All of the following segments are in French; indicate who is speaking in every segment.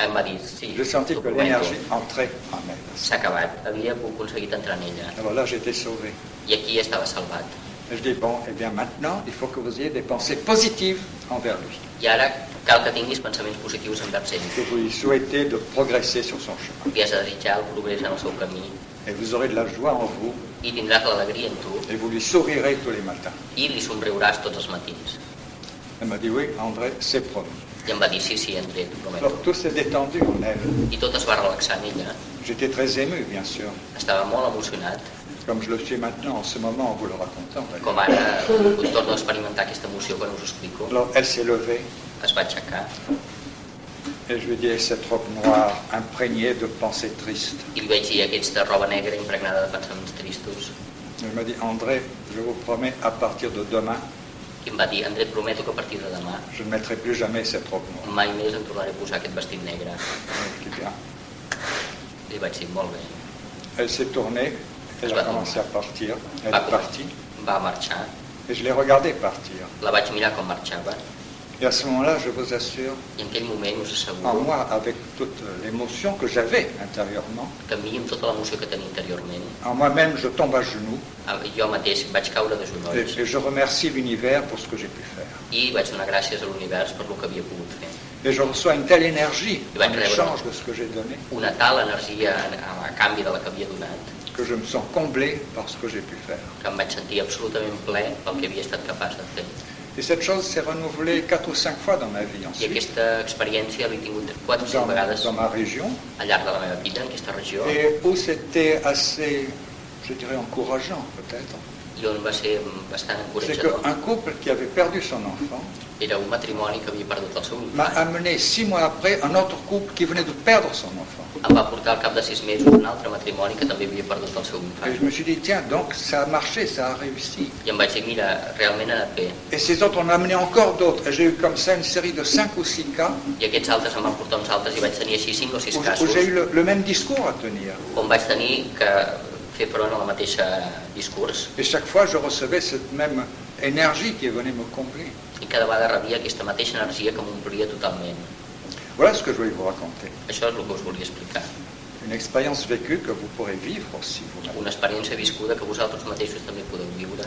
Speaker 1: Em va dir, sí.
Speaker 2: Je sentis que
Speaker 1: documento.
Speaker 2: l'énergie entrait en elle.
Speaker 1: S'ha acabat. Havia aconseguit entrar en ella.
Speaker 2: Alors là, j'étais sauvé.
Speaker 1: I aquí estava salvat.
Speaker 2: Et je dis, bon, eh bien maintenant, il faut que vous ayez des pensées positives envers lui.
Speaker 1: I ara cal que tinguis pensaments positius envers ell.
Speaker 2: Que vous lui souhaitez de progresser sur son chemin.
Speaker 1: Li has de desitjar el progrés en el seu camí
Speaker 2: Et vous aurez de la joie en vous
Speaker 1: i tindràs l'alegria en tu
Speaker 2: et vous lui sourirez tous les matins.
Speaker 1: i li somriuràs tots els matins.
Speaker 2: Elle m'a dit, oui, André, c'est promis.
Speaker 1: I em va dir, sí, sí, André, t'ho prometo.
Speaker 2: Alors tout s'est détendu en elle.
Speaker 1: I tot es va relaxar en ella.
Speaker 2: J'étais très ému, bien sûr,
Speaker 1: Estava molt emocionat,
Speaker 2: comme je le suis maintenant en ce moment en vous le racontant. d'ailleurs.
Speaker 1: com ara ho torno a experimentar aquesta emoció quan us ho explico.
Speaker 2: Alors elle s'est levée
Speaker 1: Es va aixecar
Speaker 2: et je lui ai dit, cette robe noire imprégnée de pensées tristes.
Speaker 1: i li vaig dir aquesta roba negra impregnada de pensaments tristos.
Speaker 2: Elle m'a dit, André, je vous promets, à partir de demain,
Speaker 1: I em va dir, André, et prometo que a partir de demà
Speaker 2: je ne mettrai plus jamais cette robe noire.
Speaker 1: mai més em tornaré a posar aquest vestit negre.
Speaker 2: Je dis, bien.
Speaker 1: Li vaig dir, molt bé.
Speaker 2: Elle s'est tournée, elle a commencé à partir, elle
Speaker 1: Va,
Speaker 2: est partie,
Speaker 1: va marxar.
Speaker 2: et je l'ai regardée partir.
Speaker 1: La vaig mirar com marxava
Speaker 2: Et à ce moment-là, je vous assure,
Speaker 1: i en aquell moment us
Speaker 2: en
Speaker 1: asseguro
Speaker 2: moi, avec toute l'émotion que j'avais intérieurement,
Speaker 1: que a mi, amb tota l'emoció que tenia interiorment,
Speaker 2: en moi-même, je tombe à genoux
Speaker 1: eh, jo mateix vaig caure de
Speaker 2: et,
Speaker 1: genolls
Speaker 2: et je remercie l'univers pour ce que j'ai pu faire.
Speaker 1: i vaig donar gràcies a l'univers per lo que havia pogut fer.
Speaker 2: Et je reçois une telle énergie
Speaker 1: Il va
Speaker 2: en
Speaker 1: être très
Speaker 2: échange de ce que j'ai donné
Speaker 1: Una tal energia a, a canvi de la que havia donat
Speaker 2: que je me sens comblé par ce que j'ai pu faire.
Speaker 1: que em vaig sentir absolutament ple pel que havia estat capaç de fer.
Speaker 2: Et cette chose s'est renouvelée quatre ou cinq fois dans ma vie
Speaker 1: I
Speaker 2: ensuite,
Speaker 1: aquesta experiència l'he tingut quatre o
Speaker 2: dans,
Speaker 1: cinc vegades
Speaker 2: dans ma région,
Speaker 1: al llarg de la meva vida en aquesta regió
Speaker 2: et où c'était assez, je dirais, encourageant peut-être.
Speaker 1: i on va ser bastant
Speaker 2: C'est
Speaker 1: encoratjador.
Speaker 2: qu'un couple qui avait perdu son enfant
Speaker 1: Era un matrimoni que havia perdut el seu
Speaker 2: m'a
Speaker 1: infant.
Speaker 2: amené six mois après un autre couple qui venait de perdre son enfant.
Speaker 1: Em va portar al cap de sis mesos un altre matrimoni que també havia perdut el seu
Speaker 2: Et je
Speaker 1: infant.
Speaker 2: me suis dit, tiens, donc ça a marché, ça a réussi.
Speaker 1: I em vaig dir, mira, realment ha anat bé.
Speaker 2: Et ces autres, on en a amené encore d'autres. Et j'ai eu comme ça une série de cinq ou six cas
Speaker 1: I aquests altres em van portar uns altres i vaig tenir així cinc o sis
Speaker 2: où, où
Speaker 1: casos
Speaker 2: j'ai eu le, le même discours à tenir.
Speaker 1: on vaig tenir que fer front a la mateixa discurs
Speaker 2: Et chaque fois, je recevais cette même énergie qui venait me combler.
Speaker 1: i cada vegada rebia aquesta mateixa energia que m'omplia totalment.
Speaker 2: Voilà ce que je voulais vous raconter.
Speaker 1: Això és el que us volia explicar.
Speaker 2: Une expérience vécue que vous pourrez vivre aussi vous-même.
Speaker 1: Una experiència viscuda que vosaltres mateixos també podeu viure.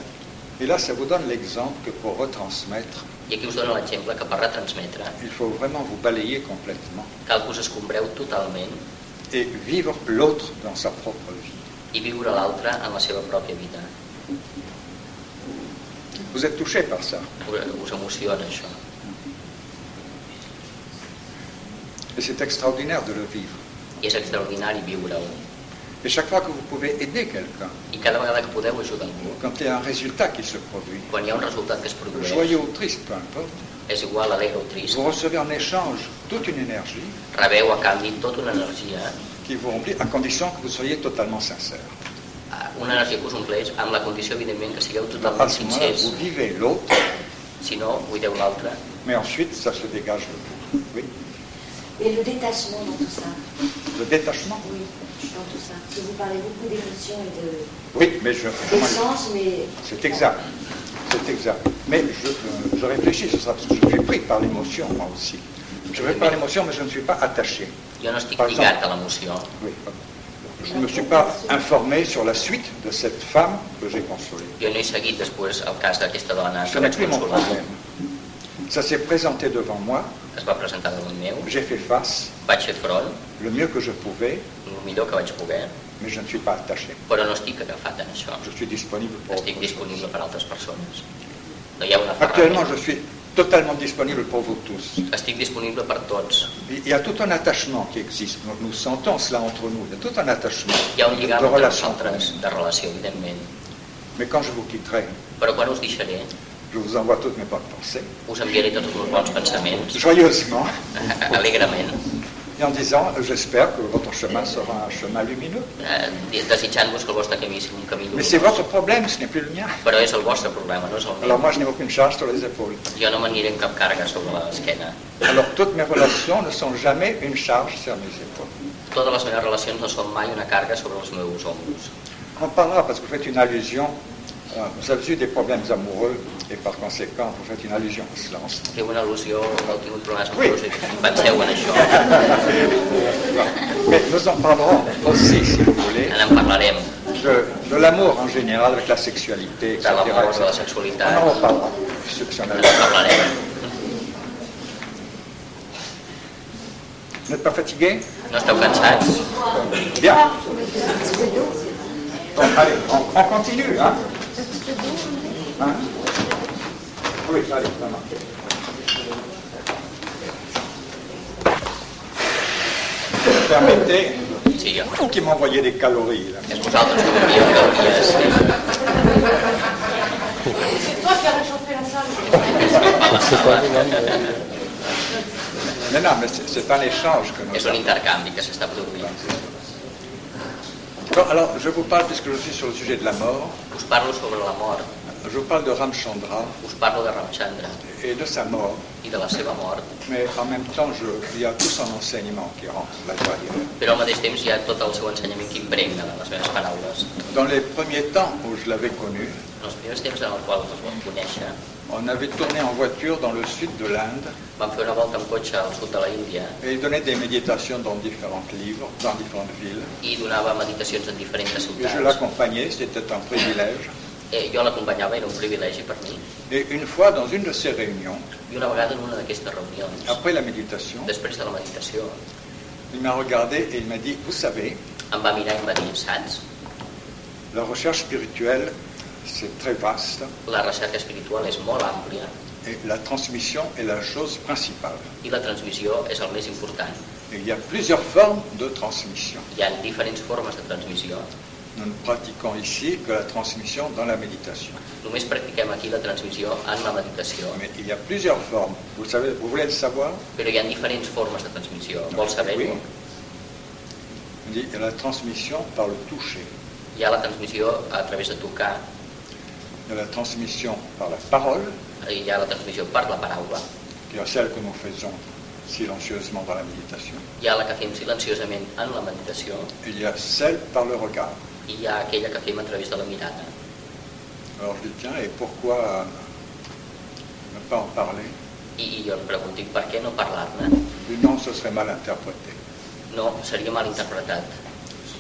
Speaker 2: Et là, ça vous donne l'exemple que pour retransmettre,
Speaker 1: I aquí us dono l'exemple que per retransmetre
Speaker 2: il faut vraiment vous balayer complètement
Speaker 1: cal que us escombreu totalment
Speaker 2: et vivre l'autre dans sa propre vie.
Speaker 1: i viure l'altre en la seva pròpia vida.
Speaker 2: Vous êtes touché par ça.
Speaker 1: Us, us emociona això.
Speaker 2: Et c'est extraordinaire de le vivre.
Speaker 1: I és extraordinari viure-ho.
Speaker 2: Et chaque fois que vous pouvez aider quelqu'un,
Speaker 1: I cada vegada que podeu ajudar algú,
Speaker 2: quand il y a un résultat qui se produit,
Speaker 1: quan hi ha un resultat que es produeix,
Speaker 2: joyeux ou triste, peu importe,
Speaker 1: és igual alegre o trist,
Speaker 2: vous recevez en échange toute une énergie
Speaker 1: rebeu a canvi tota una energia
Speaker 2: qui vous remplit à condition que vous soyez totalement sincère.
Speaker 1: eh, una energia que us ompleix amb la condició, evidentment, que sigueu
Speaker 2: À
Speaker 1: totalment
Speaker 2: ce moment-là,
Speaker 1: sincers.
Speaker 2: vous vivez l'autre,
Speaker 1: Si no, buideu l'altre.
Speaker 2: mais ensuite, ça se dégage de vous. Oui.
Speaker 3: Et le détachement dans tout ça.
Speaker 2: Le détachement
Speaker 3: Oui, dans tout ça. Parce que vous parlez beaucoup d'émotions et
Speaker 2: Oui, mais je...
Speaker 3: de d'échanges, mais.
Speaker 2: C'est exact. C'est exact. Mais je, euh, je- je réfléchis sur ça, parce que je suis pris par l'émotion, moi aussi. Je vais par l'émotion, mais je ne suis pas attaché.
Speaker 1: Jo no estic
Speaker 2: Per exemple.
Speaker 1: lligat a l'emoció.
Speaker 2: Oui. Je ne me suis pas informé sur la suite de cette femme que j'ai consolée.
Speaker 1: Jo no he seguit després el cas d'aquesta dona
Speaker 2: Ce
Speaker 1: que
Speaker 2: n'est
Speaker 1: vaig
Speaker 2: plus mon
Speaker 1: consolar.
Speaker 2: problème. Ça s'est présenté devant moi,
Speaker 1: Es va presentar davant meu,
Speaker 2: j'ai fait face
Speaker 1: vaig fer front,
Speaker 2: le mieux que je pouvais,
Speaker 1: el millor que vaig poder,
Speaker 2: mais je ne suis pas attaché.
Speaker 1: però no estic agafat en això.
Speaker 2: Je suis disponible pour
Speaker 1: Estic
Speaker 2: autre chose.
Speaker 1: disponible per a altres persones. No hi ha una
Speaker 2: Actuellement, je
Speaker 1: ferramenta.
Speaker 2: suis totalement disponible pour vous tous.
Speaker 1: Estic disponible per tots.
Speaker 2: Il y a tout un attachement qui existe. Nous, nous sentons cela entre nous. Il y a tout un attachement
Speaker 1: Hi ha un
Speaker 2: de,
Speaker 1: lligam
Speaker 2: de
Speaker 1: entre
Speaker 2: relation.
Speaker 1: nosaltres, de relació, evidentment.
Speaker 2: Mais quand je vous quitterai,
Speaker 1: Però quan us deixaré,
Speaker 2: je vous envoie toutes mes bonnes pensées,
Speaker 1: us enviaré tots els meus bons pensaments,
Speaker 2: joyeusement,
Speaker 1: alegrement,
Speaker 2: et en disant euh, j'espère que votre chemin sera un chemin lumineux.
Speaker 1: eh, desitjant-vos que el vostre camí sigui un camí
Speaker 2: Mais
Speaker 1: luminós.
Speaker 2: c'est votre problème, ce n'est plus le mien.
Speaker 1: Però és el vostre problema, no és el meu.
Speaker 2: Alors moi, je n'ai aucune charge sur les épaules.
Speaker 1: Jo no m'aniré amb cap càrrega sobre l'esquena.
Speaker 2: Alors toutes mes relations ne sont jamais une charge sur mes épaules.
Speaker 1: Totes les meves relacions no són mai una càrrega sobre els meus ombros.
Speaker 2: On parlera parce que vous faites une allusion Ah, Vous avez eu des problèmes amoureux et par conséquent, vous faites une allusion à cela. en ce moment.
Speaker 1: Feu una al·lusió, heu tingut problemes amb
Speaker 2: Ui.
Speaker 1: Rus i penseu en això.
Speaker 2: Voilà. Mais nous en parlerons aussi, si vous voulez,
Speaker 1: Ara en parlarem
Speaker 2: de, de l'amour en général avec la sexualité,
Speaker 1: de
Speaker 2: etc.
Speaker 1: l'amor, de
Speaker 2: etc.
Speaker 1: la sexualitat,
Speaker 2: On en reparlera, ceux qui en
Speaker 1: en
Speaker 2: avaient.
Speaker 1: parlarem.
Speaker 2: Vous n'êtes pas fatigué
Speaker 1: No esteu cansats?
Speaker 2: Bien. Bon, allez, on, on continue, hein Hein Oui, allez, ça marche. Vous Permettez
Speaker 1: Sí, jo.
Speaker 2: qui m'envoyait des calories, là.
Speaker 1: És vosaltres que m'envieu calories.
Speaker 3: C'est toi qui as réchauffé la salle.
Speaker 2: Mais non, mais c'est c'est un échange que nous
Speaker 1: És un intercanvi que s'està produint.
Speaker 2: Bon, alors, je vous parle, puisque je suis sur le sujet de la mort,
Speaker 1: Us parlo sobre la mort,
Speaker 2: je vous parle de Ramchandra
Speaker 1: us parlo de Ramchandra
Speaker 2: et de sa mort,
Speaker 1: i de la seva mort,
Speaker 2: mais en même temps, je- il y a tout son enseignement qui rentre là-dedans.
Speaker 1: però al mateix temps hi ha tot el seu ensenyament que impregna de les meves paraules.
Speaker 2: Dans les premiers temps où je l'avais connu,
Speaker 1: En els primers temps en els quals els vam conèixer,
Speaker 2: on avait tourné en voiture dans le sud de l'Inde
Speaker 1: vam fer una volta en cotxe al sud de la Índia
Speaker 2: et il donnait des méditations dans différentes livres, dans différentes villes.
Speaker 1: i donava meditacions en diferents
Speaker 2: Et je
Speaker 1: ciutats.
Speaker 2: l'accompagnais, c'était un privilège.
Speaker 1: Eh, jo l'acompanyava, era un privilegi per mi.
Speaker 2: Et une fois, dans une de ces réunions,
Speaker 1: I una vegada en una d'aquestes reunions,
Speaker 2: après la méditation,
Speaker 1: després de la meditació,
Speaker 2: il m'a regardé et il m'a dit, vous savez,
Speaker 1: em va mirar i em va dir, saps,
Speaker 2: la recherche spirituelle, c'est très vaste
Speaker 1: la recerca espiritual és molt àmplia
Speaker 2: et la transmission est la chose principale.
Speaker 1: i la transmissió és el més important.
Speaker 2: Et il y a plusieurs formes de transmission.
Speaker 1: Hi ha diferents formes de transmissió.
Speaker 2: Nous ne pratiquons ici que la transmission dans la méditation.
Speaker 1: Només practiquem aquí la transmissió en la meditació,
Speaker 2: Mais il y a plusieurs formes. Vous, le savez, vous voulez le savoir
Speaker 1: però hi ha diferents formes de transmissió. Vols
Speaker 2: Oui.
Speaker 1: saber-ho?
Speaker 2: On dit la transmission par le toucher,
Speaker 1: Hi ha la transmissió a través de tocar,
Speaker 2: il y a la transmission par la parole,
Speaker 1: i hi ha la transmissió per la paraula,
Speaker 2: qui est celle que nous faisons silencieusement dans la méditation,
Speaker 1: hi ha la que fem silenciosament en la meditació
Speaker 2: et il y a celle par le regard.
Speaker 1: i hi ha aquella que fem a través de la mirada.
Speaker 2: Alors je dis, tiens, et pourquoi euh, ne pas en parler
Speaker 1: I, i jo em pregunto, "I per què no parlar-ne?
Speaker 2: Le non, ce serait mal interprété.
Speaker 1: No, seria mal interpretat.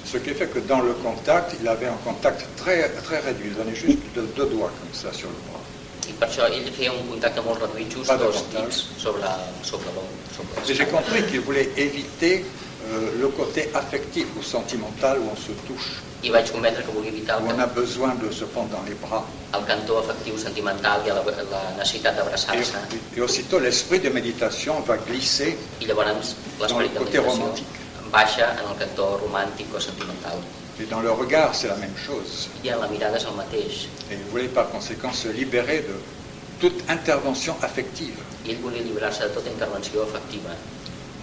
Speaker 2: Ce qui fait que dans le contact, il avait un contact très, très réduit. Il donnait juste de- deux doigts comme ça sur le bras.
Speaker 1: I per això ell feia un contacte molt reduït, just
Speaker 2: Pas de
Speaker 1: dos
Speaker 2: contacte.
Speaker 1: dits sobre, sobre l'om. Sobre
Speaker 2: Et j'ai
Speaker 1: l'esquena.
Speaker 2: compris qu'il voulait éviter euh, le côté affectif ou sentimental où on se touche,
Speaker 1: I vaig comendre que volia evitar
Speaker 2: où
Speaker 1: el,
Speaker 2: on a
Speaker 1: can,
Speaker 2: besoin de se prendre dans les bras.
Speaker 1: el cantó afectiu sentimental i la, la necessitat d'abraçar-se.
Speaker 2: Et, et aussitôt, l'esprit de méditation va glisser.
Speaker 1: I llavors l'esperit
Speaker 2: Dans
Speaker 1: de
Speaker 2: el côté
Speaker 1: meditació
Speaker 2: romàntic.
Speaker 1: baixa en el cantó romàntic o sentimental.
Speaker 2: Et dans le regard, c'est la même chose.
Speaker 1: I en la mirada és el mateix.
Speaker 2: Et il voulait par conséquent se libérer de toute intervention affective.
Speaker 1: I ell volia lliurar-se de tota intervenció afectiva.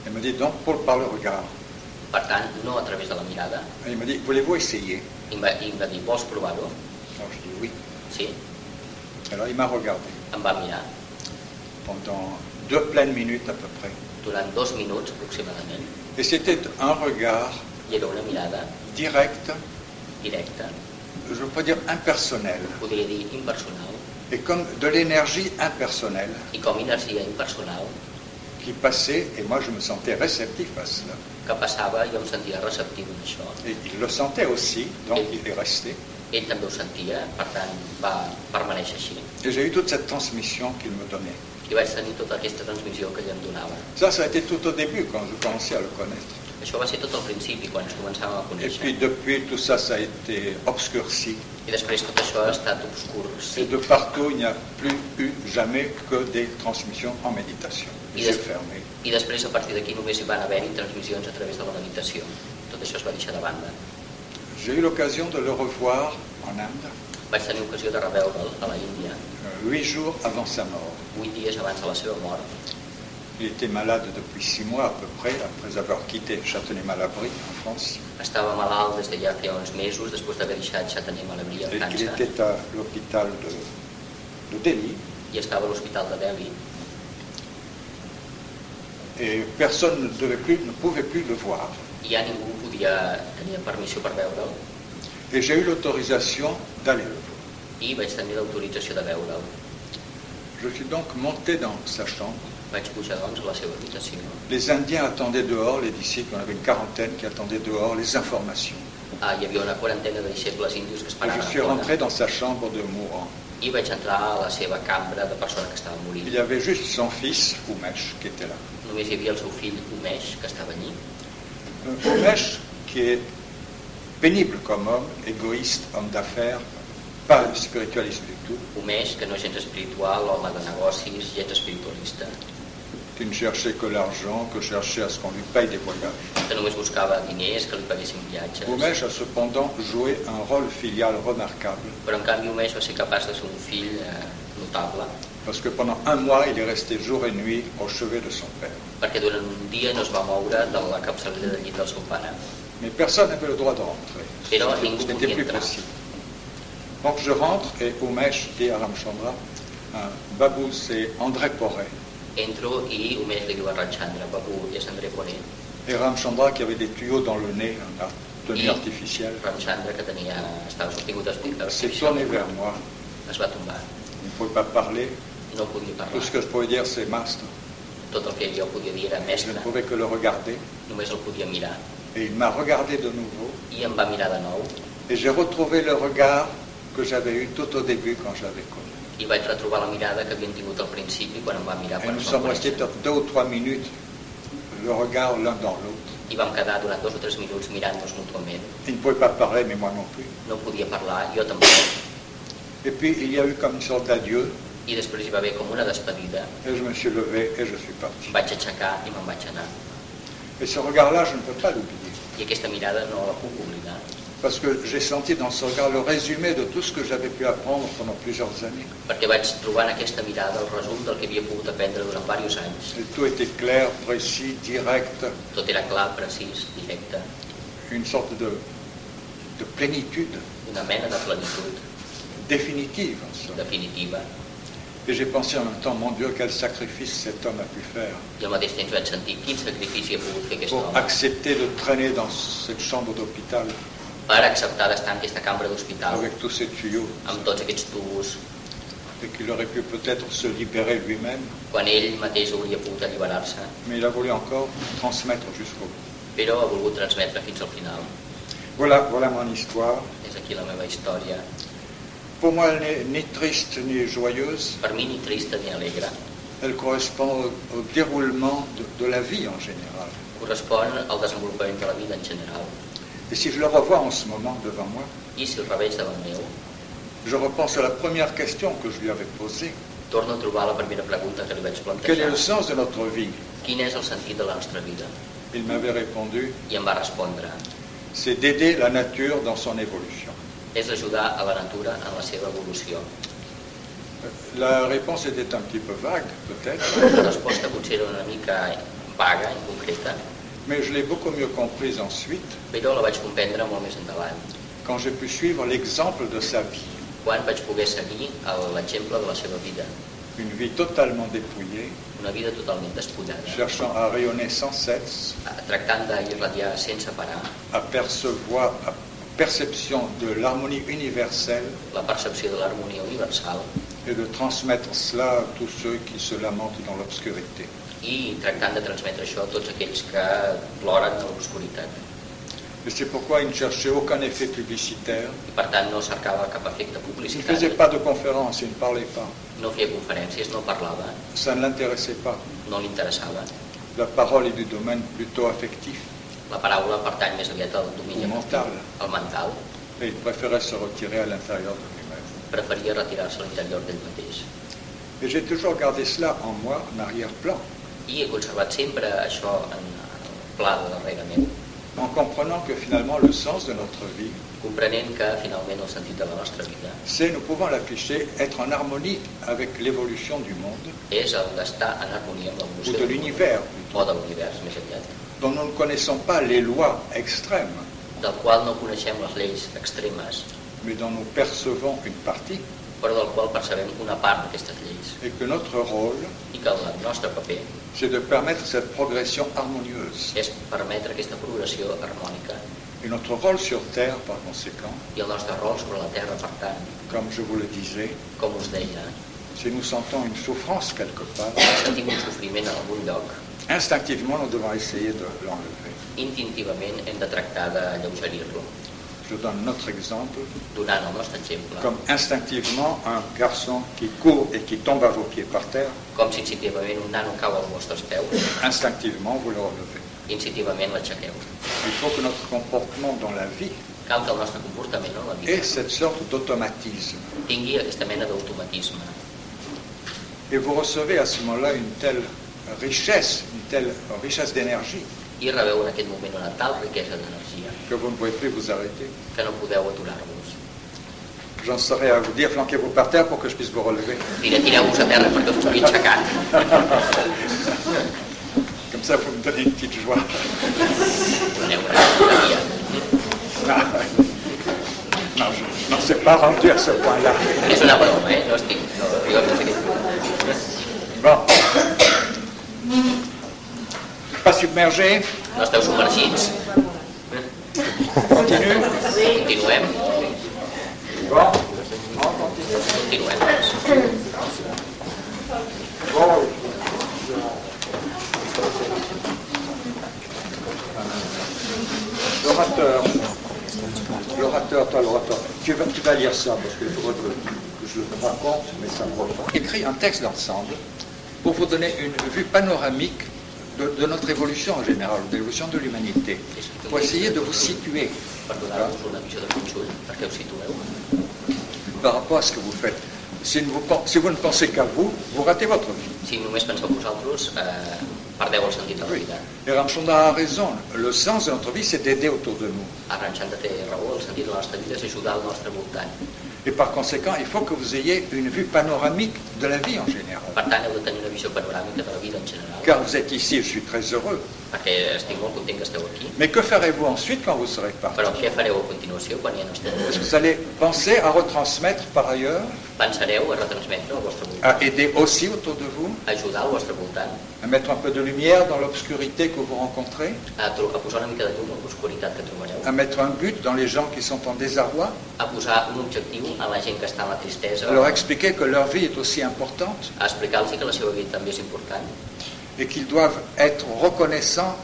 Speaker 2: Il me dit donc pour par le regard.
Speaker 1: Per tant, no a través de la mirada.
Speaker 2: Et il me dit, voulez-vous essayer
Speaker 1: I em va, i em va dir, vols provar-ho?
Speaker 2: Alors je dis oui.
Speaker 1: Sí,
Speaker 2: Alors il m'a regardé
Speaker 1: em va mirar.
Speaker 2: pendant deux pleines minutes à peu près.
Speaker 1: Durant dos minuts aproximadament.
Speaker 2: Et c'était un regard
Speaker 1: I era una mirada
Speaker 2: direct,
Speaker 1: directa,
Speaker 2: je peux dire impersonnel.
Speaker 1: podria dir impersonal,
Speaker 2: et comme de l'énergie impersonnelle
Speaker 1: i com energia impersonal
Speaker 2: qui passait, et moi je me sentais réceptif à cela.
Speaker 1: que passava, jo em sentia receptiu en això.
Speaker 2: Et il le sentait aussi, donc il est resté.
Speaker 1: Ell també ho sentia, per tant va permanèixer així.
Speaker 2: Et j'ai eu toute cette transmission qu'il me donnait.
Speaker 1: I vaig tenir tota aquesta transmissió que ell em donava.
Speaker 2: Ça, ça a été tout au début quand je commençais à le connaître.
Speaker 1: Això va ser tot al principi, quan ens començàvem a
Speaker 2: Et
Speaker 1: conèixer.
Speaker 2: puis depuis, tout ça, ça a été obscurci.
Speaker 1: I després tot això ha estat obscur. Sí.
Speaker 2: Et de partout, il n'y a plus eu jamais que des transmissions en méditation.
Speaker 1: I,
Speaker 2: J'ai
Speaker 1: des...
Speaker 2: fermé.
Speaker 1: I després, a partir d'aquí, només hi van haver-hi transmissions a través de la meditació. Tot això es va deixar de banda.
Speaker 2: J'ai eu l'occasion de le revoir en Inde,
Speaker 1: Vaig tenir ocasió de reveure'l a la Índia,
Speaker 2: euh, huit jours avant sa mort.
Speaker 1: vuit dies abans de la seva mort.
Speaker 2: Il était malade depuis six mois à peu près, après avoir quitté Châtenay-Malabry en France.
Speaker 1: Estava malalt des de ja feia uns mesos, després d'haver deixat Chatanem a l'Abril,
Speaker 2: Et
Speaker 1: a
Speaker 2: il
Speaker 1: França,
Speaker 2: était à l'hôpital de, de Delhi
Speaker 1: i estava a l'hospital de Delhi.
Speaker 2: et personne ne, devait plus, ne pouvait plus le voir.
Speaker 1: I ja ningú podia, tenia permissió per veure'l,
Speaker 2: Et j'ai eu l'autorisation d'aller le voir.
Speaker 1: i vaig tenir l'autorització de veure'l.
Speaker 2: Je suis donc monté dans sa chambre.
Speaker 1: Vaig pujar, doncs, a la seva habitació.
Speaker 2: Les Indiens attendaient dehors, les disciples, on avait une quarantaine qui attendaient dehors les informations.
Speaker 1: Ah, hi havia una quarantena de deixebles indis que
Speaker 2: Et
Speaker 1: esperaven
Speaker 2: je
Speaker 1: a
Speaker 2: suis
Speaker 1: fora.
Speaker 2: rentré dans sa chambre de mourant.
Speaker 1: i vaig entrar a la seva cambra de persona que estava morint.
Speaker 2: Il y avait juste son fils, Oumesh, qui était là.
Speaker 1: Només hi havia el seu fill, Umesh, que estava allí.
Speaker 2: Euh, Oumesh, qui est pénible comme homme, égoïste, homme d'affaires, pas spiritualiste du tout,
Speaker 1: Umesh, que no és gens espiritual, home de negocis, gens espiritualista,
Speaker 2: qui ne cherchait que l'argent, que cherchait à ce qu'on lui paye des voyages.
Speaker 1: que només buscava diners, que li paguessin viatges.
Speaker 2: Oumesh a cependant joué un rôle filial remarquable,
Speaker 1: Però en canvi Umesh va ser capaç de ser un fill eh, notable,
Speaker 2: parce que pendant un mois, il est resté jour et nuit au chevet de son père.
Speaker 1: perquè durant un dia no es va moure de la capçalera del llit del seu pare.
Speaker 2: Mais personne n'avait le droit de rentrer.
Speaker 1: Et non,
Speaker 2: C'était-
Speaker 1: il ne
Speaker 2: C'était plus
Speaker 1: conviendra.
Speaker 2: possible. Donc je rentre et Oumesh dit à Ramchandra, hein, Babou, c'est André Poré.
Speaker 1: Entro i Umesh li diu a Ramchandra, Babu, és André Poné.
Speaker 2: Et Ramchandra qui avait des tuyaux dans le nez, un ar-
Speaker 1: Et-
Speaker 2: tenue artificielle,
Speaker 1: Ramchandra, que tenia, estava sortingut d'hospital,
Speaker 2: s'est tourné vers moi.
Speaker 1: es va tombar.
Speaker 2: Il ne pouvait pas parler.
Speaker 1: No podia
Speaker 2: Tout
Speaker 1: parlar.
Speaker 2: ce que je pouvais dire, c'est Mastre.
Speaker 1: Tot el que jo podia dir era
Speaker 2: Je ne
Speaker 1: mestre,
Speaker 2: pouvais que le regarder.
Speaker 1: només el podia mirar.
Speaker 2: Et il m'a regardé de nouveau.
Speaker 1: I em va mirar de nou
Speaker 2: Et j'ai retrouvé le regard que j'avais eu tout au début quand je l'avais connu.
Speaker 1: i vaig retrobar la mirada que havíem tingut al principi quan em va mirar
Speaker 2: Et
Speaker 1: quan
Speaker 2: nous
Speaker 1: ens vam
Speaker 2: sommes restés
Speaker 1: conèixer.
Speaker 2: peut-être deux ou trois minutes, le regard l'un dans l'autre.
Speaker 1: I vam quedar durant dos o tres minuts mirant-nos mútuament.
Speaker 2: Il ne pouvait pas parler, mais moi non plus.
Speaker 1: No podia parlar, jo tampoc.
Speaker 2: Et puis il y a eu comme une sorte d'adieu,
Speaker 1: I després hi va haver com una despedida.
Speaker 2: et je me suis levé et je suis parti.
Speaker 1: Em vaig aixecar i me'n vaig anar.
Speaker 2: Et ce regard-là, je ne peux pas l'oublier,
Speaker 1: I aquesta mirada no la puc oblidar,
Speaker 2: parce que j'ai senti dans ce regard le résumé de tout ce que j'avais pu apprendre pendant plusieurs années.
Speaker 1: perquè vaig trobar en aquesta mirada el resum del que havia pogut aprendre durant diversos anys.
Speaker 2: Et tout était clair, précis, direct,
Speaker 1: Tot era clar, precís, directe,
Speaker 2: une sorte de, de plénitude
Speaker 1: una mena de plenitud
Speaker 2: définitive. en somme.
Speaker 1: definitiva.
Speaker 2: Et j'ai pensé en même temps, mon Dieu, quel sacrifice cet homme a pu faire
Speaker 1: I al mateix temps vaig sentir quin sacrifici ha pogut fer aquest
Speaker 2: pour
Speaker 1: home
Speaker 2: accepter de traîner dans cette chambre d'hôpital
Speaker 1: per acceptar d'estar en aquesta cambra d'hospital
Speaker 2: avec tous ses tuyaux,
Speaker 1: amb tots aquests tubos
Speaker 2: et qu'il aurait pu peut-être se libérer lui-même.
Speaker 1: quan ell mateix hauria pogut alliberar-se,
Speaker 2: mais il a voulu encore transmettre jusqu'au bout.
Speaker 1: però ha volgut transmetre fins al final.
Speaker 2: Voilà, voilà mon histoire.
Speaker 1: És aquí la meva història.
Speaker 2: Pour moi, elle n'est ni triste ni joyeuse.
Speaker 1: Per mi ni trista ni alegre.
Speaker 2: Elle correspond au, au déroulement de, de la vie en général.
Speaker 1: Correspon al desenvolupament de la vida en general.
Speaker 2: Et si je le revois en ce moment devant moi,
Speaker 1: I si el reveig davant meu,
Speaker 2: je repense à la première question que je lui avais posée.
Speaker 1: torno a trobar la primera pregunta que li vaig
Speaker 2: Quel est le
Speaker 1: plantejar.
Speaker 2: sens de notre vie
Speaker 1: Quin és el sentit de la nostra vida?
Speaker 2: Il m'avait répondu,
Speaker 1: I em va respondre,
Speaker 2: c'est d'aider la nature dans son évolution.
Speaker 1: és ajudar a la natura en la seva evolució.
Speaker 2: La réponse était un petit peu vague, peut-être,
Speaker 1: La resposta potser era una mica vaga, inconcreta,
Speaker 2: mais je l'ai beaucoup mieux comprise ensuite
Speaker 1: però la vaig comprendre molt més endavant,
Speaker 2: quand j'ai pu suivre l'exemple de sa vie.
Speaker 1: quan vaig poder seguir el- l'exemple de la seva vida,
Speaker 2: Une vie totalement dépouillée,
Speaker 1: una vida totalment despullada,
Speaker 2: cherchant à rayonner sans cesse,
Speaker 1: eh, tractant d'irradiar sense parar
Speaker 2: à percevoir, à perception de l'harmonie universelle
Speaker 1: la percepció de l'harmonia universal
Speaker 2: et de transmettre cela à tous ceux qui se lamentent dans l'obscurité.
Speaker 1: i tractant de transmetre això a tots aquells que ploren a l'obscuritat.
Speaker 2: Et c'est pourquoi il ne cherchait aucun effet publicitaire.
Speaker 1: I per tant no cercava cap efecte
Speaker 2: Il ne faisait
Speaker 1: publicitari,
Speaker 2: pas de conférences, il ne parlait pas.
Speaker 1: no feia conferències, no parlava,
Speaker 2: Ça ne l'intéressait pas.
Speaker 1: no li interessava.
Speaker 2: La parole est du domaine plutôt affectif.
Speaker 1: La paraula pertany més aviat al domini
Speaker 2: El mental.
Speaker 1: al mental,
Speaker 2: Et il préférait se retirer à l'intérieur de lui-même.
Speaker 1: preferia retirar-se a l'interior d'ell mateix.
Speaker 2: Et j'ai toujours gardé cela en moi, en arrière-plan,
Speaker 1: I he conservat sempre això en el pla de darrere meu,
Speaker 2: en comprenant que finalement le sens de notre vie,
Speaker 1: comprenent que finalment el sentit de la nostra vida
Speaker 2: c'est, nous pouvons l'afficher, être en harmonie avec l'évolution du monde,
Speaker 1: és el d'estar en harmonia amb
Speaker 2: ou
Speaker 1: l'evolució
Speaker 2: de
Speaker 1: del món,
Speaker 2: l'univers,
Speaker 1: o de l'univers més aviat,
Speaker 2: dont nous ne connaissons pas les lois extrêmes,
Speaker 1: del qual no coneixem les lleis extremes,
Speaker 2: mais dont nous percevons une partie,
Speaker 1: fora del qual percebem una part d'aquestes lleis
Speaker 2: et que notre rôle,
Speaker 1: i que el nostre paper
Speaker 2: c'est de permettre cette progression harmonieuse.
Speaker 1: és permetre aquesta progressió harmònica
Speaker 2: Et notre rôle sur Terre, par conséquent,
Speaker 1: i el nostre rol sobre la Terra, per tant,
Speaker 2: comme je vous le disais,
Speaker 1: com us deia,
Speaker 2: si nous sentons une souffrance quelque part,
Speaker 1: sentim un sofriment en algun lloc,
Speaker 2: instinctivement nous devons essayer de l'enlever.
Speaker 1: instintivament hem de tractar d'alleugerir-lo,
Speaker 2: Je donne notre exemple,
Speaker 1: donant el nostre exemple,
Speaker 2: comme instinctivement un garçon qui court et qui tombe à vos pieds par terre,
Speaker 1: com si instintivament un nano cau als vostres peus,
Speaker 2: instinctivement vous le relevez.
Speaker 1: instintivament l'aixequeu.
Speaker 2: Il faut que notre comportement dans la vie
Speaker 1: Cal que el nostre comportament en la vida
Speaker 2: ait cette sorte d'automatisme.
Speaker 1: tingui aquesta mena d'automatisme.
Speaker 2: Et vous recevez à ce moment-là une telle richesse, une telle richesse d'énergie,
Speaker 1: I rebeu en aquest moment una tal riquesa d'energia
Speaker 2: que vous ne pouvez plus vous arrêter.
Speaker 1: que no podeu aturar-vos.
Speaker 2: J'en serai à vous dire, flanquez-vous par terre pour que je puisse vous relever.
Speaker 1: Diré, tireu-vos a terra perquè us pugui aixecar.
Speaker 2: Comme ça, vous me donnez une petite joie.
Speaker 1: Doneu una alegria.
Speaker 2: Non, non, je n'en suis pas rendu à ce point-là.
Speaker 1: És una broma, eh? No estic... No, jo no sé què
Speaker 2: Bon. Pas submergé,
Speaker 1: No esteu submergits.
Speaker 2: continue.
Speaker 1: Continuem.
Speaker 2: Bon.
Speaker 1: Continuem.
Speaker 2: Bon. L'orateur, l'orateur, toi l'orateur, tu vas, tu vas lire ça parce qu'il faudrait que, que je le raconte, mais ça me reprend. Écrit un texte d'ensemble pour vous donner une vue panoramique de, de notre évolution en général, de l'évolution de l'humanité, pour essayer de vous situer
Speaker 1: Per donar-vos una visió de conjunt, perquè us situeu.
Speaker 2: par rapport à ce que vous faites. Si vous, pen- si vous ne pensez qu'à vous, vous ratez votre vie.
Speaker 1: Si només penseu vosaltres, eh, perdeu el sentit de la
Speaker 2: Oui.
Speaker 1: vida.
Speaker 2: Et Ramchandra a raison. Le sens de notre vie, c'est d'aider autour de nous.
Speaker 1: Arranxant de té raó, el sentit de la nostra vida és ajudar al nostre voltant.
Speaker 2: Et par conséquent, il faut que vous ayez une vue panoramique de la vie en général.
Speaker 1: Per tant, heu de tenir una visió panoràmica de la vida en general,
Speaker 2: Car vous êtes ici, je suis très heureux.
Speaker 1: perquè estic molt content que esteu aquí.
Speaker 2: Mais que ferez-vous ensuite quand vous serez parti
Speaker 1: Però què fareu a continuació quan ja no esteu?
Speaker 2: Vous allez penser à retransmettre par ailleurs,
Speaker 1: Pensareu a retransmetre al vostre voltant,
Speaker 2: à aider aussi autour de vous,
Speaker 1: ajudar al vostre voltant,
Speaker 2: à mettre un peu de lumière dans l'obscurité que vous rencontrez,
Speaker 1: a, tro- a posar una mica de llum a l'oscuritat que trobareu,
Speaker 2: à mettre un but dans les gens qui sont en désarroi,
Speaker 1: a posar un objectiu a la gent que està en la tristesa,
Speaker 2: à leur expliquer que leur vie est aussi importante
Speaker 1: a explicar-los que la seva vida també és important
Speaker 2: et qu'ils doivent être reconnaissants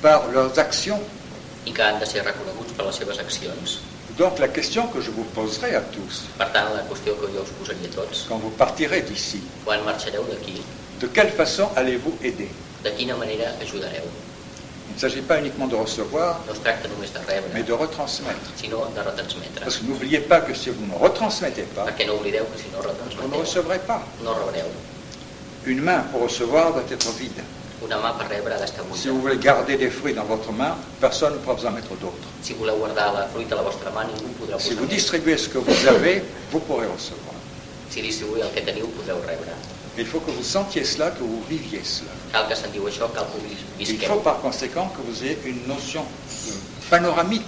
Speaker 2: par leurs actions.
Speaker 1: i que han de ser reconeguts per les seves accions.
Speaker 2: Donc la question que je vous poserai à tous,
Speaker 1: Per tant, la qüestió que jo us posaria a tots,
Speaker 2: quand vous partirez d'ici,
Speaker 1: quan marxareu d'aquí,
Speaker 2: de quelle façon allez-vous aider
Speaker 1: de quina manera ajudareu?
Speaker 2: Il ne s'agit pas uniquement de recevoir,
Speaker 1: No es tracta només de
Speaker 2: mais
Speaker 1: rebre,
Speaker 2: de retransmettre.
Speaker 1: sinó de retransmetre.
Speaker 2: Parce que n'oubliez pas que si vous ne retransmettez pas,
Speaker 1: Perquè no oblideu que si no
Speaker 2: vous ne
Speaker 1: retransmeteu,
Speaker 2: recevrez pas.
Speaker 1: no rebreu.
Speaker 2: Une main pour recevoir doit être vide.
Speaker 1: Una mà per rebre ha d'estar
Speaker 2: Si vous
Speaker 1: buida.
Speaker 2: voulez garder des fruits dans votre main, personne ne pourra vous en mettre d'autres.
Speaker 1: Si voleu guardar la fruita a la vostra mà, ningú podrà
Speaker 2: Si
Speaker 1: posar
Speaker 2: vous
Speaker 1: més.
Speaker 2: distribuez ce que vous avez, vous pourrez recevoir.
Speaker 1: Si distribuïu el que teniu, podreu rebre.
Speaker 2: Il faut que vous sentiez cela, que vous viviez cela.
Speaker 1: Cal que sentiu això, cal que ho vis-
Speaker 2: Il faut
Speaker 1: visqueu.
Speaker 2: par conséquent que vous ayez une notion euh, panoramique.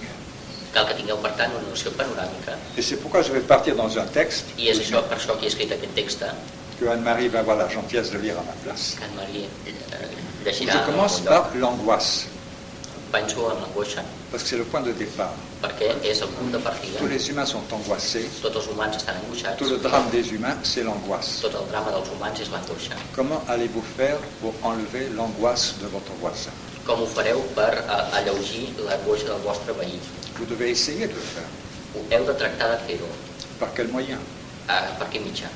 Speaker 1: Cal que tingueu, per tant, una noció panoràmica.
Speaker 2: Et c'est pourquoi je vais partir dans un texte
Speaker 1: I és això, per això que he escrit aquest text, que
Speaker 2: que Anne-Marie va avoir la gentillesse de lire à ma place.
Speaker 1: en Maria eh,
Speaker 2: Et
Speaker 1: llegirà.
Speaker 2: Je
Speaker 1: en
Speaker 2: commence
Speaker 1: algun lloc.
Speaker 2: par l'angoisse,
Speaker 1: Penso en l'angoixa,
Speaker 2: parce que c'est le point de départ.
Speaker 1: perquè és el punt de
Speaker 2: Tous
Speaker 1: partida.
Speaker 2: les humains sont angoissés.
Speaker 1: Tots els humans estan
Speaker 2: Tout le
Speaker 1: angoixats.
Speaker 2: drame des humains, c'est l'angoisse.
Speaker 1: Tot el drama dels humans és l'angoixa.
Speaker 2: Comment allez-vous faire pour enlever l'angoisse de votre voisin
Speaker 1: Com ho fareu per eh, alleugir l'angoixa del vostre veí?
Speaker 2: Vous devez essayer de le faire.
Speaker 1: Ho heu de tractar de fer-ho.
Speaker 2: Par quels moyens
Speaker 1: Eh, Per quin mitjà?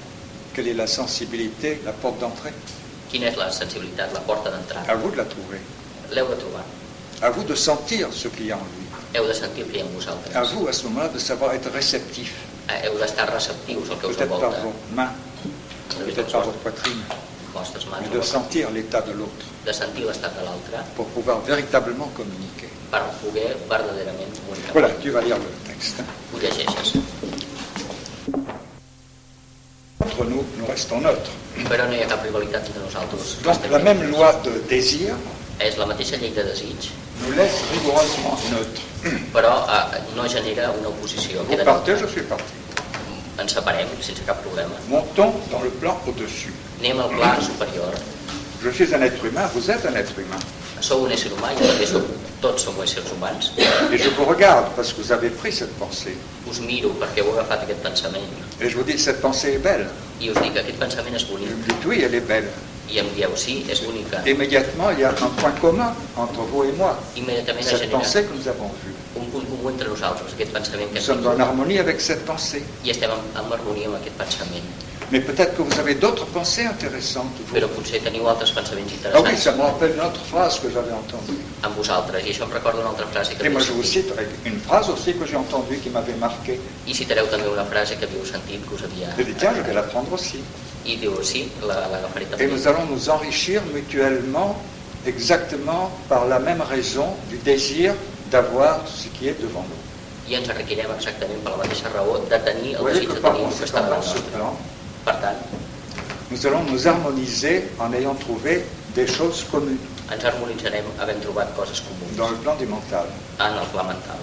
Speaker 2: Quelle est la sensibilité, la porte d'entrée
Speaker 1: Quina és la sensibilitat, la porta
Speaker 2: À
Speaker 1: d'entrada?
Speaker 2: vous de la trouver.
Speaker 1: L'heu de trobar.
Speaker 2: À vous de sentir ce qu'il y a en lui.
Speaker 1: Heu de sentir que hi ha en vosaltres.
Speaker 2: À vous, à ce moment-là, de savoir être réceptif.
Speaker 1: Eh, Heu d'estar receptius al que us
Speaker 2: Peut-être par
Speaker 1: envolta.
Speaker 2: vos mains,
Speaker 1: Només
Speaker 2: peut-être
Speaker 1: les
Speaker 2: par
Speaker 1: vostres,
Speaker 2: votre poitrine,
Speaker 1: vostres
Speaker 2: mais
Speaker 1: mans,
Speaker 2: de
Speaker 1: de,
Speaker 2: sentir l'état de l'autre
Speaker 1: de sentir l'estat de l'altre
Speaker 2: pour pouvoir véritablement communiquer.
Speaker 1: per poder verdaderament comunicar.
Speaker 2: Voilà, tu vas lire le texte.
Speaker 1: Ho llegeixes.
Speaker 2: Entre nous, nous restons neutres.
Speaker 1: Però no hi ha cap rivalitat entre nosaltres.
Speaker 2: Donc la même loi de désir
Speaker 1: És la mateixa llei de desig,
Speaker 2: nous laisse rigoureusement neutres.
Speaker 1: però eh, no genera una oposició.
Speaker 2: Vous
Speaker 1: Queda
Speaker 2: partez,
Speaker 1: neutre.
Speaker 2: je suis parti.
Speaker 1: Eh, ens separem sense cap problema.
Speaker 2: Montons dans le plan au-dessus.
Speaker 1: Anem al pla superior.
Speaker 2: Je suis un être humain, vous êtes un être humain.
Speaker 1: Sou un ésser humà, jo també sóc, tots som éssers humans.
Speaker 2: Et je vous regarde parce que vous avez pris cette pensée.
Speaker 1: Us miro perquè heu agafat aquest pensament
Speaker 2: Et je vous dis, cette pensée est belle.
Speaker 1: i us dic aquest pensament és
Speaker 2: Et Vous me
Speaker 1: bonic.
Speaker 2: dites, oui, elle est belle.
Speaker 1: I em dieu, sí, és bonica.
Speaker 2: Immédiatement, il y a un point commun entre vous et moi.
Speaker 1: Immediatament ha
Speaker 2: Cette
Speaker 1: generat
Speaker 2: pensée que nous avons vue.
Speaker 1: un punt comú entre nosaltres, aquest pensament
Speaker 2: Nous
Speaker 1: que
Speaker 2: sommes en harmonie avec cette pensée.
Speaker 1: i estem en, en harmonia amb aquest pensament.
Speaker 2: Mais peut-être que vous avez d'autres pensées intéressantes. vous.
Speaker 1: Però potser teniu altres pensaments
Speaker 2: Ah oui,
Speaker 1: interessants
Speaker 2: ça me rappelle une autre phrase que j'avais entendue.
Speaker 1: amb vosaltres. I això em recorda una altra frase que
Speaker 2: Et moi,
Speaker 1: havíeu
Speaker 2: je vous
Speaker 1: sentit.
Speaker 2: cite une phrase aussi que j'ai entendue qui m'avait marqué.
Speaker 1: I citareu també una frase que havíeu sentit que us havia...
Speaker 2: Je dis, tiens, je vais la prendre aussi.
Speaker 1: I diu, sí, la- l'agafaré
Speaker 2: Et
Speaker 1: també.
Speaker 2: nous allons nous enrichir mutuellement, exactement par la même raison du désir d'avoir ce qui est devant nous.
Speaker 1: I ens enriquirem exactament per la mateixa raó de tenir
Speaker 2: Vous
Speaker 1: el
Speaker 2: voyez
Speaker 1: desig
Speaker 2: que
Speaker 1: de
Speaker 2: par
Speaker 1: tenir el que està
Speaker 2: conséquent,
Speaker 1: davant
Speaker 2: dans ce
Speaker 1: nostre.
Speaker 2: plan,
Speaker 1: Per tant,
Speaker 2: nous allons nous harmoniser en ayant trouvé des choses communes
Speaker 1: ens harmonitzarem havent trobat coses comunes
Speaker 2: dans le plan du mental.
Speaker 1: en el pla mental.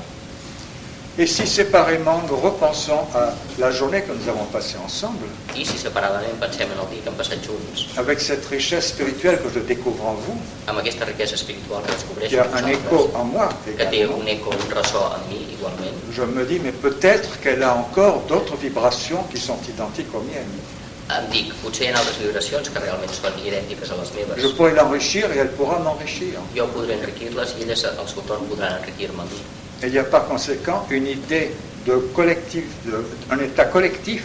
Speaker 2: Et si séparément nous repensons à la journée que nous avons passée ensemble,
Speaker 1: I si separadament pensem en el dia que hem passat junts,
Speaker 2: avec cette richesse spirituelle que je découvre en vous,
Speaker 1: amb aquesta riquesa espiritual que descobreixo
Speaker 2: qui a un
Speaker 1: en
Speaker 2: écho
Speaker 1: vosaltres,
Speaker 2: en moi
Speaker 1: que té
Speaker 2: également,
Speaker 1: un eco, un ressò en mi igualment,
Speaker 2: je me dis, mais peut-être qu'elle a encore d'autres vibrations qui sont identiques aux miennes.
Speaker 1: em dic, potser hi ha altres vibracions que realment són idèntiques a les
Speaker 2: Je
Speaker 1: meves.
Speaker 2: pourrais l'enrichir et elle pourra m'enrichir.
Speaker 1: Jo podré enriquir-les i elles al seu torn podran enriquir-me a mi.
Speaker 2: Et il y a par conséquent une idée de collectif, de- un état collectif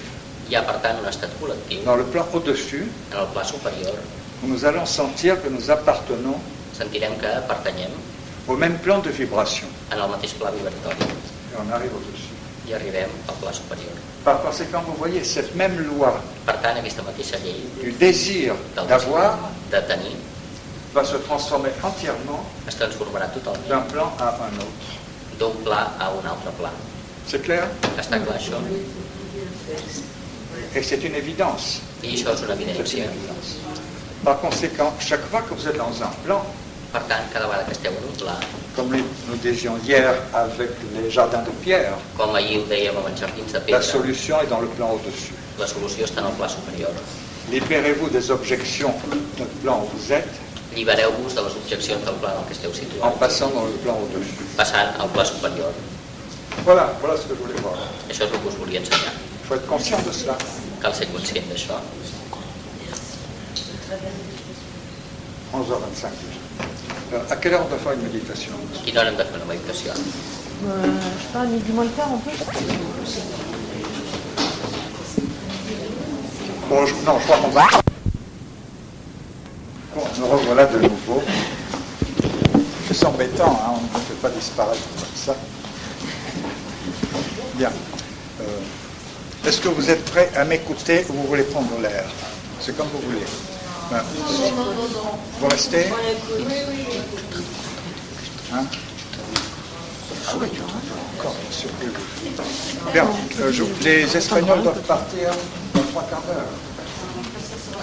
Speaker 1: Hi ha, per tant, un estat col·lectiu
Speaker 2: dans le plan au-dessus
Speaker 1: en el pla superior.
Speaker 2: où nous allons sentir que nous appartenons
Speaker 1: Sentirem que pertanyem
Speaker 2: au même plan de vibration.
Speaker 1: en el mateix pla vibratori
Speaker 2: Et on arrive au-dessus.
Speaker 1: i arribem al pla superieur.
Speaker 2: Par conséquent, vous voyez, cette même loi
Speaker 1: Per tant, aquesta mateixa llei
Speaker 2: du désir
Speaker 1: del
Speaker 2: d'avoir
Speaker 1: de tenir
Speaker 2: va se transformer entièrement
Speaker 1: es transformarà
Speaker 2: d'un
Speaker 1: totalment
Speaker 2: plan à un autre.
Speaker 1: d'un pla a un altre pla.
Speaker 2: C'est clair
Speaker 1: Està clar això?
Speaker 2: Et c'est une évidence.
Speaker 1: I això és una
Speaker 2: C'est une
Speaker 1: evidència.
Speaker 2: évidence. Par conséquent, chaque fois que vous êtes dans un plan,
Speaker 1: Per tant, cada vegada que esteu en un pla,
Speaker 2: comme nous disions hier avec les jardins de pierre,
Speaker 1: com ahir ho dèiem amb els jardins de
Speaker 2: La
Speaker 1: pedra,
Speaker 2: solution est dans le plan au-dessus.
Speaker 1: la solució està en el pla superior.
Speaker 2: Libérez-vous des objections du plan où vous êtes
Speaker 1: Allibereu-vos de les objeccions del pla en el que esteu
Speaker 2: en
Speaker 1: situats,
Speaker 2: passant dans le plan au-dessus.
Speaker 1: passant al pla superior.
Speaker 2: Voilà, voilà ce que je voulais voir.
Speaker 1: Això és el que us volia ensenyar.
Speaker 2: Il faut être conscient de cela.
Speaker 1: Cal ser conscient d'això.
Speaker 2: 11h25 déjà. Euh, à quelle heure on doit faire une méditation
Speaker 1: Quina hora hem de fer una meditació?
Speaker 4: Euh, je sais pas, mais dis-moi le quart en plus.
Speaker 2: Bon, je- non, je crois qu'on va. Bon, nous revoilà de nouveau. C'est embêtant, hein, on ne fait pas disparaître comme ça. Bien. Euh, Est-ce que vous êtes prêts à m'écouter ou vous voulez prendre l'air C'est comme vous voulez. Ben, vous restez Hein Ah oui, tu en as encore, bien sûr que oui. Bien, euh, je- les Espagnols doivent partir dans trois quarts d'heure.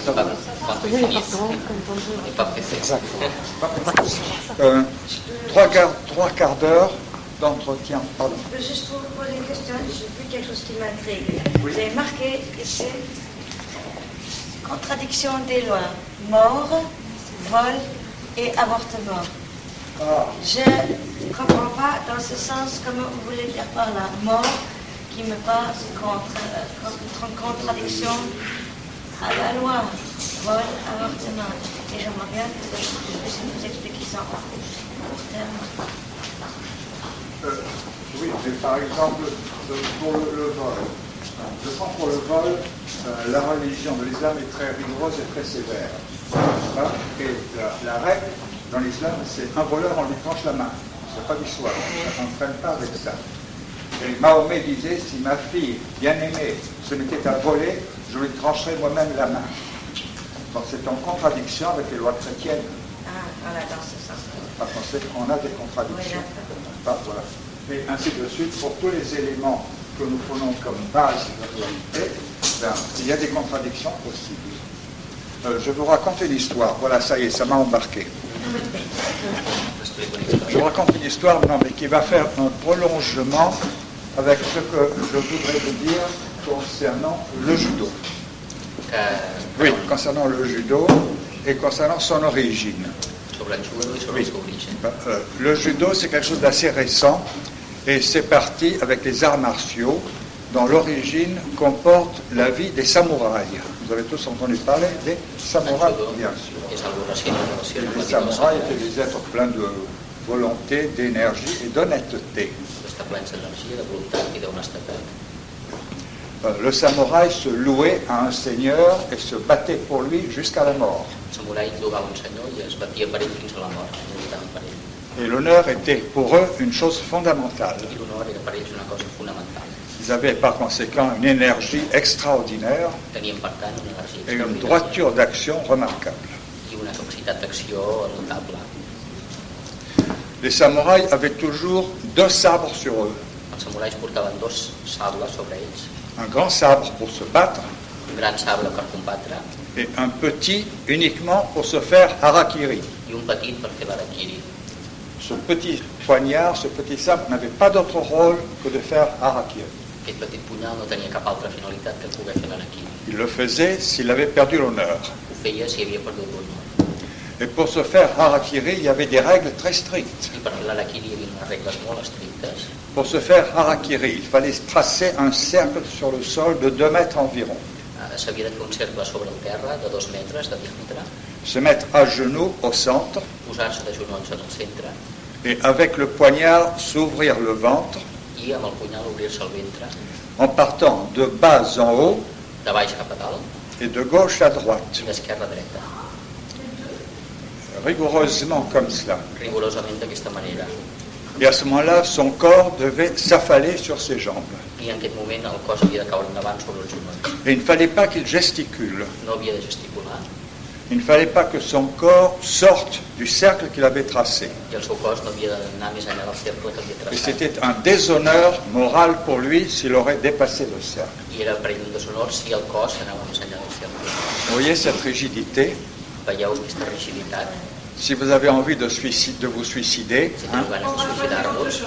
Speaker 2: Ça va
Speaker 1: Quan tu
Speaker 4: Je les
Speaker 1: finis,
Speaker 4: parents, comme tant de gens.
Speaker 1: i pot fer fer.
Speaker 2: Exactement. Euh, trois quarts, trois quarts d'heure d'entretien. Pardon.
Speaker 5: Je peux juste vous poser une question, j'ai vu quelque chose qui m'intrigue.
Speaker 2: Oui.
Speaker 5: Vous avez marqué ici contradiction des lois, mort, vol et avortement.
Speaker 2: Ah,
Speaker 5: Je ne comprends pas dans ce sens comment vous voulez dire par là, mort qui me passe contre, euh, contre- en contradiction à la loi, vol, avortement. Et j'aimerais bien que vous puissiez nous expliquer ça en court terme.
Speaker 2: euh, oui, mais par exemple, euh, pour le, le vol. Je prends pour le vol, euh, la religion de l'islam est très rigoureuse et très sévère. Voilà. Et la, la règle dans l'islam, c'est un voleur, on lui tranche la main. C'est pas d'histoire. On ne traîne pas avec ça. Et Mahomet disait, si ma fille bien-aimée se mettait à voler, je lui trancherais moi-même la main. Donc c'est en contradiction avec les lois chrétiennes.
Speaker 5: Ah, voilà, dans ce sens.
Speaker 2: Par conséquent, on a des contradictions. Pas- voilà. Et ainsi de suite, pour tous les éléments que nous prenons comme base de la réalité, ben, il y a des contradictions possibles. Euh, je vous raconte une histoire. Voilà, ça y est, ça m'a embarqué.
Speaker 1: T'explico una
Speaker 2: Je vous
Speaker 1: història.
Speaker 2: raconte une histoire, non, mais qui va faire un prolongement avec ce que je voudrais vous dire concernant le judo.
Speaker 1: que,
Speaker 2: Oui, concernant le judo et concernant son origine.
Speaker 1: sobre el jugador i sobre el seu origen.
Speaker 2: Euh, Le judo, c'est quelque chose d'assez récent et c'est parti avec les arts martiaux dont l'origine comporte la vie des samouraïs. Vous avez tous entendu parler des
Speaker 1: El
Speaker 2: samouraïs,
Speaker 1: judo
Speaker 2: bien sûr.
Speaker 1: és algo recent en relació amb la
Speaker 2: Les
Speaker 1: vida dels
Speaker 2: samouraïs étaient
Speaker 1: samurais.
Speaker 2: des êtres pleins de volonté, d'énergie et d'honnêteté.
Speaker 1: Està plens d'energia, de voluntat i d'honestedat.
Speaker 2: Euh, Le samouraï se louait à un seigneur et se battait pour lui jusqu'à la mort.
Speaker 1: El samurai llogava un senyor i es batia per ell fins a la mort, i lluitaven per ell.
Speaker 2: Et l'honneur était pour eux une chose fondamentale.
Speaker 1: I l'honor era per ells una cosa fonamental.
Speaker 2: Ils avaient par conséquent une énergie extraordinaire
Speaker 1: Tenien, per tant, una energia
Speaker 2: et une
Speaker 1: extraordinària
Speaker 2: droiture d'action remarquable.
Speaker 1: i una capacitat d'acció notable.
Speaker 2: Les samouraïs avaient toujours deux sabres sur eux.
Speaker 1: Els samurais portaven dos sables sobre ells,
Speaker 2: Un grand sabre pour se battre
Speaker 1: un gran sable per combatre
Speaker 2: et un petit uniquement pour se faire harakiri.
Speaker 1: i un petit per fer l'araquiri.
Speaker 2: Ce petit poignard, ce petit sabre n'avait pas d'autre rôle que de faire harakiri.
Speaker 1: Aquest petit punyal no tenia cap altra finalitat que poder fer l'araquiri.
Speaker 2: Il le faisait s'il avait perdu l'honneur.
Speaker 1: Ho feia si havia perdut l'honor.
Speaker 2: Et pour se faire harakiri, il y avait des règles très strictes.
Speaker 1: I per fer l'araquiri hi havia unes regles molt estrictes.
Speaker 2: Pour se faire harakiri, il fallait tracer un cercle sur le sol de 2 mètres environ,
Speaker 1: Eh, S'havia de fer un cercle sobre el terra de dos metres de diàmetre,
Speaker 2: se mettre à genoux au centre
Speaker 1: posar-se de genolls en el centre
Speaker 2: et avec le poignard s'ouvrir le ventre
Speaker 1: i amb el punyal obrir-se el ventre
Speaker 2: en partant de bas en haut
Speaker 1: de baix cap a dalt
Speaker 2: et de gauche à droite,
Speaker 1: i d'esquerra a dreta.
Speaker 2: rigoureusement comme cela.
Speaker 1: rigorosament d'aquesta manera.
Speaker 2: Et à ce moment-là, son corps devait s'affaler sur ses jambes.
Speaker 1: I en aquest moment el cos havia de caure endavant sobre els genolls.
Speaker 2: Et il ne fallait pas qu'il gesticule,
Speaker 1: No havia de gesticular
Speaker 2: il ne fallait pas que son corps sorte du cercle qu'il avait tracé.
Speaker 1: i el seu cos no havia d'anar més enllà del cercle que havia
Speaker 2: Et
Speaker 1: traçat.
Speaker 2: c'était un déshonneur moral pour lui s'il aurait dépassé le cercle.
Speaker 1: I era per ell un deshonor si el cos anava més enllà del cercle.
Speaker 2: Vous voyez cette rigidité
Speaker 1: Veieu aquesta rigiditat?
Speaker 2: Si vous avez envie de, suicide- de vous suicider,
Speaker 1: Si
Speaker 2: hein,
Speaker 1: teniu ganes de suïcidar-vos,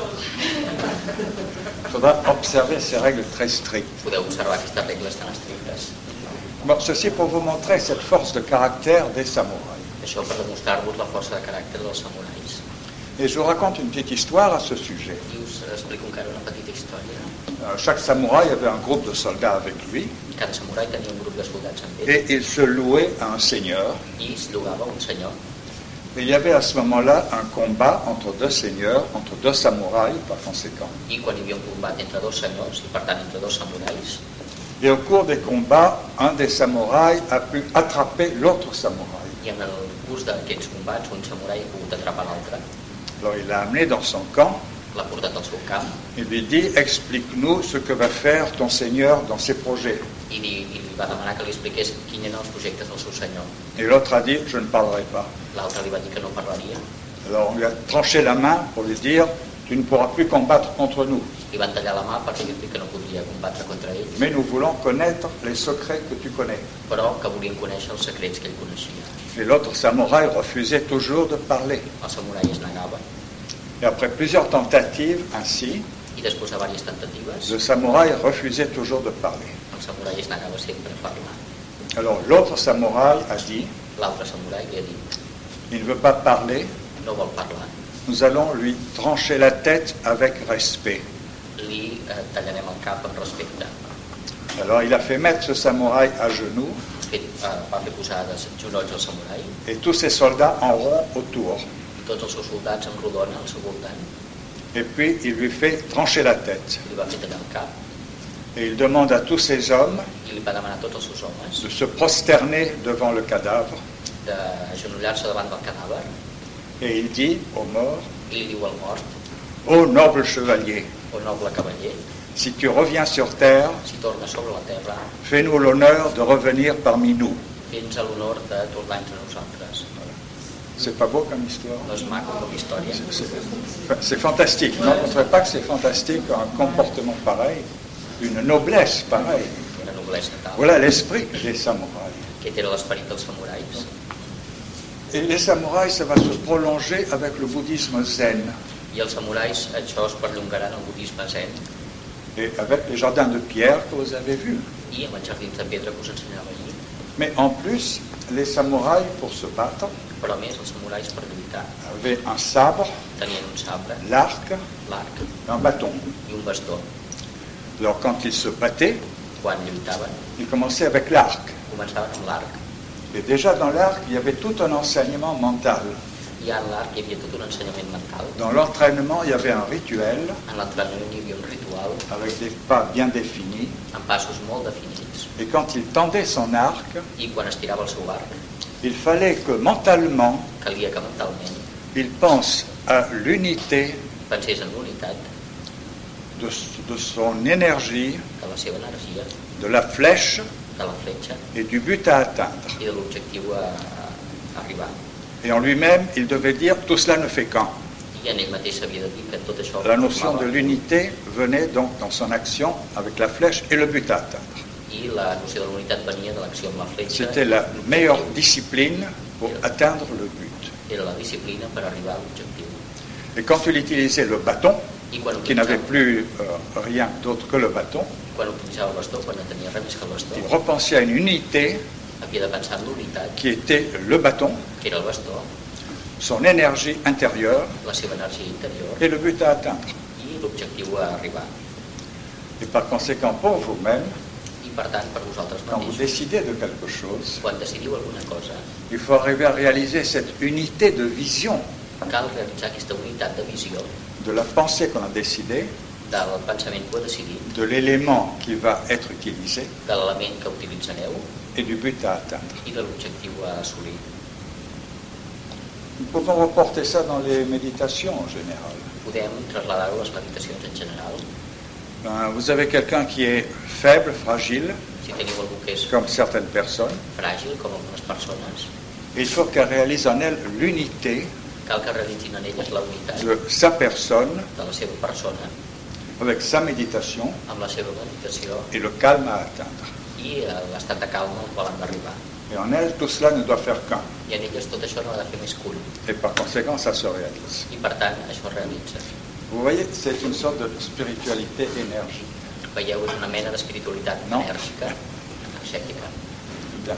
Speaker 2: il faudra observer ces règles très strictes.
Speaker 1: podeu observar aquestes regles tan estrictes.
Speaker 2: Bon, ceci pour vous montrer cette force de caractère des samouraïs.
Speaker 1: Això per demostrar-vos la força de caràcter dels samurais.
Speaker 2: Et je vous raconte une petite histoire à ce sujet.
Speaker 1: I us explico encara una petita història.
Speaker 2: Euh, chaque samouraï avait un groupe de soldats avec lui
Speaker 1: Cada samurai tenia un grup de soldats amb ell
Speaker 2: et il se louait à un seigneur.
Speaker 1: i es llogava un senyor.
Speaker 2: Et il y avait à ce moment-là un combat entre deux seigneurs, entre deux samouraïs par conséquent.
Speaker 1: I quan hi havia un combat entre dos senyors, i per tant entre dos samurais,
Speaker 2: Et au cours des combats, un des samouraïs a pu attraper l'autre samouraï.
Speaker 1: I en el curs d'aquests combats, un samurai ha pogut atrapar l'altre,
Speaker 2: Alors il l'a amené dans son camp
Speaker 1: l'ha portat al seu camp
Speaker 2: Il lui dit, explique-nous ce que va faire ton Seigneur dans ses projets.
Speaker 1: i li, i li va demanar que li expliqués quins eren els projectes del seu senyor.
Speaker 2: Et l'autre a dit, je ne parlerai pas.
Speaker 1: L'altre li va dir que no parlaria,
Speaker 2: Alors on lui a tranché la main pour lui dire, tu ne pourras plus combattre contre nous,
Speaker 1: li van tallar la mà per dir-li que no podria combatre contra ell,
Speaker 2: mais nous voulons connaître les secrets que tu connais.
Speaker 1: però que volien conèixer els secrets que ell coneixia.
Speaker 2: Et l'autre samouraï refusait toujours de parler.
Speaker 1: El samurai es negava
Speaker 2: Et après plusieurs tentatives ainsi,
Speaker 1: i després de diverses tentatives,
Speaker 2: le samouraï refusait toujours de parler.
Speaker 1: el samurai es negava sempre a parlar.
Speaker 2: Alors l'autre samouraï a dit,
Speaker 1: L'altre samurai li ha dit,
Speaker 2: il ne veut pas parler,
Speaker 1: no vol parlar,
Speaker 2: nous allons lui trancher la tête avec respect.
Speaker 1: li eh, tallarem el cap amb respecte.
Speaker 2: Alors il a fait mettre ce samouraï à genoux
Speaker 1: Fet, eh, va fer posar de genolls al samurai
Speaker 2: et tous ses soldats en rond autour.
Speaker 1: tots els seus soldats en rodona al seu voltant,
Speaker 2: Et puis il lui fait trancher la tête.
Speaker 1: li va fer tallar el cap
Speaker 2: Et il demande à tous ses hommes
Speaker 1: i li va demanar a tots els seus homes
Speaker 2: de se prosterner devant le cadavre.
Speaker 1: d'agenollar-se davant del cadàver
Speaker 2: Et il dit aux morts,
Speaker 1: i li diu al mort,
Speaker 2: Ô noble chevalier,
Speaker 1: o noble cavaller,
Speaker 2: si tu reviens sur terre,
Speaker 1: si torna sobre la terra,
Speaker 2: fais-nous l'honneur de revenir parmi nous.
Speaker 1: tens l'honor de tornar entre nosaltres.
Speaker 2: C'est pas beau comme histoire
Speaker 1: No és maco com a història.
Speaker 2: C'est- c'est- enfin, C'est fantastique. Non, on ne pas que c'est fantastique un comportement pareil, une noblesse pareille.
Speaker 1: Una noblesa tal.
Speaker 2: Voilà l'esprit des samouraïs.
Speaker 1: Aquest era l'esperit dels samurais.
Speaker 2: Et les samouraïs, ça va se prolonger avec le bouddhisme zen.
Speaker 1: I els samurais, això es perllongarà en el budisme zen.
Speaker 2: et avec les jardins de pierre que vous avez vus.
Speaker 1: i amb els jardins de pedra que us ensenyava allí.
Speaker 2: Mais en plus, les samouraïs, pour se battre,
Speaker 1: Però a més, els samurais per lluitar
Speaker 2: avaient un sabre,
Speaker 1: tenien un sabre,
Speaker 2: l'arc
Speaker 1: l'arc
Speaker 2: et un bâton.
Speaker 1: i un bastó.
Speaker 2: Alors quand ils se battaient,
Speaker 1: Quan lluitaven,
Speaker 2: ils commençaient avec l'arc.
Speaker 1: començaven amb l'arc.
Speaker 2: Et déjà dans l'arc, il y avait tout un enseignement mental.
Speaker 1: I en l'arc hi havia tot un ensenyament mental.
Speaker 2: Dans l'entraînement, il y avait un rituel
Speaker 1: En l'entrenament hi havia un ritual
Speaker 2: avec des pas bien définis.
Speaker 1: amb passos molt definits.
Speaker 2: Et quand il tendait son arc,
Speaker 1: I quan estirava el seu arc,
Speaker 2: il fallait que mentalement,
Speaker 1: calia que mentalment
Speaker 2: il pense à l'unité
Speaker 1: pensés en l'unitat
Speaker 2: de, de son énergie,
Speaker 1: de la seva energia,
Speaker 2: de la flèche
Speaker 1: de la fletxa
Speaker 2: et du but à atteindre.
Speaker 1: i de l'objectiu a, a arribar.
Speaker 2: Et en lui-même, il devait dire tout cela ne fait qu'un.
Speaker 1: I en ell mateix s'havia de dir que tot això...
Speaker 2: La notion de
Speaker 1: formava-
Speaker 2: l'unité venait donc dans son action avec la flèche et le but à atteindre.
Speaker 1: I la noció de l'unitat venia de l'acció amb la fletxa.
Speaker 2: C'était la meilleure
Speaker 1: L'objectiu
Speaker 2: discipline pour atteindre le but.
Speaker 1: Era la disciplina per arribar a l'objectiu.
Speaker 2: Et quand il utilisait le bâton,
Speaker 1: I quan
Speaker 2: qui n'avait
Speaker 1: utilitzava,
Speaker 2: plus euh, rien d'autre que le bâton,
Speaker 1: quan utilitzava el bastó, quan no tenia res més que el bastó,
Speaker 2: il repensait à une unité
Speaker 1: havia de pensar en l'unitat,
Speaker 2: qui était le bâton,
Speaker 1: que era el bastó,
Speaker 2: son énergie intérieure
Speaker 1: la seva energia interior
Speaker 2: et le but à atteindre.
Speaker 1: i l'objectiu a arribar.
Speaker 2: Et par conséquent, pour vous-même,
Speaker 1: I per tant, per vosaltres
Speaker 2: quand vous
Speaker 1: mateixos,
Speaker 2: décidez de quelque chose,
Speaker 1: quan decidiu alguna cosa,
Speaker 2: il faut arriver à réaliser cette unité de vision
Speaker 1: cal realitzar aquesta unitat de visió
Speaker 2: de la pensée qu'on a décidée,
Speaker 1: del pensament que heu decidit,
Speaker 2: de l'élément qui va être utilisé
Speaker 1: de l'element que utilitzareu
Speaker 2: et du but à atteindre.
Speaker 1: i de l'objectiu a assolir.
Speaker 2: Nous pouvons reporter ça dans les méditations en général.
Speaker 1: Podem traslladar-ho a les meditacions en general.
Speaker 2: Ben, vous avez quelqu'un qui est faible, fragile,
Speaker 1: Si teniu algú que és
Speaker 2: comme certaines personnes.
Speaker 1: fràgil, com algunes persones,
Speaker 2: Il faut qu'elle réalise en elle l'unité
Speaker 1: cal que realitzin en elles la unitat
Speaker 2: de sa personne
Speaker 1: de la seva persona
Speaker 2: avec sa méditation
Speaker 1: amb la seva meditació
Speaker 2: et le calme à atteindre.
Speaker 1: i eh, l'estat de calma al qual han d'arribar.
Speaker 2: Et en elle, tout cela ne doit faire qu'un.
Speaker 1: I en elles tot això no ha de fer més cul.
Speaker 2: Et par conséquent, ça se réalise.
Speaker 1: I per tant, això es realitza.
Speaker 2: Vous voyez, c'est une sorte de spiritualité énergie.
Speaker 1: Veieu, és una mena d'espiritualitat
Speaker 2: No.
Speaker 1: enèrgica, energètica.
Speaker 2: Bien.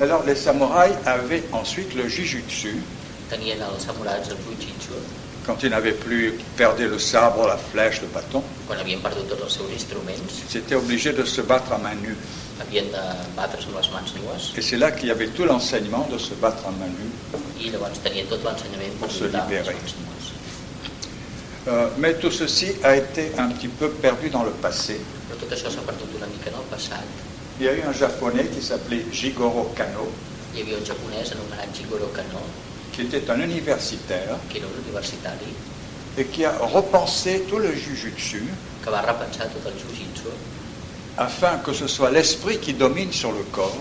Speaker 2: Alors, les samouraïs avaient ensuite le jujutsu.
Speaker 1: Tenien els samurats el jiu-jitsu,
Speaker 2: Quand ils n'avaient plus perdu le sabre, la flèche, le bâton,
Speaker 1: quan havien perdut tots els seus instruments,
Speaker 2: ils étaient obligés de se battre à main nue.
Speaker 1: havien de batre's amb les mans nues
Speaker 2: Et c'est là qu'il y avait tout l'enseignement de se battre à main nue.
Speaker 1: i llavors tenia tot l'ensenyament per
Speaker 2: Se
Speaker 1: lluitar amb les
Speaker 2: libérer.
Speaker 1: mans nues.
Speaker 2: Euh, mais tout ceci a été un petit peu perdu dans le passé.
Speaker 1: Però tot això s'ha perdut una mica en el passat.
Speaker 2: Il y a eu un japonais qui s'appelait Jigoro Kano,
Speaker 1: Hi havia un japonès anomenat Jigoro Kano,
Speaker 2: qui était un universitaire
Speaker 1: que era un universitari,
Speaker 2: et qui a repensé tout le jujutsu
Speaker 1: que va repensar tot el jiu-jitsu
Speaker 2: afin que ce soit l'esprit qui domine sur le corps.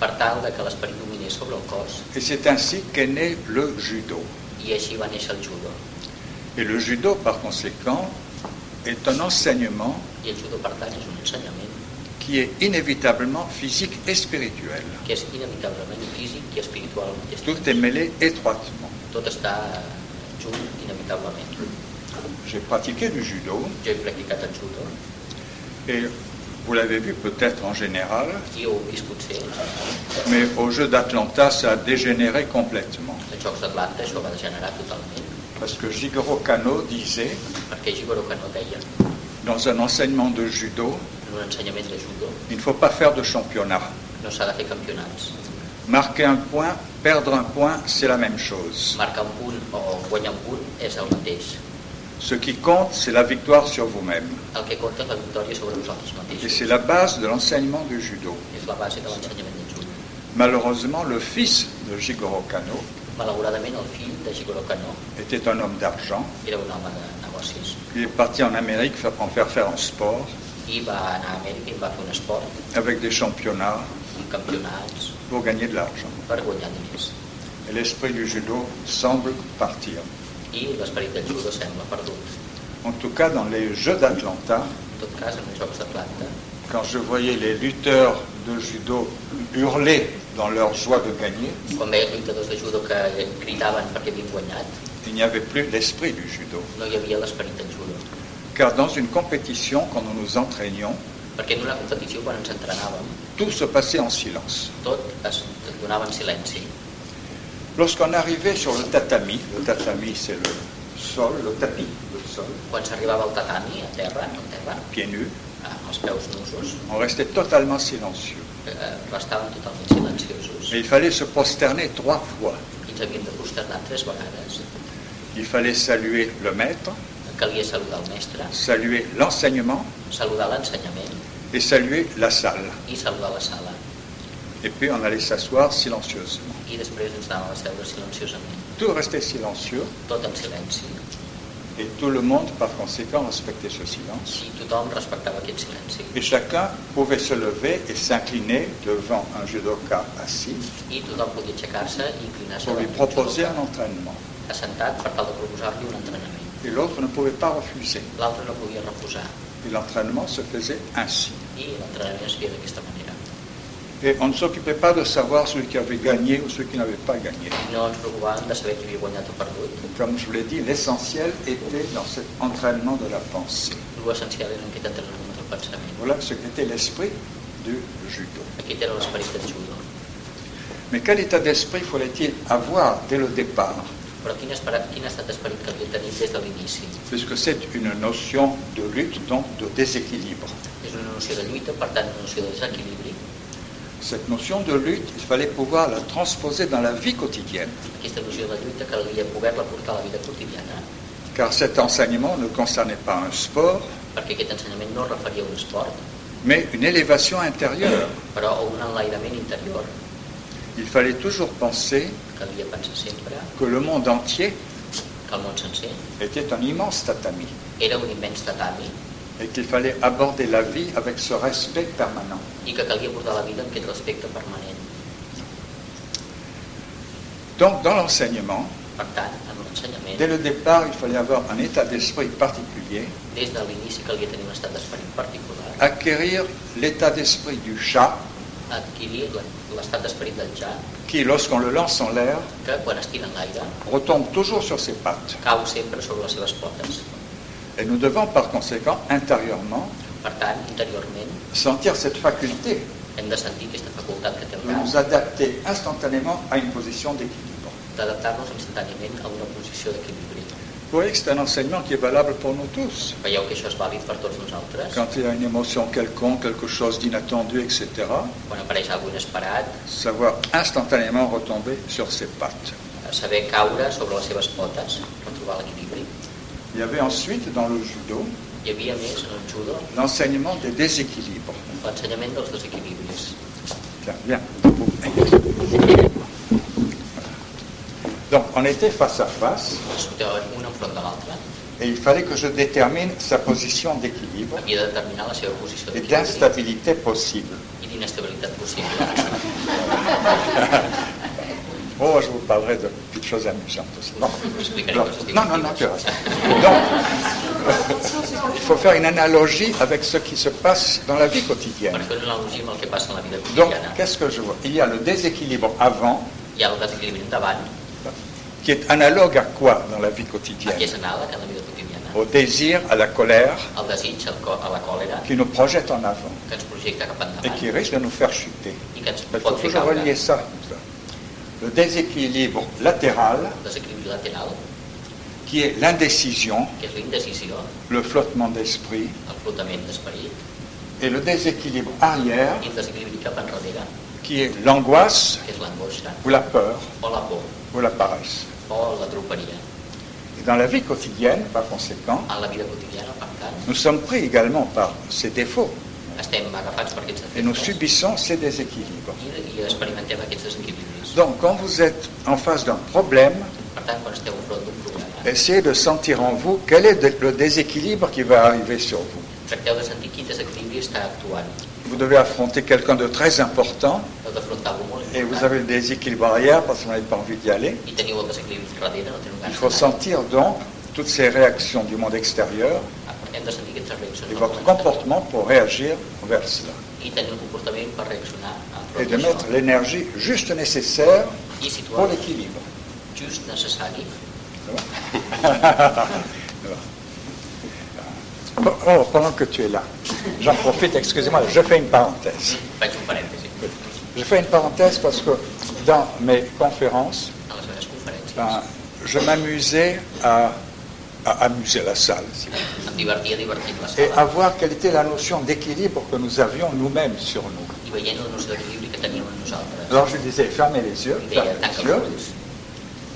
Speaker 1: per tal de que l'esperit dominés sobre el cos
Speaker 2: Et c'est ainsi qu'est né le judo.
Speaker 1: i així va néixer el judo.
Speaker 2: Et le judo, par conséquent, est un enseignement
Speaker 1: I el judo, per tant, és un ensenyament
Speaker 2: qui est inévitablement physique et spirituel.
Speaker 1: que és inevitablement físic i espiritual al mateix
Speaker 2: Tout est
Speaker 1: temps.
Speaker 2: mêlé étroitement.
Speaker 1: Tot està junt inevitablement.
Speaker 2: J'ai pratiqué du judo
Speaker 1: Jo he practicat el judo
Speaker 2: et vous l'avez vu peut-être en général,
Speaker 1: i ho he viscut ser
Speaker 2: mais au jeu d'Atlanta, ça a dégénéré complètement.
Speaker 1: als Jocs d'Atlanta, això va degenerar totalment,
Speaker 2: Parce que Jigoro Kano disait,
Speaker 1: perquè Jigoro Kano deia
Speaker 2: dans un enseignement de judo,
Speaker 1: en un ensenyament de judo
Speaker 2: il ne faut pas faire de championnat.
Speaker 1: no s'ha de fer campionats.
Speaker 2: Marquer un point, perdre un point, c'est la même chose.
Speaker 1: Marcar un punt o guanyar un punt és el mateix.
Speaker 2: Ce qui compte, c'est la victoire sur vous-même.
Speaker 1: El que compta és la victòria sobre vosaltres
Speaker 2: Et
Speaker 1: mateixos.
Speaker 2: c'est la base de l'enseignement du judo.
Speaker 1: És la base de l'ensenyament del judo.
Speaker 2: Malheureusement, le fils de Jigoro Kano
Speaker 1: Malauradament, el fill de Jigoro Kano
Speaker 2: était un homme d'argent.
Speaker 1: era un home de negocis
Speaker 2: Il est parti en Amérique fa- en faire faire un sport
Speaker 1: i va anar a Amèrica i va fer un esport,
Speaker 2: avec des championnats
Speaker 1: amb campionats,
Speaker 2: pour gagner de l'argent.
Speaker 1: per guanyar diners.
Speaker 2: Et l'esprit du judo semble partir.
Speaker 1: I l'esperit del judo sembla perdut.
Speaker 2: En tout cas, dans les Jeux d'Atlanta,
Speaker 1: En tot cas, en els Jocs d'Atlanta,
Speaker 2: quand je voyais les lutteurs de judo hurler dans leur joie de gagner,
Speaker 1: quan veia els lluitadors de judo que cridaven perquè havien guanyat,
Speaker 2: il n'y avait plus l'esprit du judo,
Speaker 1: no hi havia l'esperit del judo,
Speaker 2: car dans une compétition, quand nous nous entraînions,
Speaker 1: Perquè en una competició, quan ens entrenàvem,
Speaker 2: tout se passait en silence.
Speaker 1: tot es donava en silenci.
Speaker 2: Lorsqu'on arrivait sur le tatami, le tatami c'est le sol, le tapis, le sol,
Speaker 1: Quan s'arrivava al tatami, a terra, a terra,
Speaker 2: pieds nus,
Speaker 1: amb els peus nusos,
Speaker 2: on restait totalement silencieux.
Speaker 1: eh, restàvem totalment silenciosos.
Speaker 2: Et il fallait se prosterner trois fois.
Speaker 1: I ens havíem de prosternar tres vegades.
Speaker 2: Il fallait saluer le maître,
Speaker 1: Calia saludar el mestre,
Speaker 2: saluer l'enseignement
Speaker 1: saludar l'ensenyament
Speaker 2: et saluer la salle.
Speaker 1: i saludar la sala.
Speaker 2: Et puis on allait s'asseoir silencieusement.
Speaker 1: I després ens anàvem a seure silenciosament,
Speaker 2: Tout restait silencieux
Speaker 1: tot en silenci.
Speaker 2: et tout le monde par conséquent respectait ce silence.
Speaker 1: I tothom respectava aquest silenci.
Speaker 2: Et chacun pouvait se lever et s'incliner devant un judoka assis
Speaker 1: I tothom podia aixecar-se i inclinar-se
Speaker 2: pour lui
Speaker 1: davant d'un
Speaker 2: proposer un
Speaker 1: judoka
Speaker 2: entraînement.
Speaker 1: assentat per tal de proposar-li un entrenament.
Speaker 2: Et l'autre ne pouvait pas refuser.
Speaker 1: L'altre no podia refusar
Speaker 2: Et l'entraînement se faisait ainsi.
Speaker 1: i l'entrenament es feia d'aquesta manera.
Speaker 2: Et on ne s'occupait pas de savoir celui qui avait gagné ou celui qui n'avait pas gagné.
Speaker 1: I no ens preocupàvem de saber qui havia guanyat o perdut.
Speaker 2: Comme je vous l'ai dit, l'essentiel était dans cet entraînement de la pensée.
Speaker 1: L'essencial era aquest entrenament del pensament.
Speaker 2: Voilà ce qu'était l'esprit du judo.
Speaker 1: Aquest era l'esperit del judo.
Speaker 2: Mais quel état d'esprit fallait-il avoir dès le départ
Speaker 1: Però quin, esperat, quin ha estat esperit que havia tenit des de l'inici?
Speaker 2: Puisque c'est une notion de lutte, donc de déséquilibre.
Speaker 1: És una noció de lluita, per tant, una noció de desequilibri.
Speaker 2: Cette notion de lutte, il fallait pouvoir la transposer dans la vie quotidienne.
Speaker 1: Aquesta noció de lluita calia poder-la portar a la vida quotidiana,
Speaker 2: Car cet enseignement ne concernait pas un sport,
Speaker 1: perquè aquest ensenyament no es referia a un esport,
Speaker 2: mais une élévation intérieure.
Speaker 1: però a un enlairament interior.
Speaker 2: Il fallait toujours penser
Speaker 1: Calia pensar sempre
Speaker 2: que le monde entier
Speaker 1: que el món sencer
Speaker 2: était un immense tatami
Speaker 1: era un immens tatami
Speaker 2: et qu'il fallait aborder la vie avec ce respect permanent.
Speaker 1: i que calia portar la vida amb aquest respecte permanent.
Speaker 2: Donc dans l'enseignement,
Speaker 1: Per tant, en l'ensenyament,
Speaker 2: dès le départ, il fallait avoir un état d'esprit particulier,
Speaker 1: des de l'inici calia tenir un estat d'esperit particular,
Speaker 2: acquérir l'état d'esprit du chat
Speaker 1: adquirir la- l'estat d'esperit del ja,
Speaker 2: qui, lorsqu'on le lance en l'air,
Speaker 1: que quan es tira en l'aire
Speaker 2: retombe toujours sur ses pattes.
Speaker 1: cau sempre sobre les seves potes.
Speaker 2: Et nous devons par conséquent intérieurement
Speaker 1: Per tant, interiorment,
Speaker 2: sentir cette faculté
Speaker 1: hem de sentir aquesta facultat que té el
Speaker 2: de nous
Speaker 1: cap
Speaker 2: adapter instantanément à une position d'équilibre.
Speaker 1: d'adaptar-nos instantàniament a una posició d'equilibri.
Speaker 2: Vous voyez que c'est un enseignement qui est valable pour nous tous.
Speaker 1: Veieu que això és vàlid per tots nosaltres?
Speaker 2: Quand il y a une émotion quelconque, quelque chose d'inattendu, etc.,
Speaker 1: Quan apareix algú inesperat,
Speaker 2: savoir instantanément retomber sur ses pattes.
Speaker 1: eh, saber caure sobre les seves potes, retrobar l'equilibri.
Speaker 2: Il y avait ensuite dans le judo
Speaker 1: Hi havia a més, en el judo,
Speaker 2: l'enseignement des déséquilibres.
Speaker 1: l'ensenyament dels desequilibris.
Speaker 2: Tiens, viens. Donc, on était face à face
Speaker 1: Discutaven un enfront de l'altre,
Speaker 2: et il fallait que je détermine sa position d'équilibre
Speaker 1: havia de determinar la seva posició
Speaker 2: et
Speaker 1: d'equilibri
Speaker 2: d'instabilité possible.
Speaker 1: i d'inestabilitat possible.
Speaker 2: Oh, je vous parlerai de petites choses amusantes aussi. Non,
Speaker 1: Explicaré
Speaker 2: non,
Speaker 1: coses
Speaker 2: non, non, tu
Speaker 1: divertides.
Speaker 2: restes. Donc, il faut faire une analogie avec ce qui se passe dans la vie
Speaker 1: Per
Speaker 2: quotidienne.
Speaker 1: fer una analogia amb el que passa en la vida
Speaker 2: Donc,
Speaker 1: quotidiana,
Speaker 2: qu'est-ce que je vois Il y a le déséquilibre avant,
Speaker 1: hi ha el desequilibri endavant,
Speaker 2: qui est analogue à quoi dans la vie
Speaker 1: a què
Speaker 2: quotidienne
Speaker 1: és anàleg en la vida quotidiana.
Speaker 2: Au désir, à la colère,
Speaker 1: El desig, el co- a la còlera,
Speaker 2: qui nous projette en avant
Speaker 1: que ens projecta cap
Speaker 2: et
Speaker 1: endavant
Speaker 2: qui risque de nous faire chuter.
Speaker 1: i que ens
Speaker 2: Il faut
Speaker 1: pot fer
Speaker 2: toujours relier
Speaker 1: caure.
Speaker 2: ça. comme ça. Le déséquilibre latéral,
Speaker 1: Desequilibri lateral,
Speaker 2: qui est l'indécision,
Speaker 1: que és l'indecisió,
Speaker 2: le flottement d'esprit,
Speaker 1: el flotament d'esperit,
Speaker 2: et le déséquilibre arrière,
Speaker 1: i el desequilibri cap enrere,
Speaker 2: qui est l'angoisse
Speaker 1: que és l'angoixa,
Speaker 2: ou la peur
Speaker 1: o la por,
Speaker 2: ou la paresse.
Speaker 1: o la droperia.
Speaker 2: Et dans la vie quotidienne, par conséquent,
Speaker 1: En la vida quotidiana, per tant,
Speaker 2: nous sommes pris également par ces défauts
Speaker 1: estem agafats per aquests
Speaker 2: et nous
Speaker 1: efectes
Speaker 2: subissons ces déséquilibres.
Speaker 1: i, i experimentem aquests desequilibris.
Speaker 2: Donc, quand vous êtes en face d'un problème,
Speaker 1: Per tant, quan esteu enfront d'un problema,
Speaker 2: essayez de sentir en vous quel est de- le déséquilibre qui va arriver sur vous.
Speaker 1: tracteu de sentir quin desequilibri està actuant.
Speaker 2: Vous devez affronter quelqu'un de très important
Speaker 1: Heu d'afrontar algú molt
Speaker 2: et vous
Speaker 1: important
Speaker 2: avez le déséquilibre arrière parce que vous n'avez pas envie d'y aller.
Speaker 1: i teniu el desequilibri darrere, no teniu
Speaker 2: Il
Speaker 1: ganes
Speaker 2: faut
Speaker 1: d'anar.
Speaker 2: sentir donc toutes ces réactions du monde extérieur
Speaker 1: Hem de sentir aquestes
Speaker 2: et
Speaker 1: reaccions. del món
Speaker 2: votre
Speaker 1: exterior
Speaker 2: comportement pour réagir envers cela.
Speaker 1: I tenir un comportament per reaccionar
Speaker 2: Et
Speaker 1: enfront
Speaker 2: Eh, de mettre
Speaker 1: d'això.
Speaker 2: l'énergie juste nécessaire
Speaker 1: I
Speaker 2: pour
Speaker 1: situar
Speaker 2: l'équilibre.
Speaker 1: just necessari
Speaker 2: Ça va Voilà. Oh, pendant que tu es là, j'en profite, excusez-moi, je fais une parenthèse.
Speaker 1: Faig un parèntesi.
Speaker 2: Je fais une parenthèse parce que dans mes conférences,
Speaker 1: A les meves conferències
Speaker 2: ben, je m'amusais à, à amuser la salle. si vous
Speaker 1: em divertia divertint la
Speaker 2: voulez, Et à
Speaker 1: sala
Speaker 2: voir quelle était la notion d'équilibre que nous avions nous-mêmes sur nous.
Speaker 1: i veient la noció d'equilibri que teníem en nosaltres.
Speaker 2: Alors je disais, fermez les yeux,
Speaker 1: Em
Speaker 2: fermez
Speaker 1: deia,
Speaker 2: les
Speaker 1: tanca
Speaker 2: yeux,
Speaker 1: els ulls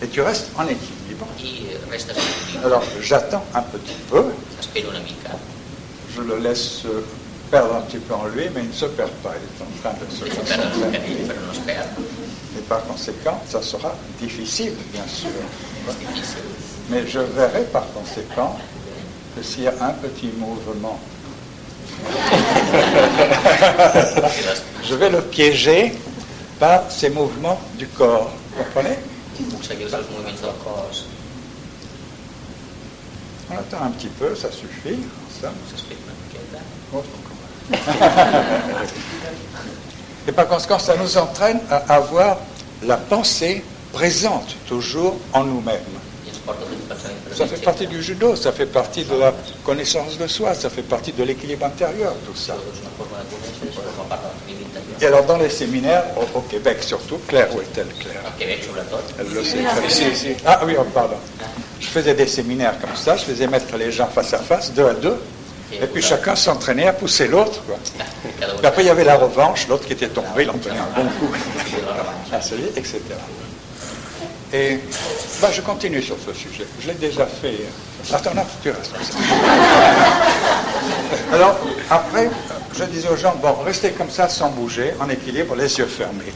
Speaker 2: et tu restes en équilibre.
Speaker 1: i restes en equilibri.
Speaker 2: Alors j'attends un petit peu,
Speaker 1: Espera una mica.
Speaker 2: je le laisse euh, perdre un petit peu en lui, mais il ne se perd pas, il est en train de se
Speaker 1: Deixa perdre el
Speaker 2: concentrer.
Speaker 1: carinyo, però no es perd.
Speaker 2: Et par conséquent, ça sera difficile, bien sûr.
Speaker 1: És difícil.
Speaker 2: Mais je verrai par conséquent que s'il y a un petit mouvement, je vais le piéger par ces mouvements du corps. Vous comprenez
Speaker 1: Puc seguir els moviments del cos.
Speaker 2: On attend un petit peu, ça suffit. Ça.
Speaker 1: S'espera una miqueta.
Speaker 2: Et par conséquent, ça nous entraîne à avoir la pensée présente toujours en nous-mêmes.
Speaker 1: I ens porta a tenir pensament
Speaker 2: Ça fait partie du judo, ça fait partie de la connaissance de soi, ça fait partie de l'équilibre intérieur, tout ça.
Speaker 1: Això és una forma de conèixer, això forma part de la família interior.
Speaker 2: Et alors dans les séminaires, au, au Québec surtout, Claire, où est-elle Claire
Speaker 1: Al Quebec, sobretot,
Speaker 2: Elle le sait. Claire. Ah oui, oh, pardon. Je faisais des séminaires comme ça, je faisais mettre les gens face à face, deux à deux, et puis chacun s'entraînait à pousser l'autre. quoi.
Speaker 1: cada un
Speaker 2: Puis après il y avait la revanche, l'autre qui était tombé, il en prenait un bon coup, à celui, etc. Et bah, je continue sur ce sujet. Je l'ai déjà fait. Attends, là, tu restes. Alors, après, je disais aux gens, bon, restez comme ça, sans bouger, en équilibre, les yeux fermés.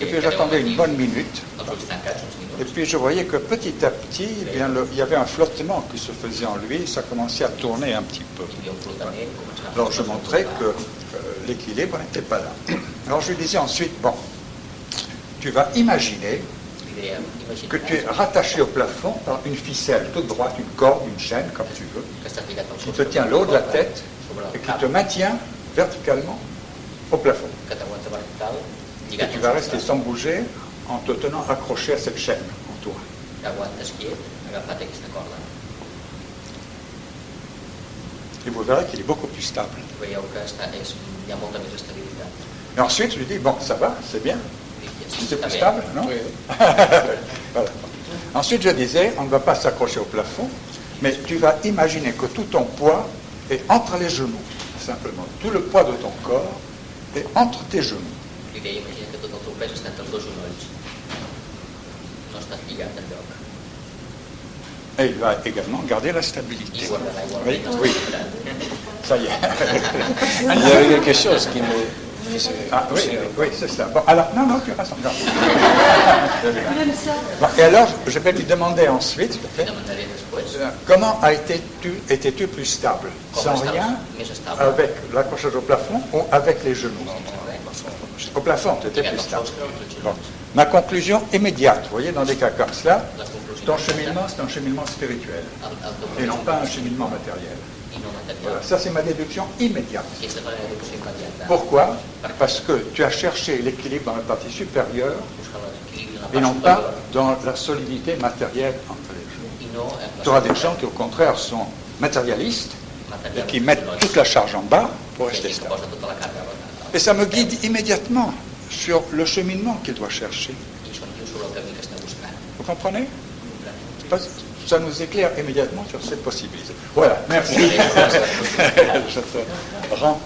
Speaker 2: Et puis j'attendais une bonne minute.
Speaker 1: els ulls tancats, uns
Speaker 2: Et
Speaker 1: minuts.
Speaker 2: puis je voyais que petit à petit, eh bien, le- il y avait un flottement qui se faisait en lui, ça commençait à tourner un petit peu.
Speaker 1: Hi havia un flotament, començava...
Speaker 2: Alors je montrais que euh, l'équilibre n'était pas là. Alors je lui disais ensuite, bon, tu vas imaginer
Speaker 1: Li deia, imagina't
Speaker 2: que tu es rattaché au plafond par une ficelle toute droite, une corde, une chaîne, comme tu veux,
Speaker 1: que estàs ficat al
Speaker 2: qui
Speaker 1: sostre.
Speaker 2: te tient le haut de la tête
Speaker 1: Sobre
Speaker 2: et
Speaker 1: el
Speaker 2: qui
Speaker 1: cap,
Speaker 2: te maintient verticalement au plafond.
Speaker 1: que t'aguanta vertical,
Speaker 2: Et
Speaker 1: lligat
Speaker 2: tu
Speaker 1: al
Speaker 2: vas
Speaker 1: sostre.
Speaker 2: rester sans bouger en te tenant accroché à cette chaîne en toi.
Speaker 1: T'aguantes quiet, agafat a aquesta corda.
Speaker 2: Et vous verrez qu'il est beaucoup plus stable.
Speaker 1: Veieu que està, és, hi ha molta més estabilitat.
Speaker 2: Et ensuite, je lui dis, bon, ça va, c'est bien, c'est
Speaker 6: Ah,
Speaker 2: plus stable, non Voilà. Ensuite, je disais, on ne va pas s'accrocher au plafond, mais tu vas imaginer que tout ton poids est entre les genoux, simplement. Tout le poids de ton corps est entre tes genoux.
Speaker 1: Li deia, imagina que tot el teu pes està entre els dos genolls. No estàs lligat en lloc.
Speaker 2: Et il va également garder la stabilité.
Speaker 1: I guardarà
Speaker 2: Oui,
Speaker 1: igualment.
Speaker 2: oui, ça y est.
Speaker 6: Il y avait quelque chose qui me. qui se-
Speaker 2: Ah, oui, oui, oui, c'est ça. Bon, alors, non, non, tu restes encore.
Speaker 4: Même ça.
Speaker 2: Bon, et alors, je vais lui demander ensuite,
Speaker 1: Li demandaré després
Speaker 2: euh, comment a été tu, étais-tu plus stable
Speaker 1: com
Speaker 2: Sans
Speaker 1: estàs
Speaker 2: rien
Speaker 1: més estable.
Speaker 2: avec l'accrochage au plafond ou avec les genoux Au plafond, tu étais
Speaker 1: Lligat
Speaker 2: plus
Speaker 1: al
Speaker 2: stable.
Speaker 1: sostre, entre els
Speaker 2: Bon.
Speaker 1: genolls.
Speaker 2: Ma conclusion immédiate, vous voyez, dans des cas comme cela,
Speaker 1: La conclusió.
Speaker 2: ton cheminement, c'est un cheminement spirituel
Speaker 1: El, el teu
Speaker 2: et non
Speaker 1: moviment
Speaker 2: pas un cheminement matériel.
Speaker 1: I no material.
Speaker 2: Voilà, ça c'est ma déduction immédiate.
Speaker 1: Aquesta és la reducció immediata.
Speaker 2: Pourquoi Parce que tu as cherché l'équilibre dans la partie supérieure
Speaker 1: Buscar l'equilibri en la
Speaker 2: et
Speaker 1: part
Speaker 2: non pas
Speaker 1: superior
Speaker 2: dans la solidité matérielle entre les genoux.
Speaker 1: i no en la
Speaker 2: Tu auras des
Speaker 1: part
Speaker 2: gens qui au contraire sont matérialistes et
Speaker 1: material.
Speaker 2: qui mettent toute la charge en bas pour
Speaker 1: Hi ha
Speaker 2: rester
Speaker 1: gent que
Speaker 2: stable.
Speaker 1: posa tota la càrrega a-
Speaker 2: Et ça me guide immédiatement sur le cheminement qu'il doit chercher.
Speaker 1: i això diu sobre el camí que està buscant.
Speaker 2: Vous comprenez Parce que Ça nous éclaire immédiatement sur cette possibilité. Voilà, merci. Je te rends.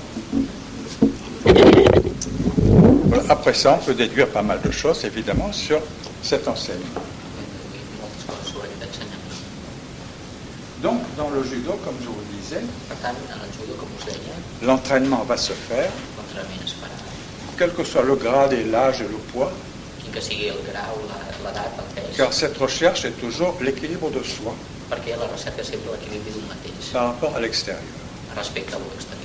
Speaker 2: Voilà, Après ça, on peut déduire pas mal de choses, évidemment, sur cette enseigne.
Speaker 1: Hi ha moltes coses sobre aquest ensenyament.
Speaker 2: Donc, dans le judo, comme je vous le disais,
Speaker 1: Per tant, en el judo, com us deia,
Speaker 2: l'entraînement va se faire,
Speaker 1: l'entrenament es farà.
Speaker 2: quel que soit le grade et l'âge et le poids,
Speaker 1: Quin que sigui el grau, la- l'edat, el
Speaker 2: car
Speaker 1: pes,
Speaker 2: cette recherche est toujours l'équilibre de soi
Speaker 1: perquè la recerca és sempre l'equilibri d'un mateix
Speaker 2: par rapport à l'extérior.
Speaker 1: respecte a l'exterior.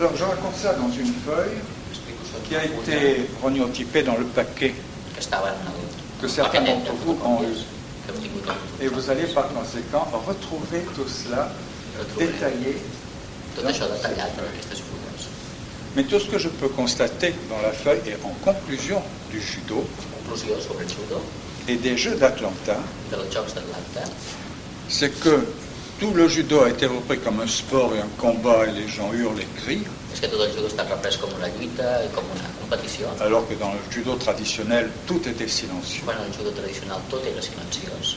Speaker 2: Alors, je raconte ça dans une feuille
Speaker 1: Explico això
Speaker 2: qui a
Speaker 1: en una
Speaker 2: été rognotypée dans le paquet
Speaker 1: que estava en el...
Speaker 2: que certains
Speaker 1: en el paquet
Speaker 2: d'entre
Speaker 1: de
Speaker 2: vous ont eu.
Speaker 1: que hem tingut al
Speaker 2: Et vous allez par conséquent retrouver tout cela euh,
Speaker 1: Retrouver.
Speaker 2: détaillé.
Speaker 1: Tot això detallat en aquestes fulles.
Speaker 2: Mais tout ce que je peux constater dans la feuille et en conclusion du judo
Speaker 1: Conclusió sobre el judo
Speaker 2: et des Jeux d'Atlanta,
Speaker 1: dels Jocs d'Atlanta
Speaker 2: c'est que tout le judo a été repris comme un sport et un combat et les gens hurlent et crient,
Speaker 1: És que tot el judo està reprès com una lluita i com una competició.
Speaker 2: alors que dans le judo traditionnel, tout était silencieux.
Speaker 1: Quan en el judo tradicional tot era silenciós.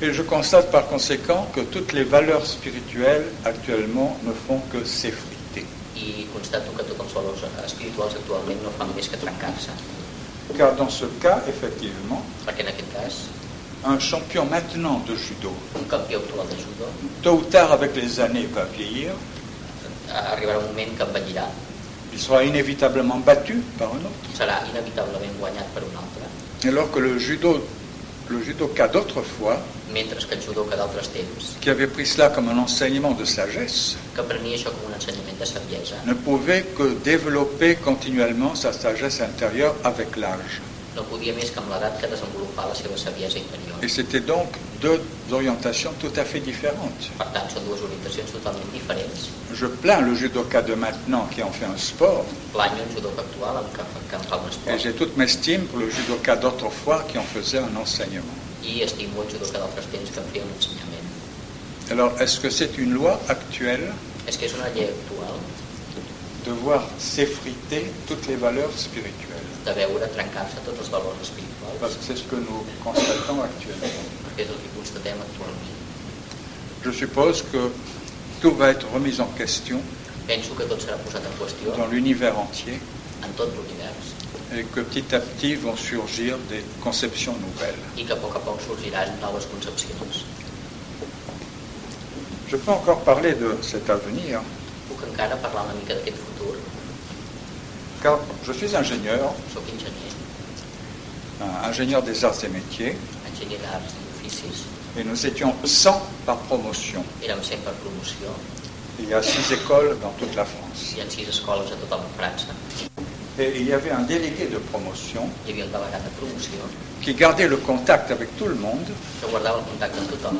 Speaker 2: Et je constate par conséquent que toutes les valeurs spirituelles actuellement ne font que s'effriter.
Speaker 1: I constato que tots els valors espirituals actualment no fan més que trencar-se.
Speaker 2: Car dans ce cas, effectivement,
Speaker 1: Perquè en aquest cas,
Speaker 2: un champion maintenant de judo,
Speaker 1: un campió actual de judo
Speaker 2: tôt ou tard avec les années, va vieillir,
Speaker 1: arribarà un moment que envellirà,
Speaker 2: il sera inévitablement battu par un autre.
Speaker 1: serà inevitablement guanyat per un altre,
Speaker 2: Alors que le judo, le judoka d'autrefois,
Speaker 1: mentre que el judo que d'altres temps,
Speaker 2: qui avait pris cela comme un enseignement de sagesse,
Speaker 1: que prenia això com un ensenyament de saviesa,
Speaker 2: ne pouvait que développer continuellement sa sagesse intérieure avec l'âge.
Speaker 1: no podia més que amb l'edat que desenvolupar la seva saviesa interior.
Speaker 2: Et c'était donc deux orientations tout à fait différentes.
Speaker 1: Per tant, són dues orientacions totalment différents.
Speaker 2: Je plains le judoka de maintenant qui en fait un sport,
Speaker 1: L'any un judoc actual amb que, que en fa un
Speaker 2: et
Speaker 1: esport
Speaker 2: j'ai toute m'estime pour le judoka d'autrefois qui en faisait un enseignement.
Speaker 1: i estimo el judoc d'altres temps que en feia un ensenyament.
Speaker 2: Alors, est-ce que c'est une loi actuelle
Speaker 1: És que és una llei actual
Speaker 2: de voir s'effriter toutes les valeurs spirituelles
Speaker 1: de veure trencar-se tots els valors
Speaker 2: Parce
Speaker 1: espirituals,
Speaker 2: que c'est ce que nous constatons actuellement.
Speaker 1: perquè és el que constatem actualment.
Speaker 2: Je suppose que tout va être remis en question
Speaker 1: Penso que tot serà posat en qüestió
Speaker 2: dans l'univers entier
Speaker 1: en tot l'univers
Speaker 2: et que petit à petit vont surgir des conceptions nouvelles.
Speaker 1: i que a poc a poc sorgiran noves concepcions.
Speaker 2: Je peux encore parler de cet avenir,
Speaker 1: Puc encara parlar una mica d'aquest futur.
Speaker 2: car je suis ingénieur,
Speaker 1: Soc enginyer,
Speaker 2: euh, ingénieur des arts et métiers,
Speaker 1: enginyer d'arts i oficis.
Speaker 2: et nous étions 100 par promotion.
Speaker 1: Érem 100 per promoció
Speaker 2: Il y a six écoles dans toute la France.
Speaker 1: i en sis escoles a tota la França.
Speaker 2: Et il y avait un délégué de promotion
Speaker 1: Hi havia el delegat de promoció
Speaker 2: qui gardait le contact avec tout le monde
Speaker 1: que guardava el contacte amb tothom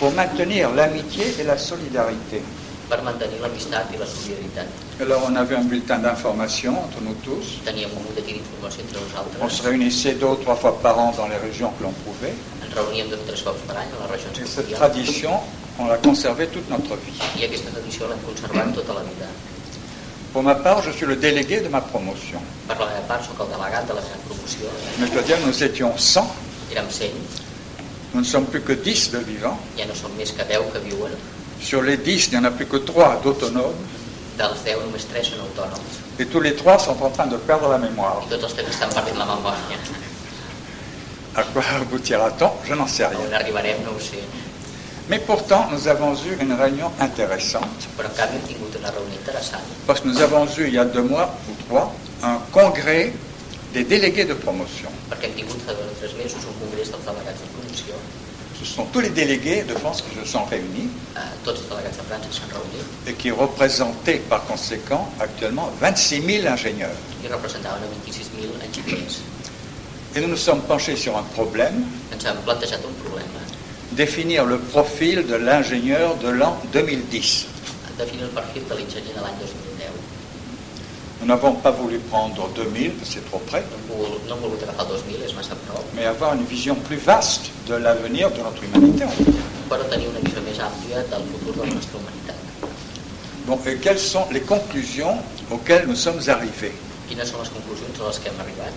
Speaker 2: pour maintenir l'amitié et la solidarité.
Speaker 1: per mantenir l'amistat i la solidaritat.
Speaker 2: Alors on avait un bulletin d'information entre nous tous.
Speaker 1: Teníem un butlletí d'informació entre
Speaker 2: On se
Speaker 1: nosaltres,
Speaker 2: réunissait deux ou trois fois par an dans les régions que l'on pouvait.
Speaker 1: ens reuníem dos o tres cops per any a les regions
Speaker 2: Et
Speaker 1: que
Speaker 2: cette
Speaker 1: podíem
Speaker 2: tradition, on l'a conservée toute notre vie.
Speaker 1: i aquesta tradició l'hem conservat tota la vida.
Speaker 2: Pour ma part, je suis le délégué de ma promotion.
Speaker 1: Per la meva part, sóc el delegat de la meva promoció.
Speaker 2: Mais je dois dire, nous étions 100.
Speaker 1: Érem 100,
Speaker 2: Nous ne sommes plus que 10 de vivants.
Speaker 1: ja no som més que 10 que viuen.
Speaker 2: Sur les 10, il n'y en a plus que 3 d'autonomes.
Speaker 1: Dels 10, només 3 són autònoms.
Speaker 2: Et tous les 3 sont en train de perdre la mémoire.
Speaker 1: I tots els tres estan perdent la memòria.
Speaker 2: À quoi aboutira-t-on Je n'en sais
Speaker 1: A
Speaker 2: rien.
Speaker 1: On arribarem, no ho sé.
Speaker 2: Mais pourtant, nous avons eu une réunion intéressante.
Speaker 1: Però en canvi hem tingut una reunió interessant.
Speaker 2: Parce que nous avons eu, il y a deux mois ou trois, un congrès des délégués de promotion.
Speaker 1: Perquè hem tingut fa dos o tres mesos un congrés dels delegats de promoció.
Speaker 2: Ce sont tous les délégués de France qui se sont réunis
Speaker 1: Eh, tots els delegats de França s'han reunit
Speaker 2: et qui représentaient par conséquent actuellement 26 000 ingénieurs.
Speaker 1: i representaven a 26.000 enginyers.
Speaker 2: Et nous nous sommes penchés sur un problème,
Speaker 1: Ens han plantejat un problema.
Speaker 2: définir le profil de l'ingénieur de l'an 2010.
Speaker 1: Definir el perfil de l'enginyer de l'any 2010.
Speaker 2: Nous n'avons pas voulu prendre 2000, parce que c'est trop près,
Speaker 1: No hem volgut, no hem volgut agafar el 2000, és massa a prop.
Speaker 2: mais avoir une vision plus vaste de l'avenir de notre humanité. en fait.
Speaker 1: però tenir una visió més àmplia del futur de la nostra humanitat.
Speaker 2: Bon, et euh, quelles sont les conclusions auxquelles nous sommes arrivés
Speaker 1: Quines són les conclusions a les que hem arribat?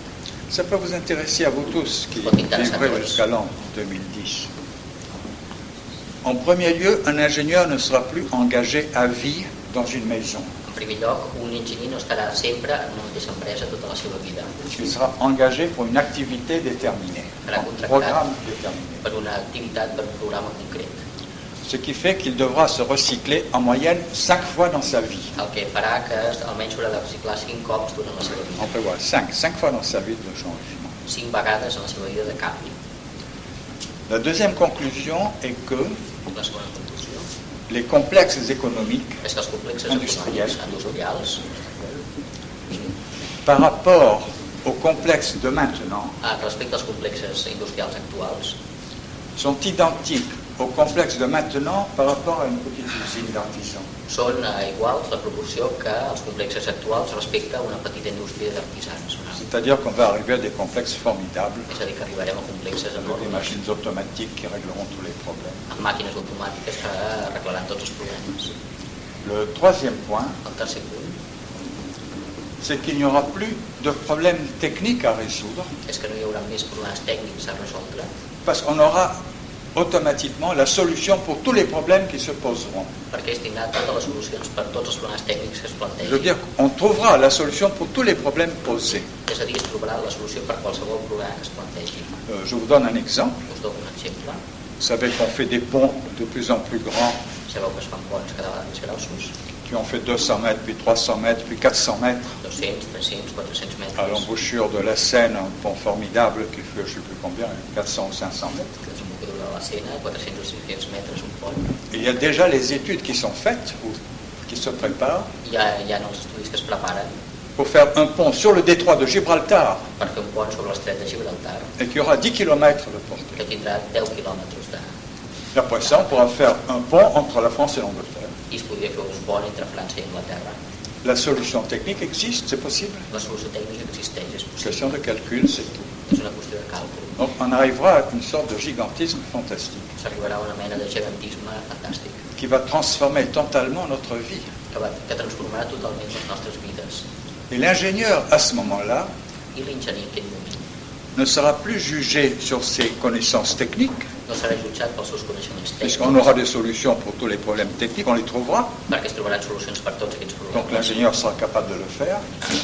Speaker 2: Ça peut vous intéresser à vous tous qui
Speaker 1: Faut intéresser à
Speaker 2: vivrez
Speaker 1: tous.
Speaker 2: jusqu'à l'an 2010. En premier lieu, un ingénieur ne sera plus engagé à vie dans une maison.
Speaker 1: En primer lloc, un enginyer no estarà sempre en una mateixa empresa tota la seva vida,
Speaker 2: Il sera engagé pour une activité déterminée,
Speaker 1: Voilà,
Speaker 2: un
Speaker 1: contractable.
Speaker 2: programme déterminé.
Speaker 1: per una activitat, per un programa concret.
Speaker 2: Ce qui fait qu'il devra se recycler en moyenne cinq fois dans sa vie.
Speaker 1: El que farà que almenys haurà de reciclar 5 cops durant la seva
Speaker 2: On
Speaker 1: vida,
Speaker 2: prévoit cinq, cinq fois dans sa vie de changement.
Speaker 1: 5 vegades en la seva vida de canvi.
Speaker 2: La deuxième conclusion est que
Speaker 1: La segona conclusió
Speaker 2: les complexes économiques,
Speaker 1: és que els complexes
Speaker 2: Industrial.
Speaker 1: econòmics industrials,
Speaker 2: par rapport aux complexes de maintenant,
Speaker 1: eh, respecte als complexes industrials actuals,
Speaker 2: sont identiques au complexe de maintenant par rapport à une petite usine d'artisans.
Speaker 1: Són eh, iguals la proporció que els complexes actuals respecte a una petita indústria d'artisans.
Speaker 2: C'est-à-dire qu'on va arriver à des complexes formidables,
Speaker 1: És a dir, que arribarem a complexes
Speaker 2: avec des
Speaker 1: enormes,
Speaker 2: machines automatiques qui régleront tous les problèmes.
Speaker 1: amb màquines automàtiques que arreglaran tots els problemes.
Speaker 2: Le troisième point,
Speaker 1: El tercer punt
Speaker 2: c'est qu'il n'y aura plus de problèmes techniques à résoudre,
Speaker 1: és que no hi haurà més problemes tècnics a resoldre,
Speaker 2: parce qu'on aura automatiquement la solution pour tous les problèmes qui se poseront.
Speaker 1: perquè es tindrà totes les solucions per tots els problemes tècnics que es
Speaker 2: Je veux dire
Speaker 1: plantegin.
Speaker 2: qu'on trouvera la solution pour tous les problèmes posés.
Speaker 1: És a dir, es trobarà la solució per qualsevol problema que es plantegi.
Speaker 2: Euh, je vous donne un exemple.
Speaker 1: Us dono un exemple.
Speaker 2: Vous savez qu'on fait des ponts de plus en plus grands,
Speaker 1: Sabeu que es fan ponts cada vegada més grossos,
Speaker 2: qui ont fait 200 mètres, puis 300 mètres, puis 400 mètres.
Speaker 1: 200, 300, 400
Speaker 2: À
Speaker 1: metres,
Speaker 2: l'embouchure de la Seine, un pont formidable qui fait, je ne sais plus combien, 400 ou 500 mètres.
Speaker 1: que és un poc de la Sena, 400 o 500 metres un pont.
Speaker 2: Il y a déjà les études qui sont faites ou qui se préparent
Speaker 1: Hi ha, hi ha els estudis que es preparen
Speaker 2: pour faire un pont sur le détroit de Gibraltar
Speaker 1: per fer un pont sobre l'estret de Gibraltar,
Speaker 2: et qui aura 10 km de portée.
Speaker 1: que tindrà 10 quilòmetres de...
Speaker 2: Et après ça, on pourra faire un pont entre la France et l'Angleterre.
Speaker 1: I es podria fer un pont entre França i Anglaterra.
Speaker 2: La solution technique existe, c'est possible.
Speaker 1: La solució tècnica existeix, és
Speaker 2: Une
Speaker 1: possible.
Speaker 2: question de calcul, c'est tout.
Speaker 1: És una qüestió de càlcul.
Speaker 2: Donc on arrivera à une sorte de gigantisme fantastique
Speaker 1: S'arribarà a una mena de gegantisme fantàstic
Speaker 2: qui va transformer totalement notre vie.
Speaker 1: que, va, que transformarà totalment les nostres vides.
Speaker 2: Et l'ingénieur, à ce moment-là,
Speaker 1: I l'enginyer en aquest moment
Speaker 2: ne sera plus jugé sur ses connaissances techniques,
Speaker 1: no serà jutjat pels seus coneixements
Speaker 2: puisqu'on
Speaker 1: tècnics,
Speaker 2: aura des solutions pour tous les problèmes techniques, on les trouvera.
Speaker 1: perquè es trobaran solucions per tots aquests
Speaker 2: Donc
Speaker 1: problemes.
Speaker 2: l'ingénieur sera capable de le faire,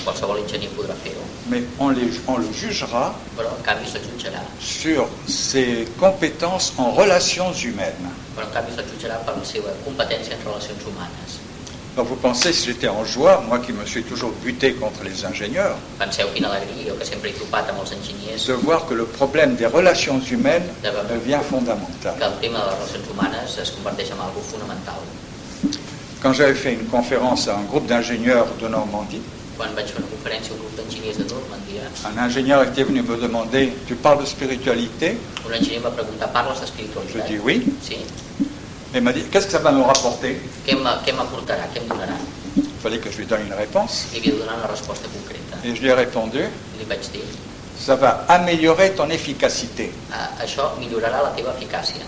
Speaker 1: Qualsevol enginyer podrà fer-ho,
Speaker 2: mais on, les- on le jugera
Speaker 1: però en canvi se'l jutjarà.
Speaker 2: sur ses compétences en relations humaines.
Speaker 1: Però en canvi se'l jutjarà per la seva competència en relacions humanes.
Speaker 2: Alors vous pensez, si j'étais en joueur, moi qui me suis toujours buté contre les ingénieurs,
Speaker 1: Penseu quina alegria, jo que sempre he topat amb els enginyers,
Speaker 2: de voir que le problème des relations humaines
Speaker 1: D'accord.
Speaker 2: devient fondamental.
Speaker 1: que el tema de les relacions humanes es converteix en algo fonamental.
Speaker 2: Quand j'avais fait une conférence à un groupe d'ingénieurs de Normandie,
Speaker 1: Quan vaig fer una conferència a un grup d'enginyers de Normandia,
Speaker 2: un ingénieur était venu me demander Tu parles de spiritualité
Speaker 1: un enginyer em va preguntar, parles
Speaker 2: Je
Speaker 1: d'espiritualitat?
Speaker 2: dis oui.
Speaker 1: Sí.
Speaker 2: Et il m'a dit Qu'est-ce que ça va me rapporter
Speaker 1: Què m'a- què m'aportarà? Què em donarà?
Speaker 2: Il fallait que je lui donne une réponse.
Speaker 1: Li havia de donar una resposta concreta.
Speaker 2: Et je lui ai répondu
Speaker 1: Li vaig dir,
Speaker 2: Ça va améliorer ton efficacité.
Speaker 1: "Ah, això milliorarà la teva eficàcia.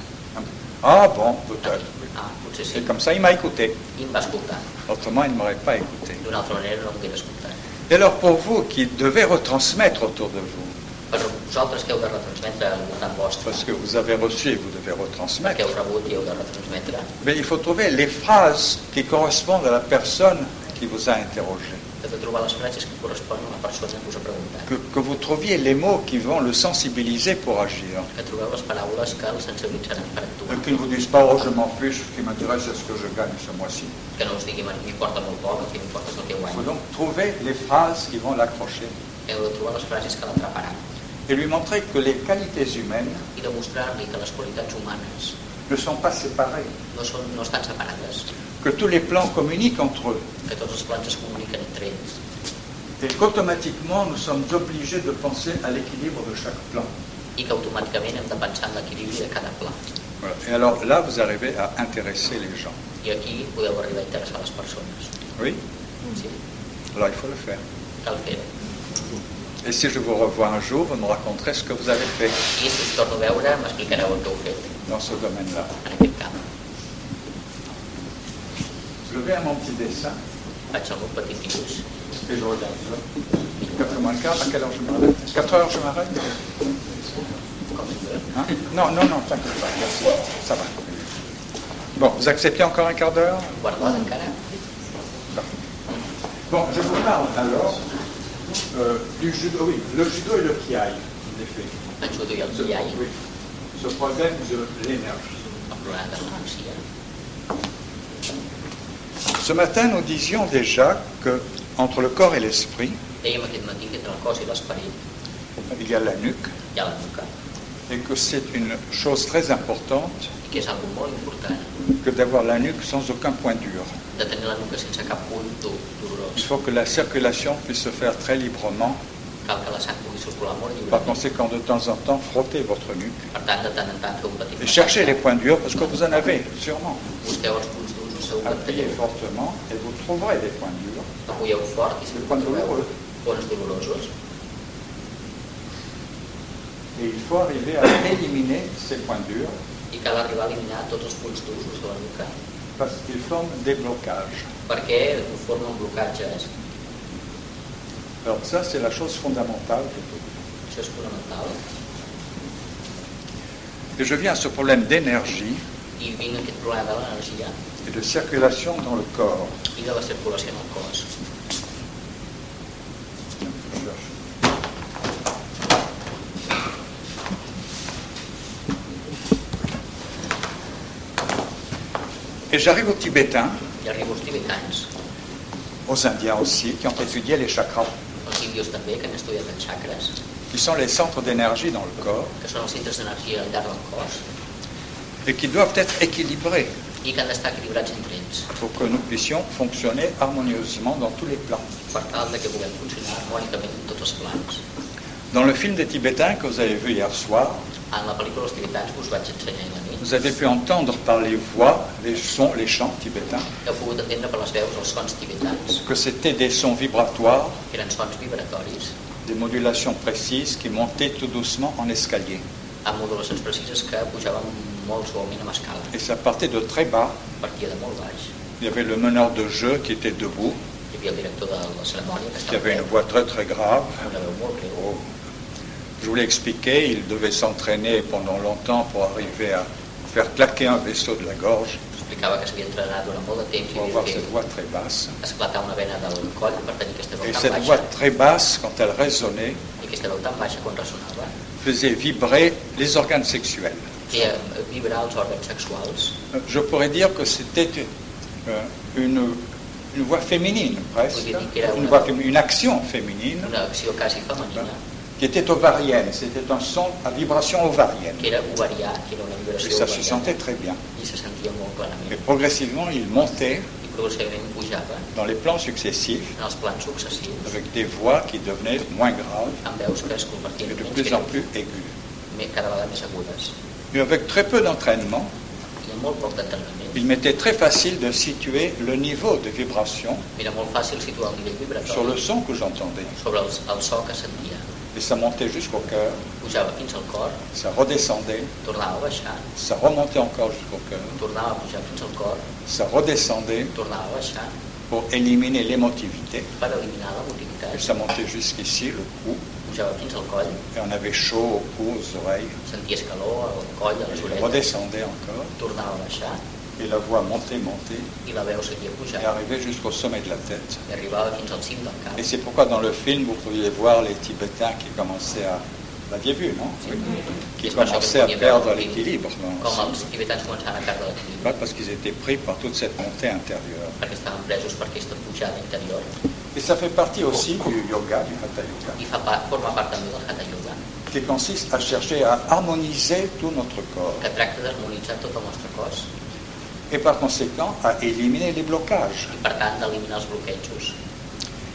Speaker 2: Ah bon, peut-être.
Speaker 1: Ah, potser sí.
Speaker 2: Et comme ça, il m'a écouté.
Speaker 1: I em va escoltar.
Speaker 2: Autrement, il ne m'aurait pas écouté.
Speaker 1: D'una altra manera no em hauria escoltat.
Speaker 2: Et alors, pour vous qui devez retransmettre autour de vous,
Speaker 1: Però vosaltres que heu de retransmetre al voltant vostre,
Speaker 2: parce que vous avez reçu et vous devez
Speaker 1: que
Speaker 2: retransmettre,
Speaker 1: heu rebut i heu de retransmetre,
Speaker 2: mais il faut trouver les phrases qui correspondent à la personne qui vous a interrogé.
Speaker 1: heu de trobar les frases que corresponen a la persona que us ha preguntat.
Speaker 2: Que, que vous trouviez les mots qui vont le sensibiliser pour agir.
Speaker 1: Que trobeu les paraules que el sensibilitzaran per
Speaker 2: Et
Speaker 1: actuar.
Speaker 2: qu'il ne vous dise pas, oh, je m'en fiche, ce qui m'intéresse, c'est ce que je gagne ce mois-ci.
Speaker 1: Que no us digui, "A mi m'importa molt poc, el que m'importa és el que
Speaker 2: Il faut
Speaker 1: guanyo.
Speaker 2: donc trouver les phrases qui vont l'accrocher
Speaker 1: Heu de trobar les frases que l'atraparan
Speaker 2: et lui montrer que les qualités humaines
Speaker 1: i demostrar-li que les qualitats humanes
Speaker 2: ne sont pas séparées,
Speaker 1: no, són, no estan separades,
Speaker 2: que tous les plans communiquent entre eux
Speaker 1: que tots els plans es comuniquen entre ells
Speaker 2: et qu'automatiquement nous sommes obligés de penser à l'équilibre de chaque plan.
Speaker 1: i que automàticament hem de pensar en l'equilibri de cada pla.
Speaker 2: Voilà. Et alors là, vous arrivez à intéresser les gens.
Speaker 1: I aquí podeu arribar a interessar les persones.
Speaker 2: Oui
Speaker 1: Sí,
Speaker 2: Alors il faut le faire.
Speaker 1: cal fer -ho.
Speaker 2: Et si je vous revois un jour, vous me raconterez ce que vous avez fait
Speaker 1: I si us torno a veure, m'explicareu el que heu fet
Speaker 2: dans ce domaine-là.
Speaker 1: en aquest camp.
Speaker 2: Je vais à mon petit dessin
Speaker 1: Faig algun petit dibuix.
Speaker 2: et je regarde ça. 4 moins le quart, à quelle heure je m'arrête 4 heures je m'arrête
Speaker 1: Com si fos.
Speaker 2: Hein Non, non, non, t'inquiète pas, merci. Ça va. Bon, vous acceptez encore un quart d'heure
Speaker 1: Guardat encara.
Speaker 2: Bon, je vous parle alors euh, du judo, oui, le judo et le kiai, en effet.
Speaker 1: En judo i el
Speaker 2: Ce,
Speaker 1: kiai,
Speaker 2: oui, ce problème de l'énergie.
Speaker 1: el problema de l'energia.
Speaker 2: Ce matin, nous disions déjà que entre le corps et l'esprit,
Speaker 1: Dèiem aquest matí que entre el cos i l'esperit
Speaker 2: il y a la nuque,
Speaker 1: hi ha la nuca
Speaker 2: et que c'est une chose très importante
Speaker 1: i que és algo molt important
Speaker 2: que d'avoir la nuque sans aucun point dur.
Speaker 1: de tenir la nuca sense cap punt do-
Speaker 2: Il
Speaker 1: dolorós.
Speaker 2: faut que la circulation puisse se faire très librement
Speaker 1: cal que la sang pugui circular molt
Speaker 2: Par
Speaker 1: lliurement.
Speaker 2: conséquent, de temps en temps, frottez votre nuque
Speaker 1: Per tant, de tant en tant feu un petit
Speaker 2: et
Speaker 1: massatge.
Speaker 2: cherchez les points durs parce que vous en avez sûrement.
Speaker 1: Busqueu els punts durs, us segur que en
Speaker 2: Appuyez
Speaker 1: teniu.
Speaker 2: fortement et vous trouverez des points durs.
Speaker 1: Apoyeu fort i si
Speaker 2: Quan dolorós.
Speaker 1: Pones dolorosos.
Speaker 2: Et il faut arriver à éliminer ces points durs
Speaker 1: I cal arribar a eliminar tots els punts durs de la nuca
Speaker 2: parce qu'ils forment des blocages.
Speaker 1: perquè formen blocatges.
Speaker 2: Alors ça, c'est la chose fondamentale de tout.
Speaker 1: Això és fonamental.
Speaker 2: Et je viens à ce problème d'énergie
Speaker 1: I vinc aquest problema de l'energia
Speaker 2: et de circulation dans le corps.
Speaker 1: i de la circulació en el cos.
Speaker 2: Et j'arrive aux Tibétains,
Speaker 1: Hi arribo els tibetans,
Speaker 2: aux Indiens aussi, qui ont étudié les chakras,
Speaker 1: els índios també, que han estudiat els xacres,
Speaker 2: qui sont les centres d'énergie dans le corps
Speaker 1: que són els centres d'energia al llarg del cos
Speaker 2: et qui doivent être équilibrés
Speaker 1: i que han d'estar equilibrats entre ells
Speaker 2: pour que nous puissions fonctionner harmonieusement dans tous les plans.
Speaker 1: per tal de que puguem funcionar harmònicament en tots els plans.
Speaker 2: Dans le film des Tibétains que vous avez vu hier soir,
Speaker 1: En la pel·lícula Els tibetans que us vaig ensenyar ahir a la nit,
Speaker 2: vous avez pu entendre par les voix, les sons, les chants tibétains,
Speaker 1: heu pogut entendre per les veus els sons tibetans,
Speaker 2: que c'était des sons vibratoires,
Speaker 1: que eren sons vibratoris,
Speaker 2: des modulations précises qui montaient tout doucement en escalier.
Speaker 1: amb modulacions precises que pujaven molt suaument amb
Speaker 2: Et
Speaker 1: escala,
Speaker 2: ça partait de très bas.
Speaker 1: partia de molt baix.
Speaker 2: Il y avait le meneur de jeu qui était debout,
Speaker 1: Hi havia el director de la cerimònia que
Speaker 2: qui
Speaker 1: estava
Speaker 2: avait une
Speaker 1: dret,
Speaker 2: voix très très grave.
Speaker 1: amb una veu molt greu.
Speaker 2: Oh. Je vous l'ai expliqué, il devait s'entraîner pendant longtemps pour arriver à faire claquer un vaisseau de la gorge,
Speaker 1: Explicava que s'havia entrenat durant molt de temps i
Speaker 2: pour
Speaker 1: havia
Speaker 2: avoir cette
Speaker 1: fet
Speaker 2: voix très basse.
Speaker 1: esclatar una vena del coll per tenir aquesta veu
Speaker 2: Et
Speaker 1: tan
Speaker 2: cette voix
Speaker 1: baixa.
Speaker 2: très basse, quand elle résonnait,
Speaker 1: I aquesta veu tan baixa quan ressonava
Speaker 2: faisait vibrer les organes sexuels.
Speaker 1: feia vibrar els òrgans sexuals.
Speaker 2: Euh, Je pourrais dire que c'était euh, une, une voix féminine, presque, une, voix féminine, une action féminine
Speaker 1: Una acció quasi femenina,
Speaker 2: qui était ovarienne. C'était un son à vibration ovarienne.
Speaker 1: que era ovarià, que era una
Speaker 2: Et
Speaker 1: vibració
Speaker 2: ça se sentait
Speaker 1: ovariana.
Speaker 2: très bien.
Speaker 1: I se sentia molt
Speaker 2: Et
Speaker 1: clarament.
Speaker 2: progressivement, il montait
Speaker 1: I progressivament pujava
Speaker 2: dans les plans successifs
Speaker 1: en els plans successius,
Speaker 2: avec des voix qui devenaient moins graves
Speaker 1: amb veus que es
Speaker 2: et
Speaker 1: convertien
Speaker 2: de
Speaker 1: en
Speaker 2: plus en
Speaker 1: menys
Speaker 2: plus aiguës.
Speaker 1: greus, cada vegada més agudes.
Speaker 2: Et avec très peu d'entraînement,
Speaker 1: Hi ha molt poc d'entrenament.
Speaker 2: il m'était très facile de situer le niveau de vibration
Speaker 1: Era molt fàcil situar el nivell
Speaker 2: sur le
Speaker 1: vibratori
Speaker 2: son que j'entendais.
Speaker 1: sobre els, el so que sentia.
Speaker 2: Et ça montait jusqu'au cœur,
Speaker 1: Pujava fins al cor,
Speaker 2: ça redescendait,
Speaker 1: tornava a baixar,
Speaker 2: ça remontait encore jusqu'au cœur,
Speaker 1: tornava a pujar fins al cor,
Speaker 2: ça redescendait
Speaker 1: tornava a baixar
Speaker 2: pour éliminer l'émotivité.
Speaker 1: per eliminar
Speaker 2: Et
Speaker 1: l'emotivitat.
Speaker 2: ça montait jusqu'ici, le cou,
Speaker 1: Pujava fins al coll,
Speaker 2: et on avait chaud au cou, aux oreilles.
Speaker 1: senties calor al coll, a les
Speaker 2: Je
Speaker 1: orelles,
Speaker 2: redescendais encore,
Speaker 1: tornava a baixar
Speaker 2: et la voix montait, montait,
Speaker 1: i la veu seguia
Speaker 2: et
Speaker 1: pujant
Speaker 2: arrivait jusqu'au sommet de la tête.
Speaker 1: i arribava fins al cim del cap.
Speaker 2: Et c'est pourquoi dans le film, vous pouviez voir les Tibétains qui commençaient à... Vous l'aviez vu, non Oui. Qui
Speaker 1: És per això que
Speaker 2: commençaient à
Speaker 1: podíem
Speaker 2: perdre
Speaker 1: veure
Speaker 2: l'équilibre. dans-
Speaker 1: Com els tibetans començaven a perdre
Speaker 2: Pas
Speaker 1: l'equilibri
Speaker 2: parce qu'ils étaient pris par toute cette montée intérieure.
Speaker 1: perquè estaven presos per aquesta pujada interior
Speaker 2: Et ça fait partie aussi du yoga, du hatha yoga,
Speaker 1: i fa part, forma part també del Hatha Yoga,
Speaker 2: qui consiste à chercher à harmoniser tout notre corps
Speaker 1: que tracta d'harmonitzar tot el nostre cos
Speaker 2: et par conséquent à éliminer les blocages.
Speaker 1: i, per tant, d'eliminar els bloquejos.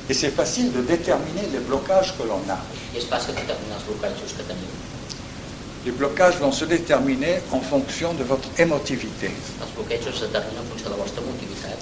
Speaker 2: Et c'est facile de déterminer les blocages que l'on a.
Speaker 1: I és fàcil determinar els bloquejos que tenim.
Speaker 2: Les blocages vont se déterminer en fonction de votre émotivité.
Speaker 1: Els bloquejos es determinen en funció de la vostra motivitat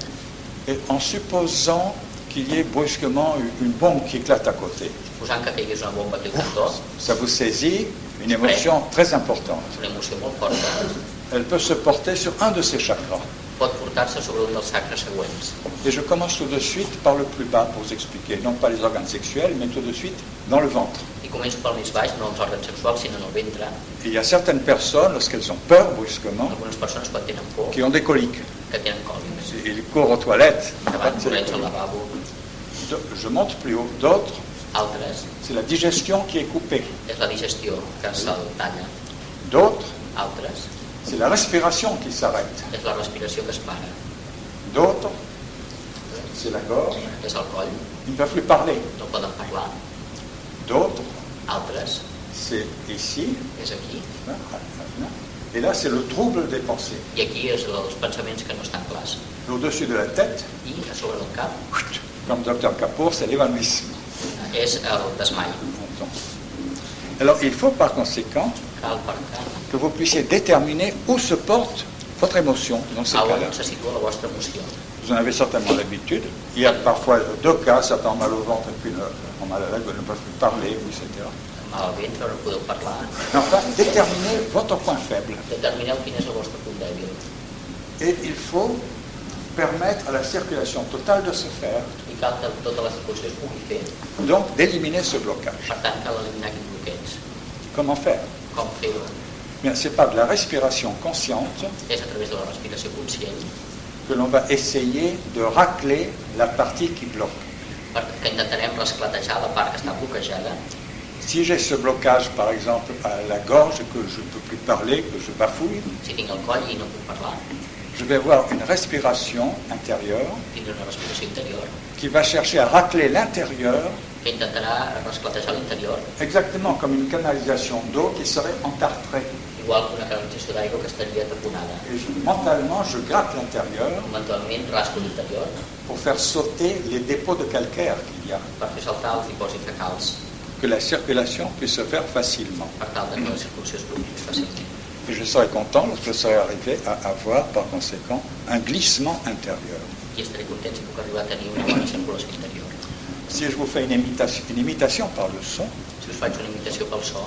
Speaker 2: Et en supposant qu'il y ait brusquement une bombe qui éclate à côté,
Speaker 1: Posant que caigués una bomba que un dos,
Speaker 2: ça vous saisit une émotion très importante.
Speaker 1: una emoció molt forta,
Speaker 2: Elle peut se porter sur un de ces chakras.
Speaker 1: pot portar-se sobre un dels sacres següents.
Speaker 2: Et je commence tout de suite par le plus bas pour vous expliquer, non pas les organes sexuels, mais tout de suite dans le ventre.
Speaker 1: I començo pel més baix, no en els òrgans sexuals, sinó en el ventre.
Speaker 2: Et il y a certaines personnes, lorsqu'elles ont peur brusquement,
Speaker 1: Algunes persones quan tenen por,
Speaker 2: qui ont des coliques.
Speaker 1: que tenen còlics.
Speaker 2: Ils courent aux toilettes.
Speaker 1: Davant, corrents al lavabo.
Speaker 2: Je monte plus haut. D'autres,
Speaker 1: Altres,
Speaker 2: c'est la digestion qui est coupée.
Speaker 1: és la digestió, que se'l talla.
Speaker 2: D'autres,
Speaker 1: Altres,
Speaker 2: c'est la respiration qui s'arrête.
Speaker 1: és la respiració que es para.
Speaker 2: D'autres, c'est la gorge.
Speaker 1: És el coll,
Speaker 2: Ils ne peuvent plus parler.
Speaker 1: no poden parlar.
Speaker 2: D'autres,
Speaker 1: Altres,
Speaker 2: c'est ici.
Speaker 1: és aquí.
Speaker 2: Et là, c'est le trouble des pensées.
Speaker 1: I aquí és els pensaments que no estan clars.
Speaker 2: Au-dessus de la tête,
Speaker 1: I a sobre del cap,
Speaker 2: comme Dr Kapoor, c'est l'évanouissement.
Speaker 1: a és el desmai.
Speaker 2: longtemps. Alors il faut par conséquent
Speaker 1: Cal, per tant,
Speaker 2: que vous puissiez déterminer où se porte votre émotion dans ces
Speaker 1: a
Speaker 2: cas-là.
Speaker 1: on se situa la vostra emoció.
Speaker 2: Vous en avez certainement l'habitude. Il y a parfois deux cas, certains ont mal au ventre et puis ne- ont mal à la gueule, ne peuvent plus parler, etc.
Speaker 1: Amb el ventre no podeu parlar.
Speaker 2: Mais enfin, déterminez votre point faible.
Speaker 1: Determineu quin és el vostre punt dèbil.
Speaker 2: Et il faut permettre à la circulation totale de se faire,
Speaker 1: I cal que tota la circulació es pugui fer.
Speaker 2: donc d'éliminer ce blocage.
Speaker 1: Per tant, cal eliminar aquest bloqueig.
Speaker 2: Comment faire
Speaker 1: Com fer-ho?
Speaker 2: Bien, c'est par de la respiration consciente
Speaker 1: És a través de la respiració conscient
Speaker 2: que l'on va essayer de racler la partie qui bloque.
Speaker 1: perquè intentarem resclatejar la part que està bloquejada.
Speaker 2: Si j'ai ce blocage, par exemple, à la gorge, que je ne peux plus parler, que je bafouille,
Speaker 1: Si tinc el coll i no puc parlar,
Speaker 2: je vais avoir une respiration intérieure
Speaker 1: tindré una respiració interior
Speaker 2: qui va chercher à racler l'intérieur,
Speaker 1: que intentarà resclatejar l'interior,
Speaker 2: exactement comme une canalisation d'eau qui serait entartrée.
Speaker 1: igual que una canalització d'aigua que estaria taponada.
Speaker 2: Et je- mentalement, je gratte l'intérieur
Speaker 1: Eventualment rasco l'interior
Speaker 2: pour faire sauter les dépôts de calcaire qu'il y a,
Speaker 1: per fer saltar els dipòsits fecals
Speaker 2: que la circulation puisse se faire facilement.
Speaker 1: per tal de que la circulació es pugui fer fàcilment.
Speaker 2: Et je serai content lorsque je serai arrivé à avoir, par conséquent, un glissement intérieur.
Speaker 1: I estaré content si puc arribar a tenir una bona circulació interior.
Speaker 2: Si je vous fais une imitation, une imitation par le son,
Speaker 1: Si us faig una imitació pel so,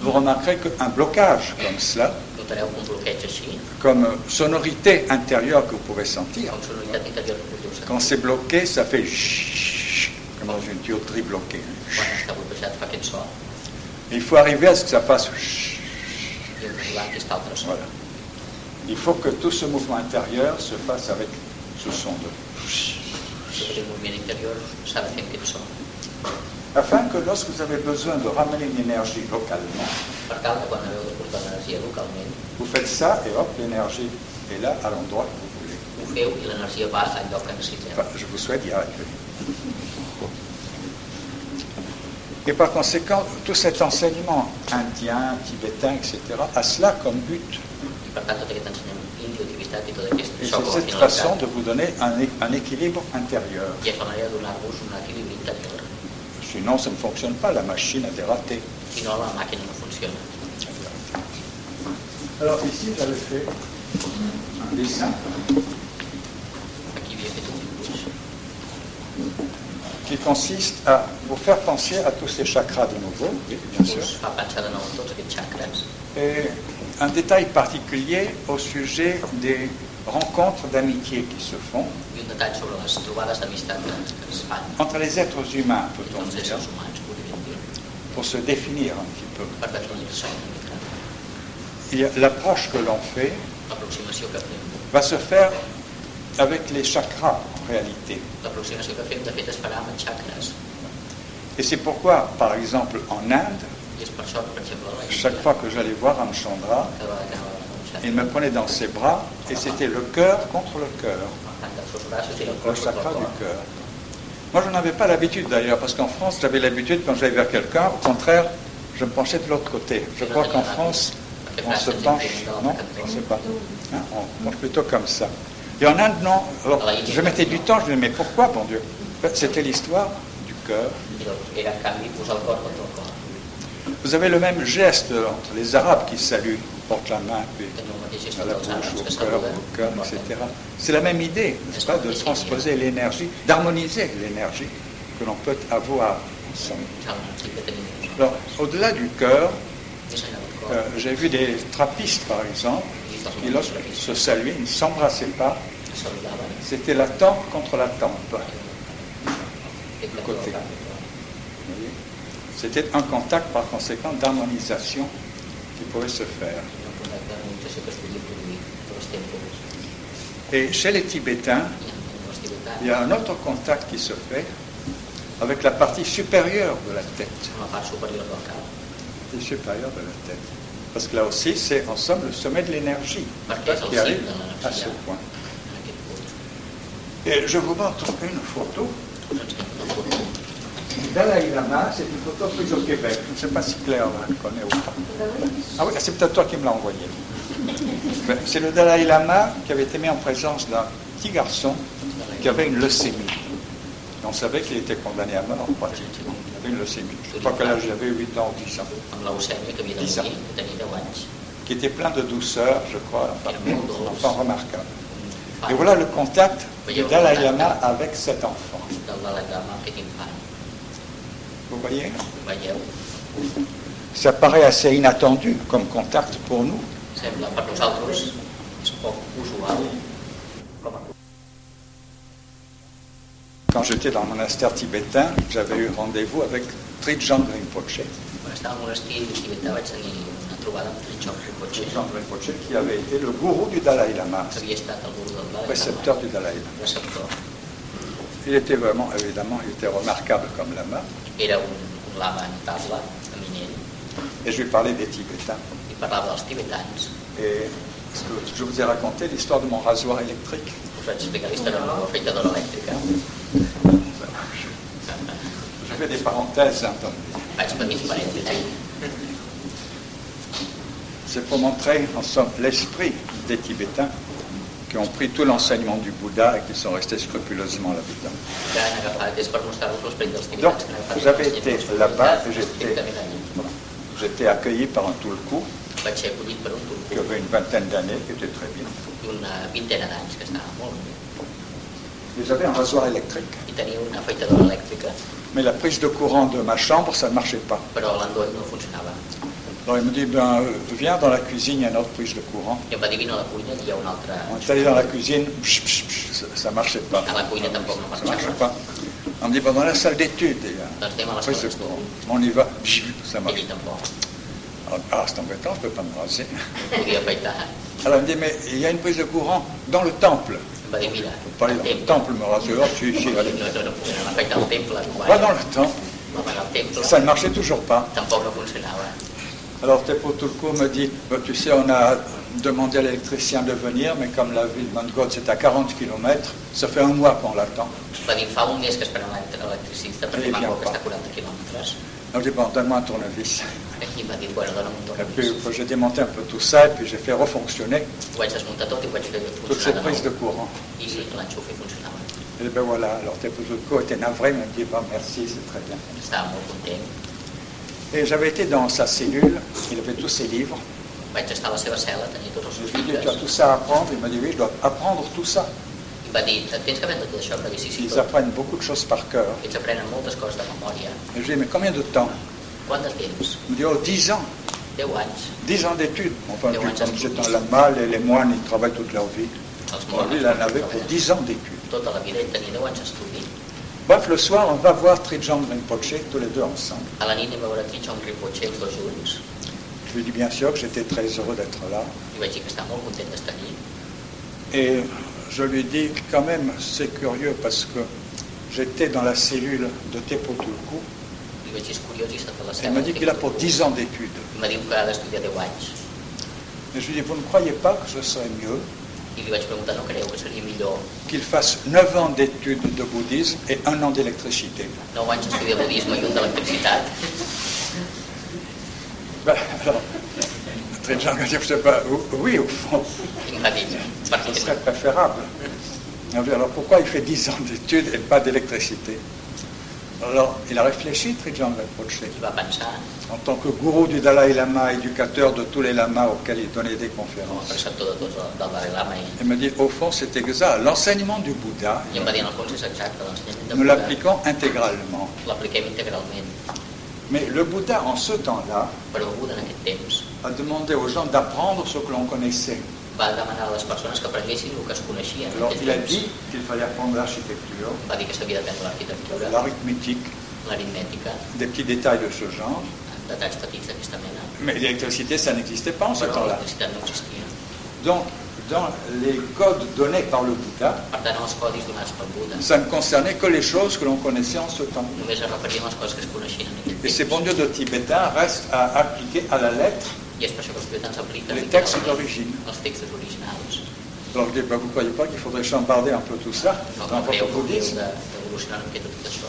Speaker 2: vous remarquerez qu'un blocage comme cela,
Speaker 1: notareu un bloqueig així,
Speaker 2: comme euh, sonorité intérieure que vous pouvez sentir,
Speaker 1: amb sonoritat interior que podríeu
Speaker 2: Quand
Speaker 1: sentir.
Speaker 2: c'est bloqué, ça fait chhh, comme dans une tuyauterie bloquée.
Speaker 1: Quan està bloquejat fa aquest so
Speaker 2: Il faut arriver à ce que ça fasse chhh,
Speaker 1: i en arribar a aquest altre so.
Speaker 2: voilà. Il faut que tout ce mouvement intérieur se fasse avec ce son de
Speaker 1: Tot el moviment interieur s'ha de fer amb aquest so.
Speaker 2: afin que lorsque vous avez besoin de ramener une énergie localement,
Speaker 1: Per tal que quan haveu de portar l'energia localment,
Speaker 2: vous faites ça et hop, l'énergie est là à l'endroit que vous voulez.
Speaker 1: ho feu i l'energia va al lloc que necessiteu.
Speaker 2: Enfin, je vous souhaite d'y arriver. Et par conséquent, tout cet enseignement indien, tibétain, etc., a cela comme but
Speaker 1: I per tant, tot aquest ensenyament intuitivitat i tot aquest
Speaker 2: Et
Speaker 1: so
Speaker 2: c'est
Speaker 1: com a
Speaker 2: cette façon de
Speaker 1: finalitat
Speaker 2: vous donner un, é- un équilibre intérieur.
Speaker 1: i és la manera de donar-vos un equilibri interior.
Speaker 2: Sinon, ça ne fonctionne pas, la machine a des ratés.
Speaker 1: Si no, la màquina no funciona.
Speaker 2: Alors ici, j'avais fait un dessin
Speaker 1: Aquí havia fet un dibuix
Speaker 2: qui consiste à vous faire penser à tous ces chakras de nouveau, oui, bien
Speaker 1: que
Speaker 2: sûr,
Speaker 1: us fa pensar de nou en tots aquests xacres
Speaker 2: et Euh, un détail particulier au sujet des rencontres d'amitié qui se font
Speaker 1: i un detall sobre les trobades d'amistat que, que es fan
Speaker 2: entre les êtres humains, peut-on
Speaker 1: entre els
Speaker 2: dire,
Speaker 1: éssers humans, podríem dir,
Speaker 2: pour se définir un petit peu.
Speaker 1: per definir-se una mica.
Speaker 2: Il y a- L'approche que l'on fait
Speaker 1: L'aproximació que fem,
Speaker 2: va se faire avec les chakras, en réalité.
Speaker 1: l'aproximació que fem, de fet, es farà amb els xacres.
Speaker 2: Et c'est pourquoi, par exemple, en Inde,
Speaker 1: I és per això que, per exemple, la
Speaker 2: chaque fois que j'allais voir Ramchandra,
Speaker 1: cada vegada que anava a un xacre,
Speaker 2: il me prenait dans ses bras et c'était le cœur contre le cœur,
Speaker 1: per tant, dels seus braços i el
Speaker 2: le
Speaker 1: cos del
Speaker 2: chakra
Speaker 1: cor.
Speaker 2: du cœur. Moi, je n'en avais pas l'habitude d'ailleurs, parce qu'en France, j'avais l'habitude quand j'allais vers quelqu'un, au contraire, je me penchais de l'autre côté. Je crois qu'en France, on se penche, non Je ne sais pas. Hein, on penche plutôt comme ça. Et en Inde, non. Alors, je mettais du temps, je me disais, mais pourquoi, bon Dieu Ben, C'était l'histoire du cœur.
Speaker 1: I doncs era, en canvi, posar el cor contra el cor.
Speaker 2: Vous avez le même geste entre les Arabes qui saluent, portent la main, puis
Speaker 1: Teniu el mateix
Speaker 2: à
Speaker 1: geste
Speaker 2: la
Speaker 1: dels
Speaker 2: bouche,
Speaker 1: àrabs que
Speaker 2: au cœur,
Speaker 1: saluden.
Speaker 2: au cœur, etc. C'est la même idée, n'est-ce pas, de transposer l'énergie, d'harmoniser l'énergie que l'on peut avoir ensemble.
Speaker 1: Cal un tip que tenim.
Speaker 2: Alors, au-delà du cœur,
Speaker 1: Més enllà del
Speaker 2: euh,
Speaker 1: cor,
Speaker 2: j'ai vu des trappistes, par exemple, qui, lorsqu'ils se saluaient, ils ne s'embrassaient pas,
Speaker 1: que saludaven.
Speaker 2: c'était la tempe contre la tempe. vous
Speaker 1: Aquest
Speaker 2: Le
Speaker 1: cantó
Speaker 2: côté.
Speaker 1: del cap del cor.
Speaker 2: voyez. C'était un contact, par conséquent, d'harmonisation qui pouvait se faire.
Speaker 1: Hi ha un contacte d'harmonització que es podria produir per els tempos.
Speaker 2: Et chez les Tibétains,
Speaker 1: Hi ha un dels tibetans,
Speaker 2: Il y a un autre contact qui se fait avec la partie supérieure de la tête.
Speaker 1: amb la part superior del cap.
Speaker 2: Partie supérieure de la tête. Parce que là aussi, c'est en somme le sommet de l'énergie
Speaker 1: Parce que c'est
Speaker 2: qui
Speaker 1: le
Speaker 2: arrive
Speaker 1: cycle de
Speaker 2: à ce
Speaker 1: l'énergie.
Speaker 2: point.
Speaker 1: En aquest punt.
Speaker 2: Et je vous montre une photo.
Speaker 1: Doncs que no pot
Speaker 2: Dalai Lama, c'est une photo prise au Québec. Je ne sais pas si Claire la connaît ou pas. Ah oui, c'est peut-être toi qui me l'as envoyée. Ben, C'est le Dalai Lama qui avait été mis en présence d'un petit garçon qui avait une leucémie. Et on savait qu'il était condamné à mort, pratiquement. Il avait une leucémie. Je crois que là, j'avais 8 ans ou 10 ans.
Speaker 1: On l'a observé comme il a
Speaker 2: Dix
Speaker 1: mouillé,
Speaker 2: ans.
Speaker 1: il a mis de watch.
Speaker 2: Qui était plein de douceur, je crois. Enfin,
Speaker 1: Il est bon,
Speaker 2: un
Speaker 1: drôle.
Speaker 2: enfant remarquable. Et voilà le contact du Dalai Lama avec cet enfant.
Speaker 1: Dans la gamme, avec une femme.
Speaker 2: Vous voyez
Speaker 1: Voyez,
Speaker 2: Ça paraît assez inattendu comme contact pour nous.
Speaker 1: sembla per nosaltres és poc usual com a
Speaker 2: Quand j'étais dans le monastère tibétain, j'avais eu rendez-vous avec Trijan Rinpoche.
Speaker 1: Quan estava al monestir de Tibetà vaig tenir una trobada amb Trichon Rinpoche,
Speaker 2: Trijan Rinpoche qui avait été le gourou du Dalai Lama,
Speaker 1: que havia estat el guru del Dalai Lama,
Speaker 2: précepteur du Dalai Lama.
Speaker 1: receptor.
Speaker 2: Il était vraiment, évidemment, il était remarquable comme lama.
Speaker 1: Era un, un lama notable, eminent,
Speaker 2: Et je lui parlais des Tibétains.
Speaker 1: i parlava dels tibetans.
Speaker 2: Et je vous ai raconté l'histoire de mon rasoir électrique.
Speaker 1: Us vaig explicar la història de la meva fritadora elèctrica.
Speaker 2: Je fais des parenthèses. hein, dans-
Speaker 1: Vaig tenir un parell de temps.
Speaker 2: C'est pour montrer, en somme, l'esprit des Tibétains qui ont pris tout l'enseignement du Bouddha et qui sont restés scrupuleusement là-dedans.
Speaker 1: que han agafat, és per mostrar-vos l'esperit dels tibetans.
Speaker 2: Donc,
Speaker 1: que han agafat
Speaker 2: j'avais
Speaker 1: les
Speaker 2: été
Speaker 1: llengües
Speaker 2: là-bas et j'étais
Speaker 1: estrictament allà.
Speaker 2: voilà. j'étais accueilli par un Tulku
Speaker 1: Vaig ser acollit per un
Speaker 2: qui
Speaker 1: turco
Speaker 2: avait une vingtaine d'années, qui était très bien.
Speaker 1: d'una vintena d'anys, que estava molt bé.
Speaker 2: Mais j'avais un rasoir électrique.
Speaker 1: I tenia una afeitadora elèctrica,
Speaker 2: Mais la prise de courant de ma chambre, ça ne marchait pas.
Speaker 1: però l'endoll no funcionava.
Speaker 2: Alors il me dit, ben, euh, viens dans la cuisine, il y a une autre prise de courant.
Speaker 1: I em va dir, vine a la cuina, hi ha un altre...
Speaker 2: On est allé dans la cuisine, psh, psh, psh, ça- ça ne marchait pas.
Speaker 1: A la cuina tampoc no
Speaker 2: Ça ne marchait
Speaker 1: marxava.
Speaker 2: pas. On me dit, ben, dans la salle d'études, il y a
Speaker 1: Doncs anem a
Speaker 2: une
Speaker 1: les
Speaker 2: prise de
Speaker 1: coses
Speaker 2: courant. On y va, psh, ça
Speaker 1: I
Speaker 2: marche.
Speaker 1: ell tampoc.
Speaker 2: Alors, ah, c'est embêtant, je ne peux pas me raser.
Speaker 1: Podia afeitar.
Speaker 2: Alors il me dit, mais il y a une prise de courant dans le temple.
Speaker 1: Em va dir, mira,
Speaker 2: Je peux pas aller dans
Speaker 1: al
Speaker 2: le
Speaker 1: temple.
Speaker 2: temple, me raser. Oh, si, si,
Speaker 1: No,
Speaker 2: allez.
Speaker 1: no, no puc anar a afeitar al temple. No
Speaker 2: On
Speaker 1: va
Speaker 2: va dans le temple.
Speaker 1: No va anar al temple.
Speaker 2: Ça ne marchait toujours pas.
Speaker 1: Tampoc no funcionava.
Speaker 2: Alors Tepo Tulku me dit, Bah, tu sais, on a demandé à l'électricien de venir, mais comme la ville de Mangod, c'est à 40 km, ça fait un mois qu'on l'attend.
Speaker 1: Va dir, fa un mes que esperem l'electricista
Speaker 2: Ell
Speaker 1: perquè
Speaker 2: ja
Speaker 1: Mango, que
Speaker 2: va.
Speaker 1: està a 40 quilòmetres.
Speaker 2: Alors j'ai dit, bon, donne-moi un tournevis.
Speaker 1: I em va dir, bueno, dona'm un
Speaker 2: Et puis
Speaker 1: torn.
Speaker 2: j'ai démonté un peu tout ça, et puis j'ai fait refonctionner
Speaker 1: Ho vaig desmuntar tot i ho vaig fer
Speaker 2: toutes ces
Speaker 1: funcionar
Speaker 2: prises de
Speaker 1: de nou.
Speaker 2: courant.
Speaker 1: I sí, l'enxufe funcionava.
Speaker 2: Et ben voilà, alors Tepo Tulku était navré, mais il me dit, bon, merci, c'est très bien.
Speaker 1: Estava molt content.
Speaker 2: Et j'avais été dans sa cellule, il avait tous ses livres.
Speaker 1: Vaig estar a la seva cel·la, tenia tots els
Speaker 2: Je
Speaker 1: seus
Speaker 2: lui ai dit, tu as
Speaker 1: llibres.
Speaker 2: tout ça à apprendre Il m'a dit, oui, je dois apprendre tout ça.
Speaker 1: I em va dir, tens que aprendre tot això? Em va dir, sí, sí,
Speaker 2: Ils
Speaker 1: tot.
Speaker 2: apprennent beaucoup de choses par cœur.
Speaker 1: Ells aprenen moltes coses de memòria.
Speaker 2: Et je lui ai dit, mais combien de temps
Speaker 1: Quant de temps?
Speaker 2: Il me dit, oh, 10 ans.
Speaker 1: 10 anys.
Speaker 2: 10 ans d'études. Enfin,
Speaker 1: Et
Speaker 2: puis,
Speaker 1: on a
Speaker 2: comme
Speaker 1: tout
Speaker 2: c'est
Speaker 1: dit.
Speaker 2: un lama, les, les moines, ils travaillent toute leur vie.
Speaker 1: Els
Speaker 2: Bon, lui, il en avait pour 10 ans d'études.
Speaker 1: Tota la vida ell tenia 10 anys d'estudi.
Speaker 2: Bref, le soir, on va voir Trijang Rinpoche, tous les deux ensemble.
Speaker 1: A la nit anem a veure Trichon Rinpoche els dos junts.
Speaker 2: Je lui dis bien sûr que j'étais très heureux d'être là.
Speaker 1: I vaig dir que està molt content d'estar aquí.
Speaker 2: Et je lui dis, quand même, c'est curieux parce que j'étais dans la cellule de Tepo Tulku.
Speaker 1: I vaig dir, és curiós, i s'ha de la
Speaker 2: Il
Speaker 1: cel·la.
Speaker 2: m'a dit qu'il a pour 10 ans d'études.
Speaker 1: I em va dir que ha d'estudiar 10 anys.
Speaker 2: Et je lui dis, vous ne croyez pas que ce serait mieux
Speaker 1: I li vaig preguntar, no creu que seria millor
Speaker 2: qu'il fasse 9 ans d'études de bouddhisme et 1 an d'électricité
Speaker 1: 9 anys d'estudiar budisme i un d'electricitat?
Speaker 2: Ben, alors, Trijang a dit, je sais pas, oui, au fond.
Speaker 1: I em va dir, per què
Speaker 2: Ce serait
Speaker 1: no?
Speaker 2: préférable. Alors, alors, pourquoi il fait 10 ans d'études et pas d'électricité Alors il a réfléchi, Trijang Rinpoche,
Speaker 1: I va pensar,
Speaker 2: en tant que gourou du Dalai Lama, éducateur de tous les lamas auxquels il donnait des
Speaker 1: com a
Speaker 2: conférences.
Speaker 1: preceptor de tots el- del Dalai Lama, ell.
Speaker 2: Il me dit, au fond, c'est exact. L'enseignement du Bouddha,
Speaker 1: I em va dir, en el fons és exacte, doncs, l'ensenyament de
Speaker 2: nous
Speaker 1: Buda.
Speaker 2: l'appliquons intégralement.
Speaker 1: L'apliquem integralment.
Speaker 2: Mais le Bouddha, en ce temps-là,
Speaker 1: Però Buda, en aquest temps,
Speaker 2: a demandé aux gens d'apprendre ce que l'on connaissait.
Speaker 1: va demanar a les persones que aprenguessin el que es coneixia. en
Speaker 2: Alors
Speaker 1: aquell
Speaker 2: il a
Speaker 1: temps.
Speaker 2: dit qu'il fallait apprendre l'architecture,
Speaker 1: Va dir que s'havia d'aprendre l'arquitectura,
Speaker 2: l'arithmétique,
Speaker 1: l'aritmètica,
Speaker 2: des petits détails de ce genre.
Speaker 1: detalls petits d'aquesta mena.
Speaker 2: Mais l'électricité, ça n'existait pas en ce
Speaker 1: Però
Speaker 2: temps-là.
Speaker 1: l'electricitat no existia.
Speaker 2: Donc, dans les codes donnés par le Bouddha,
Speaker 1: Per tant, els codis donats per Buda
Speaker 2: ça ne concernait que les choses que l'on connaissait en ce temps.
Speaker 1: només es referien a les coses que es coneixien en aquell
Speaker 2: Et ces bons
Speaker 1: temps.
Speaker 2: dieux de Tibétains restent à appliquer à la lettre.
Speaker 1: I és per això que els tibetans apliquen
Speaker 2: Les textos d'origine.
Speaker 1: els textos originals.
Speaker 2: Alors je dis, ben, vous ne croyez pas qu'il faudrait chambarder un peu tout ça
Speaker 1: No,
Speaker 2: dans
Speaker 1: no creu
Speaker 2: votre
Speaker 1: que hauríeu
Speaker 2: bouddhisme
Speaker 1: de- d'evolucionar una miqueta tot això.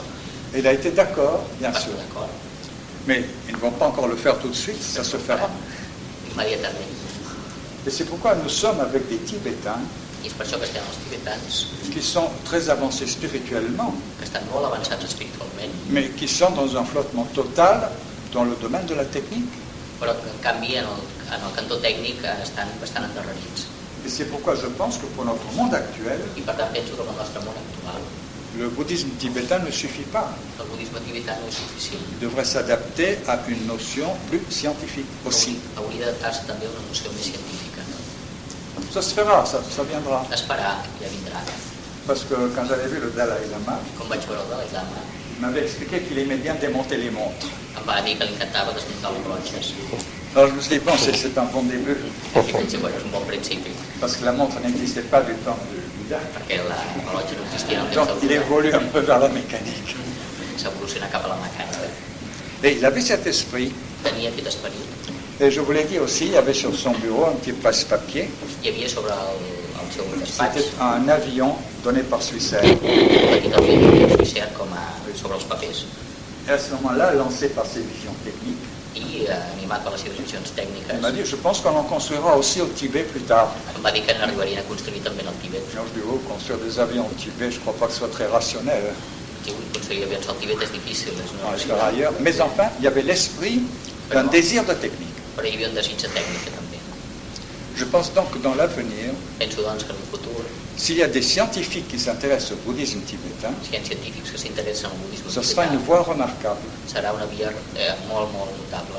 Speaker 2: Et Il a été d'accord, bien
Speaker 1: Va
Speaker 2: sûr.
Speaker 1: estar d'acord.
Speaker 2: Mais ils ne vont pas encore le faire tout de suite, ça se fera.
Speaker 1: Immediatament.
Speaker 2: Et c'est pourquoi nous sommes avec des Tibétains
Speaker 1: I és per això que estem els tibetans,
Speaker 2: qui sont très avancés spirituellement,
Speaker 1: que estan molt avançats espiritualment,
Speaker 2: mais qui sont dans un flottement total dans le domaine de la technique.
Speaker 1: però que en canvi en el, en el cantó tècnic eh, estan bastant endarrerits.
Speaker 2: Et c'est pourquoi je pense que pour notre monde actuel,
Speaker 1: I per tant penso que en el nostre món actual
Speaker 2: le bouddhisme tibétain ne suffit pas.
Speaker 1: el budisme tibetà no és suficient.
Speaker 2: Il devrait s'adapter à une notion plus scientifique aussi.
Speaker 1: Hauria d'adaptar-se també a una noció més científica.
Speaker 2: Ça se fera, ça, ça viendra.
Speaker 1: Esperar, ja vindrà.
Speaker 2: Parce que quand j'avais vu le Dalai Lama,
Speaker 1: Com vaig veure el Dalai Lama,
Speaker 2: il m'avait expliqué qu'il aimait bien démonter les montres.
Speaker 1: em va dir que li encantava desmuntar les rotxes.
Speaker 2: Alors je me suis dit, bon, c'est- c'est un bon début,
Speaker 1: I pensé, bueno, és un bon principi,
Speaker 2: parce que la montre n'existait pas du temps de Bouddha.
Speaker 1: perquè la rellotge no existia en el
Speaker 2: Donc
Speaker 1: temps
Speaker 2: il
Speaker 1: del Buda.
Speaker 2: évolue un peu vers la mécanique.
Speaker 1: S'evoluciona cap a la mecànica.
Speaker 2: Et il avait cet esprit.
Speaker 1: Tenia aquest esperit.
Speaker 2: Et je vous l'ai dit aussi, il y avait sur son bureau un petit passe-papier.
Speaker 1: Hi havia sobre el, el seu
Speaker 2: C'était
Speaker 1: despatx
Speaker 2: un avion donné par Suisse.
Speaker 1: un petit avió suïcidar com a, sobre els papers
Speaker 2: Et à ce moment-là, lancé par ses visions techniques,
Speaker 1: i eh, animat per les seves visions
Speaker 2: il m'a
Speaker 1: tècniques.
Speaker 2: dit, je pense qu'on en construira aussi au Tibet plus tard.
Speaker 1: Em va dir que n'arribarien a construir també en el Tibet.
Speaker 2: Alors je dis, oh, construire des avions au Tibet, je ne crois pas que ce soit très rationnel. hein.
Speaker 1: Si vull aconseguir avions al Tibet és difícil, és
Speaker 2: On
Speaker 1: una
Speaker 2: restera ailleurs. Mais enfin, il y avait l'esprit d'un désir de technique.
Speaker 1: però hi havia un desig de tècnica també.
Speaker 2: Je pense donc que dans l'avenir,
Speaker 1: Penso doncs que en un futur,
Speaker 2: s'il y a des scientifiques qui s'intéressent au bouddhisme tibétain,
Speaker 1: si hi ha científics que s'interessen en el budisme
Speaker 2: ce sera une
Speaker 1: tibetà,
Speaker 2: voie remarquable.
Speaker 1: serà una via eh, molt, molt notable.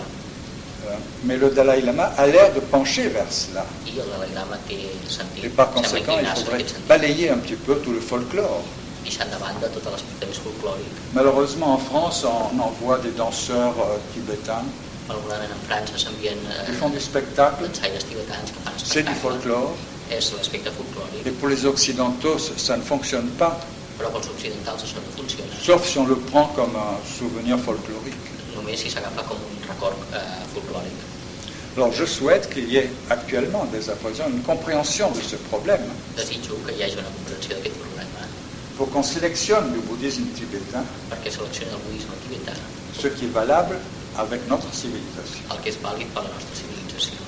Speaker 2: Euh, Mais le Dalai Lama a l'air de pencher vers cela.
Speaker 1: I el Dalai Lama té sentit,
Speaker 2: Et par
Speaker 1: sembla
Speaker 2: conséquent, il
Speaker 1: inclinar-se en
Speaker 2: faudrait
Speaker 1: aquest sentit,
Speaker 2: balayer un petit peu tout le folklore.
Speaker 1: deixant de banda tot l'aspecte més folclòric.
Speaker 2: Malheureusement, en France, on envoie des danseurs euh, tibétains
Speaker 1: Malauradament en França s'envien
Speaker 2: qui font
Speaker 1: eh,
Speaker 2: du spectacle.
Speaker 1: ensaires tibetans que fan
Speaker 2: C'est du
Speaker 1: espectacle,
Speaker 2: folklore.
Speaker 1: és l'aspecte
Speaker 2: Et
Speaker 1: folclòric,
Speaker 2: pour les Occidentaux, ça ça ne fonctionne pas,
Speaker 1: però pels occidentals això no funciona,
Speaker 2: sauf si on le prend comme un souvenir folklorique.
Speaker 1: només si s'agafa com un record eh, folclòric.
Speaker 2: Alors je souhaite qu'il y ait actuellement, dès à présent, une compréhension de ce problème
Speaker 1: Desitjo que hi hagi una comprensió d'aquest problema,
Speaker 2: pour qu'on sélectionne du bouddhisme tibétain
Speaker 1: perquè selecciona el budisme tibetà
Speaker 2: ce qui est valable avec notre civilisation.
Speaker 1: el que és vàlid per a la nostra civilització.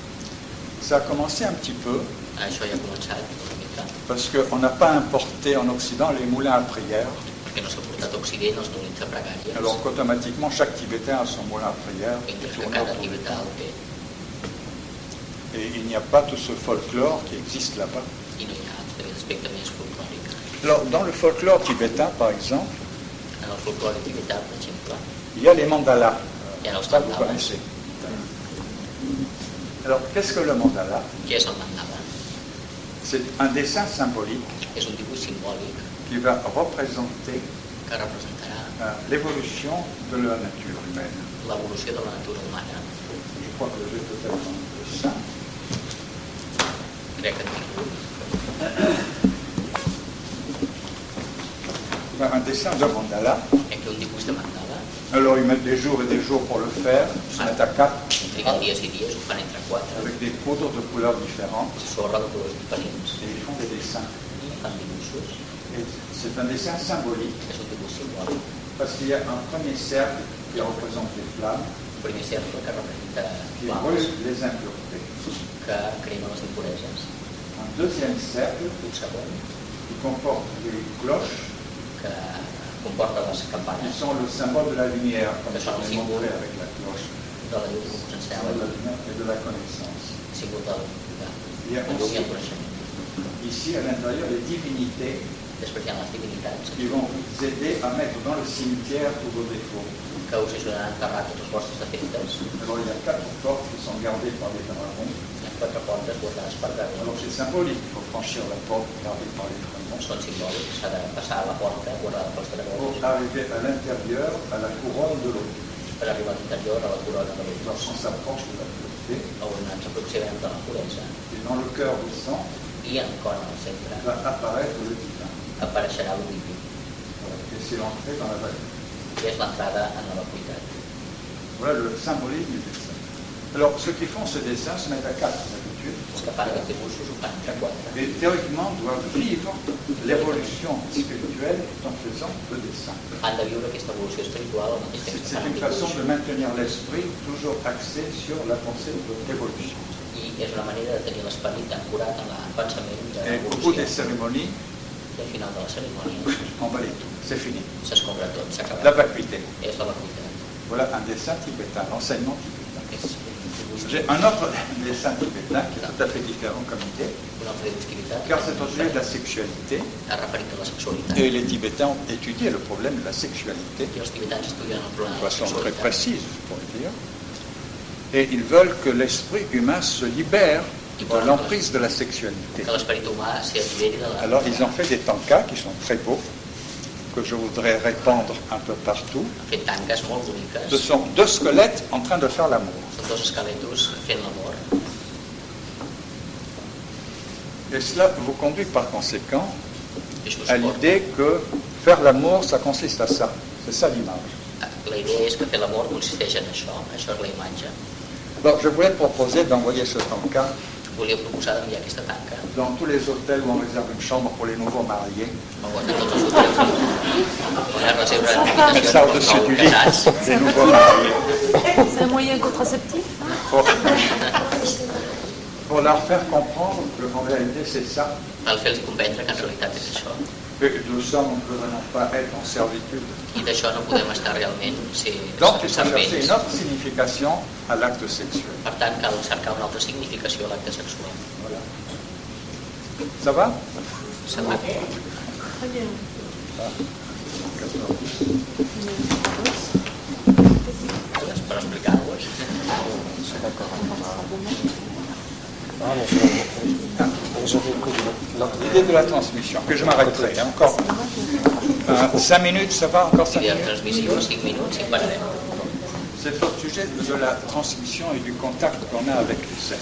Speaker 2: Ça a commencé un petit peu
Speaker 1: Això ja ha començat doncs, una mica,
Speaker 2: parce qu'on n'a pas importé en Occident les moulins à prière,
Speaker 1: perquè no s'ha portat a Occident els dolents de pregàries,
Speaker 2: alors qu'automatiquement chaque Tibétain a son moulin à prière qui
Speaker 1: mentre que
Speaker 2: tourne
Speaker 1: cada
Speaker 2: autour.
Speaker 1: tibetà el té,
Speaker 2: Et il n'y a pas tout ce folklore qui existe là-bas.
Speaker 1: i no hi ha aquest aspecte més folclòric.
Speaker 2: Alors dans le folklore tibétain, par exemple,
Speaker 1: En el folclore tibetà, per exemple,
Speaker 2: il y a les mandalas.
Speaker 1: hi ha els
Speaker 2: Ça, vous
Speaker 1: mandalas.
Speaker 2: connaissez. Alors qu'est-ce que le mandala
Speaker 1: Què és el mandala?
Speaker 2: C'est un dessin symbolique
Speaker 1: És un dibuix simbòlic
Speaker 2: qui va représenter
Speaker 1: que representarà
Speaker 2: euh, l'évolution de la nature humaine.
Speaker 1: l'evolució de la natura humana.
Speaker 2: Je crois que j'ai totalement le dessin.
Speaker 1: Crec que en tinc un.
Speaker 2: Voilà, Un dessin de mandala.
Speaker 1: Hi ha aquí eh, un dibuix de mandala,
Speaker 2: Alors ils mettent des jours et des jours pour le faire. Ils se mettent à quatre
Speaker 1: triguen dies i dies, ho fan entre quatre,
Speaker 2: avec des poudres de couleurs différentes
Speaker 1: sorra de colors diferents,
Speaker 2: et ils font des dessins.
Speaker 1: i fan dibuixos.
Speaker 2: Et C'est un dessin symbolique
Speaker 1: És un dibuix simbòlic,
Speaker 2: parce qu'il y a un premier cercle qui représente les flammes
Speaker 1: un primer cercle que representa
Speaker 2: qui
Speaker 1: flames
Speaker 2: brûle les impuretés.
Speaker 1: que cremen les impureses.
Speaker 2: Un deuxième cercle
Speaker 1: Un segon
Speaker 2: qui comporte les cloches
Speaker 1: que comporta les
Speaker 2: Ils
Speaker 1: campanes
Speaker 2: sont le symbole de la lumière, comme
Speaker 1: Ils
Speaker 2: je
Speaker 1: sont
Speaker 2: vous l'ai
Speaker 1: symboles.
Speaker 2: montré avec la cloche,
Speaker 1: de la llum
Speaker 2: le symbole de la
Speaker 1: consciencial,
Speaker 2: lumière et de la connaissance.
Speaker 1: sigut del, de,
Speaker 2: Hi ha
Speaker 1: de
Speaker 2: un
Speaker 1: llum i el
Speaker 2: signe.
Speaker 1: coneixement.
Speaker 2: Ici, à l'intérieur, les divinités
Speaker 1: Després hi ha les divinitats
Speaker 2: qui vont vous aider à mettre dans le cimetière tous vos défauts.
Speaker 1: que us ajudaran a enterrar tots els vostres defectes.
Speaker 2: Alors, il y a quatre portes qui sont gardées par des dragons.
Speaker 1: Les quatre portes guardades per
Speaker 2: Alors,
Speaker 1: dragons
Speaker 2: c'est symbolique, il faut franchir la porte gardée par les dragons
Speaker 1: són simbòlics, s'ha de passar la porta guardada pels
Speaker 2: pour
Speaker 1: dragons
Speaker 2: arriver à l'intérieur, à la couronne de l'eau.
Speaker 1: per arribar a l'interieur a la corona de l'Ull.
Speaker 2: Lorsqu'on s'approche de la pureté,
Speaker 1: On ens aproximem de la puresa
Speaker 2: et dans le cœur du sang,
Speaker 1: i en cor al centre
Speaker 2: va apparaître le divin.
Speaker 1: apareixerà l'Udipi,
Speaker 2: Voilà. Et c'est l'entrée dans la vallée.
Speaker 1: que és l'entrada en la vacuïtat.
Speaker 2: Voilà le symbolisme du dessin. Alors, ceux qui font ce dessin se mettent à quatre d'habitude.
Speaker 1: Els que fan aquests dibuixos ho fan entre quatre.
Speaker 2: Et théoriquement doivent vivre l'évolution spirituelle en faisant le dessin.
Speaker 1: Han de viure aquesta evolució espiritual al mateix
Speaker 2: C'est
Speaker 1: temps que
Speaker 2: c'est
Speaker 1: fan
Speaker 2: une
Speaker 1: el
Speaker 2: façon de
Speaker 1: dibuix
Speaker 2: maintenir l'esprit toujours axé sur la pensée de l'évolution.
Speaker 1: i i és una manera de tenir l'esperit ancorat en la- en el pensament de
Speaker 2: Et au bout des
Speaker 1: l'evolució.
Speaker 2: cérémonies,
Speaker 1: I al final de la cerimònia
Speaker 2: on valide tout. C'est fini.
Speaker 1: s'escombra tot,
Speaker 2: La
Speaker 1: s'acaba.
Speaker 2: vacuité.
Speaker 1: És la vacuïtat.
Speaker 2: Voilà un dessin tibétain, l'enseignement tibétain.
Speaker 1: És un dibuix-
Speaker 2: J'ai un autre dessin tibétain qui est tout à fait différent comme idée,
Speaker 1: una altra discrimitat.
Speaker 2: car c'est au sujet de la sexualité.
Speaker 1: Ha referit a la sexualitat.
Speaker 2: Et les Tibétains ont étudié le problème de la sexualité
Speaker 1: I els tibetans estudien el problema
Speaker 2: de
Speaker 1: de la
Speaker 2: façon très
Speaker 1: sexualitat.
Speaker 2: précise, pour le dire. Et ils veulent que l'esprit humain se libère de l'emprise de la sexualité.
Speaker 1: Que l'esperit humà s'hi alliberi de la...
Speaker 2: Alors ils ont fait des tankas qui sont très beaux, que je voudrais répandre un peu partout.
Speaker 1: Han fet tanques molt boniques.
Speaker 2: Ce sont deux squelettes en train de faire l'amour.
Speaker 1: Són dos esqueletos fent l'amor.
Speaker 2: Et cela vous conduit par conséquent
Speaker 1: I això us
Speaker 2: à
Speaker 1: porta-
Speaker 2: l'idée que faire l'amour, ça consiste à ça. C'est ça l'image.
Speaker 1: Ah, La idea és que fer l'amor consisteix en això. Això és la imatge.
Speaker 2: Alors je voulais proposer d'envoyer ce tanka
Speaker 1: Volia proposar d'enviar aquesta tanca.
Speaker 2: dans tous les hôtels où on réserve une chambre pour les nouveaux mariés.
Speaker 1: Ho aguanta tots els hotels. On ha reserva
Speaker 2: Comme ça au-dessus du lit,
Speaker 1: casats.
Speaker 2: des nouveaux mariés.
Speaker 4: C'est un moyen contraceptif
Speaker 2: Pour, pour leur faire comprendre qu'en réalité c'est ça.
Speaker 1: Cal fer-los comprendre que en realitat és això.
Speaker 2: Et nous sommes, nous ne devons pas être en servitude.
Speaker 1: I d'això no podem estar realment si
Speaker 2: Donc il faut
Speaker 1: servents.
Speaker 2: chercher une autre signification à l'acte sexuel.
Speaker 1: Per tant, cal cercar una altra significació a l'acte sexual.
Speaker 2: Voilà. Ça va
Speaker 1: Sembla que
Speaker 4: Très bien.
Speaker 1: és per eh? explicar-vos.
Speaker 2: L'idée de la transmission, que je m'arrêterai hein, encore. 5 minutes, ça va Encore 5
Speaker 1: I de
Speaker 2: minutes
Speaker 1: transmissió, 5 minuts i pararem.
Speaker 2: C'est au sujet de la transmission et du contact qu'on a avec les êtres.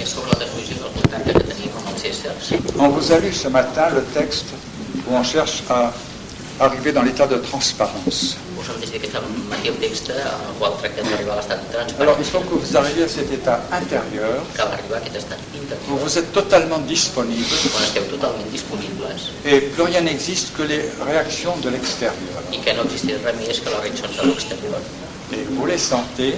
Speaker 1: És sobre la transmissió del contacte que tenim amb els éssers.
Speaker 2: On vous a lu ce matin le texte où on cherche à arriver dans l'état de transparence.
Speaker 1: Us hem llegit aquest matí un text en el qual tractem d'arribar a l'estat de
Speaker 2: Alors il faut
Speaker 1: transparència.
Speaker 2: que vous arriviez à cet état intérieur
Speaker 1: Cal arribar a aquest estat
Speaker 2: où
Speaker 1: interior,
Speaker 2: vous êtes totalement disponible
Speaker 1: on esteu totalment disponibles
Speaker 2: et plus rien n'existe que les réactions de l'extérieur.
Speaker 1: i que no existeix res més que les reaccions de l'exterior.
Speaker 2: Et vous les sentez,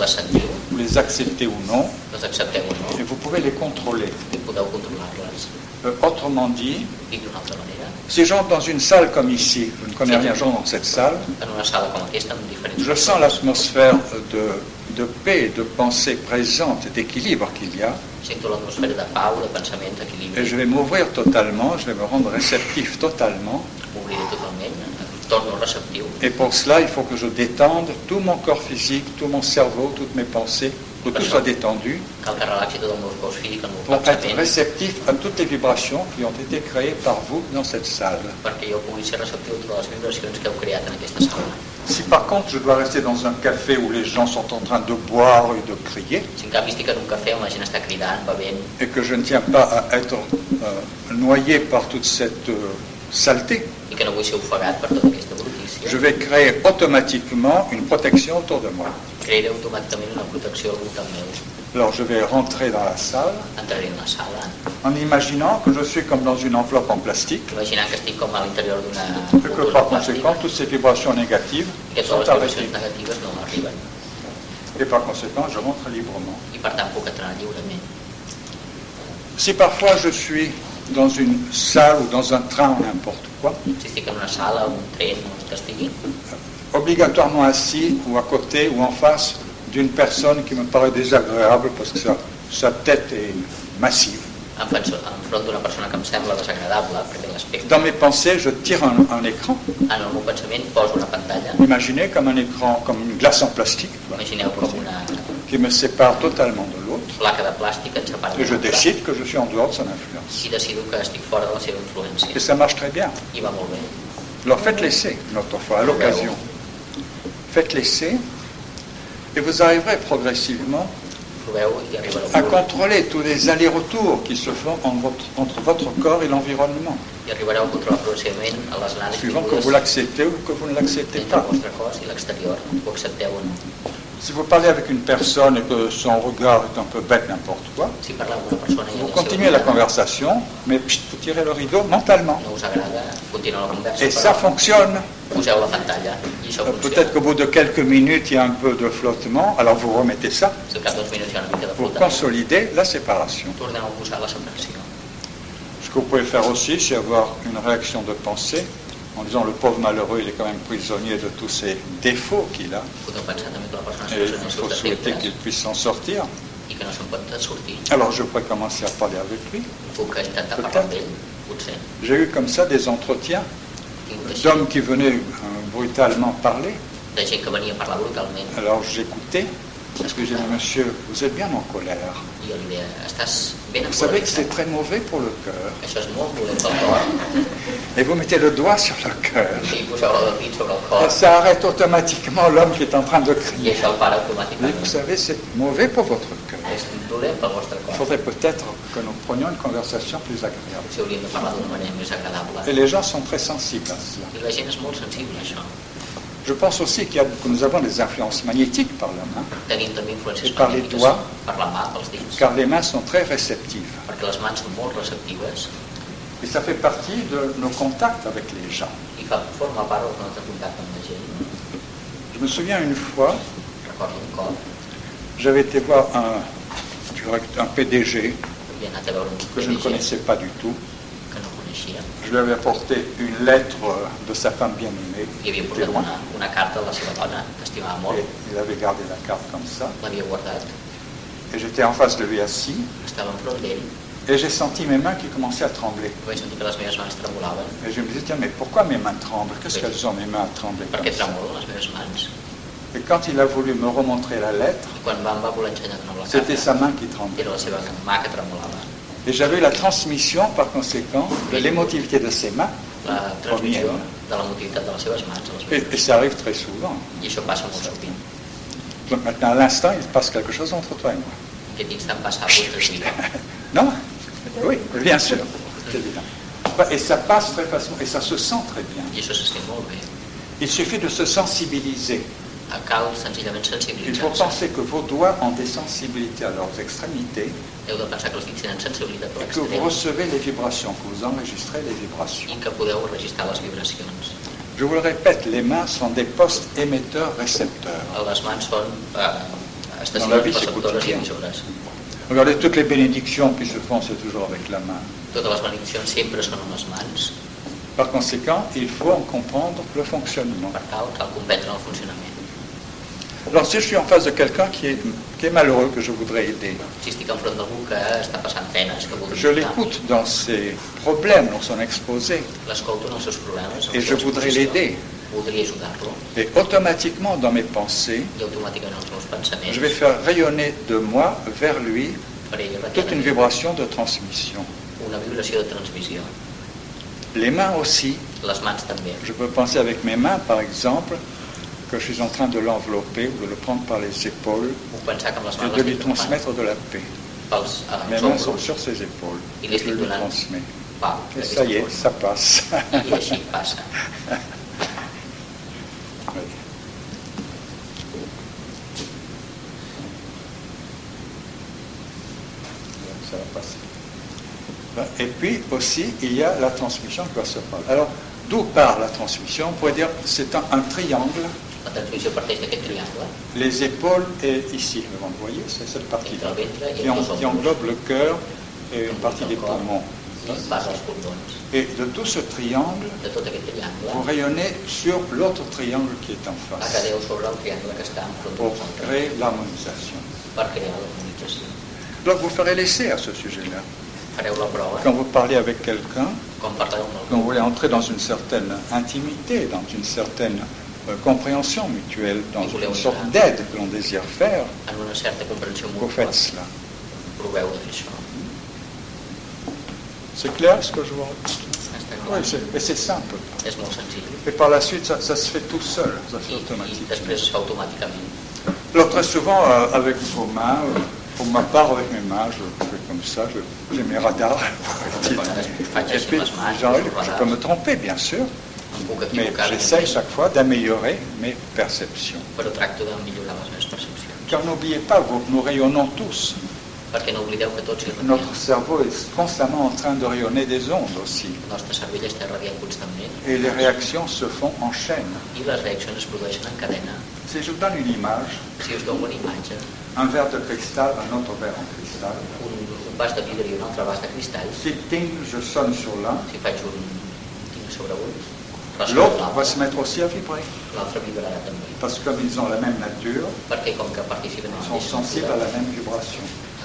Speaker 1: Les sentiu,
Speaker 2: vous les acceptez ou non,
Speaker 1: les accepteu o
Speaker 2: et
Speaker 1: no,
Speaker 2: vous pouvez les contrôler.
Speaker 1: i podeu controlar-les.
Speaker 2: Euh, autrement dit,
Speaker 1: Dit d'una altra manera,
Speaker 2: si j'entre dans une salle comme ici, je ne connais rien j'entre dans cette salle,
Speaker 1: en una sala com aquesta, amb diferents...
Speaker 2: je sens l'atmosphère de, de paix, de pensée présente, et d'équilibre qu'il y a,
Speaker 1: Sento l'atmosfera de pau, de pensament,
Speaker 2: et je
Speaker 1: d'equilibri.
Speaker 2: vais m'ouvrir totalement, je vais me rendre réceptif totalement,
Speaker 1: M'obriré totalment, em torno receptiu.
Speaker 2: et pour cela il faut que je détende tout mon corps physique, tout mon cerveau, toutes mes pensées, que tout soit détendu,
Speaker 1: Cal que relaxi tot el meu cos físic, el meu
Speaker 2: pour être
Speaker 1: pensament,
Speaker 2: réceptif à toutes les vibrations qui ont été créées par vous dans cette salle.
Speaker 1: perquè jo pugui ser receptiu a totes les vibracions que heu creat en aquesta sala.
Speaker 2: Si par contre je dois rester dans un café où les gens sont en train de boire et de crier,
Speaker 1: Si en canvi estic en un cafè on la gent està cridant, bevent,
Speaker 2: et que je ne tiens pas à être euh, noyé par toute cette euh, saleté,
Speaker 1: i que no vull ser ofegat per tota aquesta brutícia,
Speaker 2: je vais créer automatiquement une protection autour de moi.
Speaker 1: crearé automàticament una protecció al voltant meu.
Speaker 2: Alors je vais rentrer dans la salle
Speaker 1: Entraré en la sala,
Speaker 2: en imaginant que je suis comme dans une enveloppe en plastique
Speaker 1: imaginant que estic com a l'interior d'una...
Speaker 2: et que par conséquent toutes ces vibrations négatives
Speaker 1: i que
Speaker 2: sont
Speaker 1: totes les
Speaker 2: arrêtées.
Speaker 1: vibracions negatives no m'arriben.
Speaker 2: Et par conséquent je rentre librement.
Speaker 1: I per tant puc entrar lliurement.
Speaker 2: Si parfois je suis dans une salle ou dans un train ou n'importe quoi,
Speaker 1: Si estic en una sala, un tren, on que estigui,
Speaker 2: obligatoirement assis ou à côté ou en face d'une personne qui me paraît désagréable parce que sa, sa tête est massive.
Speaker 1: enfront enfront d'una persona que em sembla desagradable per l'aspecte.
Speaker 2: Dans mes pensées, je tire un, un écran.
Speaker 1: En el meu pensament poso una pantalla,
Speaker 2: Imaginez comme un écran, comme une glace en plastique, quoi,
Speaker 1: imagineu com una
Speaker 2: qui me sépare totalement de l'autre.
Speaker 1: placa de plàstic que ens separa.
Speaker 2: Et je
Speaker 1: de l'altra,
Speaker 2: décide que je suis en dehors de son influence.
Speaker 1: I decido que estic fora de la seva
Speaker 2: Et
Speaker 1: influència.
Speaker 2: ça marche très bien.
Speaker 1: I va molt bé.
Speaker 2: Alors faites l'essai, une autre fois, à l'occasion. Faites l'essai. Et vous arriverez progressivement
Speaker 1: Proveu i arriba
Speaker 2: à
Speaker 1: al punt.
Speaker 2: contrôler tous les allers-retours qui se font en votre- entre votre corps et l'environnement.
Speaker 1: I arribareu a controlar progressivament a les nanes
Speaker 2: suivant que vous l'acceptez ou que vous ne l'acceptez
Speaker 1: entre el
Speaker 2: pas.
Speaker 1: vostre cos i l'exterior. Ho accepteu o no?
Speaker 2: Si vous parlez avec une personne et que son regard est un peu bête, n'importe quoi,
Speaker 1: Si parleu amb una persona i el
Speaker 2: vous
Speaker 1: seu
Speaker 2: continuez la
Speaker 1: regard
Speaker 2: conversation, mais pst, vous tirez le rideau mentalement.
Speaker 1: no us agrada, discutir en conversa,
Speaker 2: Et ça
Speaker 1: però
Speaker 2: fonctionne.
Speaker 1: poseu la pantalla i això
Speaker 2: Euh,
Speaker 1: funciona.
Speaker 2: Peut-être qu'au bout de quelques minutes, il y a un peu de flottement, alors vous remettez ça
Speaker 1: Si al cap d'uns minuts hi ha una mica de
Speaker 2: pour
Speaker 1: flotament,
Speaker 2: consolider la séparation.
Speaker 1: tornem a posar la separació.
Speaker 2: Ce que vous pouvez faire aussi, c'est avoir une réaction de pensée en disant le pauvre malheureux, il est quand même prisonnier de tous ses défauts qu'il a,
Speaker 1: Podeu pensar també que la persona
Speaker 2: et
Speaker 1: és
Speaker 2: il
Speaker 1: present els
Speaker 2: faut
Speaker 1: seus
Speaker 2: souhaiter qu'il
Speaker 1: defectes
Speaker 2: puisse s'en sortir.
Speaker 1: i que no se'n pot sortir.
Speaker 2: Alors je pourrais commencer à parler avec lui.
Speaker 1: Puc intentar parlar amb ell, potser.
Speaker 2: J'ai eu comme ça des entretiens
Speaker 1: He tingut així
Speaker 2: d'hommes qui venaient euh, brutalement parler.
Speaker 1: de gent que venia a parlar brutalment
Speaker 2: Alors j'écoutais, parce que j'ai dit, monsieur, vous êtes bien en colère.
Speaker 1: i jo li deia, estàs ben
Speaker 2: Vous savez que c'est
Speaker 1: encoleritzat.
Speaker 2: très mauvais pour le cœur.
Speaker 1: Això és molt dolent pel cor.
Speaker 2: Et vous mettez le doigt sur le cœur.
Speaker 1: I poseu el dit sobre el
Speaker 2: Et
Speaker 1: cor
Speaker 2: ça arrête automatiquement l'homme qui est en train de
Speaker 1: i
Speaker 2: crier.
Speaker 1: això el para
Speaker 2: Mais vous
Speaker 1: automàticament.
Speaker 2: savez, c'est mauvais pour votre cœur.
Speaker 1: És dolent pel vostre
Speaker 2: Il
Speaker 1: cor.
Speaker 2: faudrait peut-être que nous prenions une conversation plus agréable.
Speaker 1: Si hauríem de parlar d'una manera més
Speaker 2: Et
Speaker 1: agradable.
Speaker 2: les gens sont très sensibles à cela.
Speaker 1: I la gent és molt sensible a això.
Speaker 2: Je pense aussi qu'il y a- que nous avons des influences magnétiques par la main,
Speaker 1: Tenim també influències
Speaker 2: I per
Speaker 1: magnètiques
Speaker 2: l'idua.
Speaker 1: per la mà, pels dits,
Speaker 2: car les mains sont très réceptives.
Speaker 1: perquè les mans són molt receptives
Speaker 2: Et ça fait partie de nos contacts avec les gens.
Speaker 1: i fa, forma part del nostre contacte amb la gent.
Speaker 2: Je me souviens une fois,
Speaker 1: Recordo un cop,
Speaker 2: j'avais été voir un, je dirais un PDG
Speaker 1: havia anat a veure un
Speaker 2: que je ne
Speaker 1: PDG
Speaker 2: connaissais pas du tout.
Speaker 1: que no coneixia.
Speaker 2: Je lui avais apporté une lettre euh, de sa femme bien-aimée,
Speaker 1: Hi
Speaker 2: qui
Speaker 1: havia
Speaker 2: était
Speaker 1: portat
Speaker 2: loin.
Speaker 1: una, una carta de la seva dona, que estimava
Speaker 2: Et
Speaker 1: molt,
Speaker 2: il avait gardé la carte comme ça.
Speaker 1: l'havia guardat,
Speaker 2: Et j'étais en face de lui assis.
Speaker 1: estava enfront d'ell,
Speaker 2: Et j'ai senti mes mains qui commençaient à trembler.
Speaker 1: vaig sentir que les meves mans tremolaven,
Speaker 2: Et je me disais, tiens, mais pourquoi mes mains tremblent Qu'est-ce qu'elles ont, mes mains, à trembler
Speaker 1: perquè
Speaker 2: comme ça
Speaker 1: tremolen les meves mans.
Speaker 2: Et quand il a voulu me remontrer la lettre,
Speaker 1: I quan va, em va voler ensenyar de nou la
Speaker 2: c'était sa
Speaker 1: carta,
Speaker 2: main qui tremblait.
Speaker 1: era la seva mà que tremolava.
Speaker 2: Et j'avais eu la transmission, par conséquent, de l'émotivité de ses mains.
Speaker 1: La transmissió
Speaker 2: Première.
Speaker 1: de la motivitat de les seves mans a les
Speaker 2: Et,
Speaker 1: meves.
Speaker 2: et ça arrive très souvent.
Speaker 1: I això passa molt sovint.
Speaker 2: Donc maintenant, à l'instant, il se passe quelque chose entre toi et moi.
Speaker 1: Aquest instant passa a punt de vida.
Speaker 2: Non Oui, bien sûr. C'est évident. Et ça passe très facilement. Et ça se sent très bien.
Speaker 1: I això se sent molt bé.
Speaker 2: Il suffit de se sensibiliser.
Speaker 1: Cal senzillament
Speaker 2: Il faut
Speaker 1: sensibilitzar-se.
Speaker 2: penser que vos doigts ont des sensibilités à leurs extrémités
Speaker 1: Heu de pensar que els dits tenen sensibilitat per
Speaker 2: et que vous
Speaker 1: l'extrem
Speaker 2: recevez les vibrations, que vous enregistrez les vibrations.
Speaker 1: i que podeu registrar les vibracions.
Speaker 2: Je vous le répète, les mains sont des postes émetteurs-récepteurs.
Speaker 1: Les mans són eh,
Speaker 2: Dans la
Speaker 1: estacions
Speaker 2: vie, c'est
Speaker 1: receptores i
Speaker 2: quotidien.
Speaker 1: emissores.
Speaker 2: Regardez toutes les bénédictions qui se font, c'est toujours avec la main.
Speaker 1: Totes les benediccions sempre són amb les mans.
Speaker 2: Par conséquent, il faut en comprendre le fonctionnement.
Speaker 1: Per tal, cal comprendre el funcionament.
Speaker 2: Alors si je suis en face de quelqu'un qui est, qui est malheureux, que je voudrais aider,
Speaker 1: Si estic enfront d'algú que està passant penes, que vol
Speaker 2: je l'écoute dans ses problèmes, dans son exposé,
Speaker 1: l'escolto en els seus problemes. en
Speaker 2: Et
Speaker 1: la seva
Speaker 2: je voudrais
Speaker 1: exposició.
Speaker 2: l'aider.
Speaker 1: Voldria ajudar-lo
Speaker 2: et automatiquement dans mes pensées,
Speaker 1: i automàticament els meus pensaments
Speaker 2: je vais faire rayonner de moi vers lui
Speaker 1: faré
Speaker 2: toute une
Speaker 1: retirar
Speaker 2: vibration de transmission.
Speaker 1: una vibració de transmissió.
Speaker 2: Les mains aussi.
Speaker 1: Les mans també.
Speaker 2: Je peux penser avec mes mains, par exemple, que je suis en train de l'envelopper ou de le prendre par les épaules
Speaker 1: Puc pensar que amb les
Speaker 2: et
Speaker 1: mans
Speaker 2: de
Speaker 1: les
Speaker 2: lui
Speaker 1: estic tocant
Speaker 2: transmettre de la paix.
Speaker 1: pels eh,
Speaker 2: Mes mains
Speaker 1: els
Speaker 2: sont
Speaker 1: ombros.
Speaker 2: sur ses épaules.
Speaker 1: I
Speaker 2: Et
Speaker 1: li
Speaker 2: je
Speaker 1: estic
Speaker 2: lui
Speaker 1: donant
Speaker 2: transmets.
Speaker 1: pau.
Speaker 2: Et
Speaker 1: d'aquesta
Speaker 2: ça y est,
Speaker 1: forma.
Speaker 2: ça passe.
Speaker 1: I així passa.
Speaker 2: Oui. Ça va passer. Ben, Et puis aussi, il y a la transmission qui va se parler. Alors, d'où part la transmission On pourrait dire c'est un, un triangle.
Speaker 1: La transmissió parteix d'aquest triangle
Speaker 2: Les épaules et ici, devant, vous voyez, c'est cette
Speaker 1: entre
Speaker 2: partie-là
Speaker 1: el ventre i
Speaker 2: qui, en-
Speaker 1: els
Speaker 2: qui
Speaker 1: ombros.
Speaker 2: englobe le cœur et une partie des poumons.
Speaker 1: I vas als pulmons.
Speaker 2: Et de tout ce triangle,
Speaker 1: De tot aquest triangle,
Speaker 2: vous rayonnez sur l'autre triangle qui est en face
Speaker 1: acadeu sobre el triangle que està enfront de
Speaker 2: pour
Speaker 1: nosaltres
Speaker 2: créer l'harmonisation.
Speaker 1: per crear l'harmonització.
Speaker 2: Donc vous ferez l'essai à ce sujet-là.
Speaker 1: Fareu la prova,
Speaker 2: Quand vous parlez avec quelqu'un,
Speaker 1: com parleu amb
Speaker 2: quand vous
Speaker 1: algú,
Speaker 2: voulez entrer dans une certaine intimité, dans une certaine euh, compréhension mutuelle, dans une sorte d'aide que l'on désire faire,
Speaker 1: en una certa comprensió
Speaker 2: vous
Speaker 1: mútua,
Speaker 2: faites cela.
Speaker 1: proveu de fer això.
Speaker 2: C'est clair ce que je vous
Speaker 1: Està clar.
Speaker 2: Oui, c'est- et c'est simple.
Speaker 1: És molt senzill.
Speaker 2: Et par la suite, ça, ça se fait tout seul, ça se
Speaker 1: I,
Speaker 2: fait
Speaker 1: i
Speaker 2: automatique.
Speaker 1: després es fa automàticament.
Speaker 2: Alors très souvent, euh, avec vos mains, euh, pour ma part, avec mes mains, je fais comme ça, je- j'ai mes radars. Et puis, genre, je peux me tromper, bien sûr,
Speaker 1: Em puc
Speaker 2: mais
Speaker 1: equivocar,
Speaker 2: j'essaye
Speaker 1: evidentment,
Speaker 2: chaque fois d'améliorer mes perceptions.
Speaker 1: però tracto de millorar les meves percepcions.
Speaker 2: Car n'oubliez pas, vous- nous rayonnons tous.
Speaker 1: perquè no oblideu que tots hi radiem.
Speaker 2: Notre cerveau est constamment en train de rayonner des ondes aussi.
Speaker 1: El nostre cervell està radiant constantment
Speaker 2: Et les réactions se font en chaîne.
Speaker 1: i les reaccions es produeixen en cadena.
Speaker 2: Si je vous donne une image,
Speaker 1: Si us dono una imatge,
Speaker 2: un verre de cristal, un autre verre en cristal,
Speaker 1: un, un vas de vidre i un altre vas de cristall,
Speaker 2: si ting, je sonne sur l'un,
Speaker 1: si faig un tinc sobre un, ressona
Speaker 2: l'autre va
Speaker 1: l'altre,
Speaker 2: se mettre aussi à vibrer.
Speaker 1: l'altre vibrarà també.
Speaker 2: Parce que comme ils ont la même nature,
Speaker 1: Perquè com que participen en
Speaker 2: ils
Speaker 1: la
Speaker 2: sont
Speaker 1: mateixa
Speaker 2: sensibles à la
Speaker 1: natura,
Speaker 2: même vibration.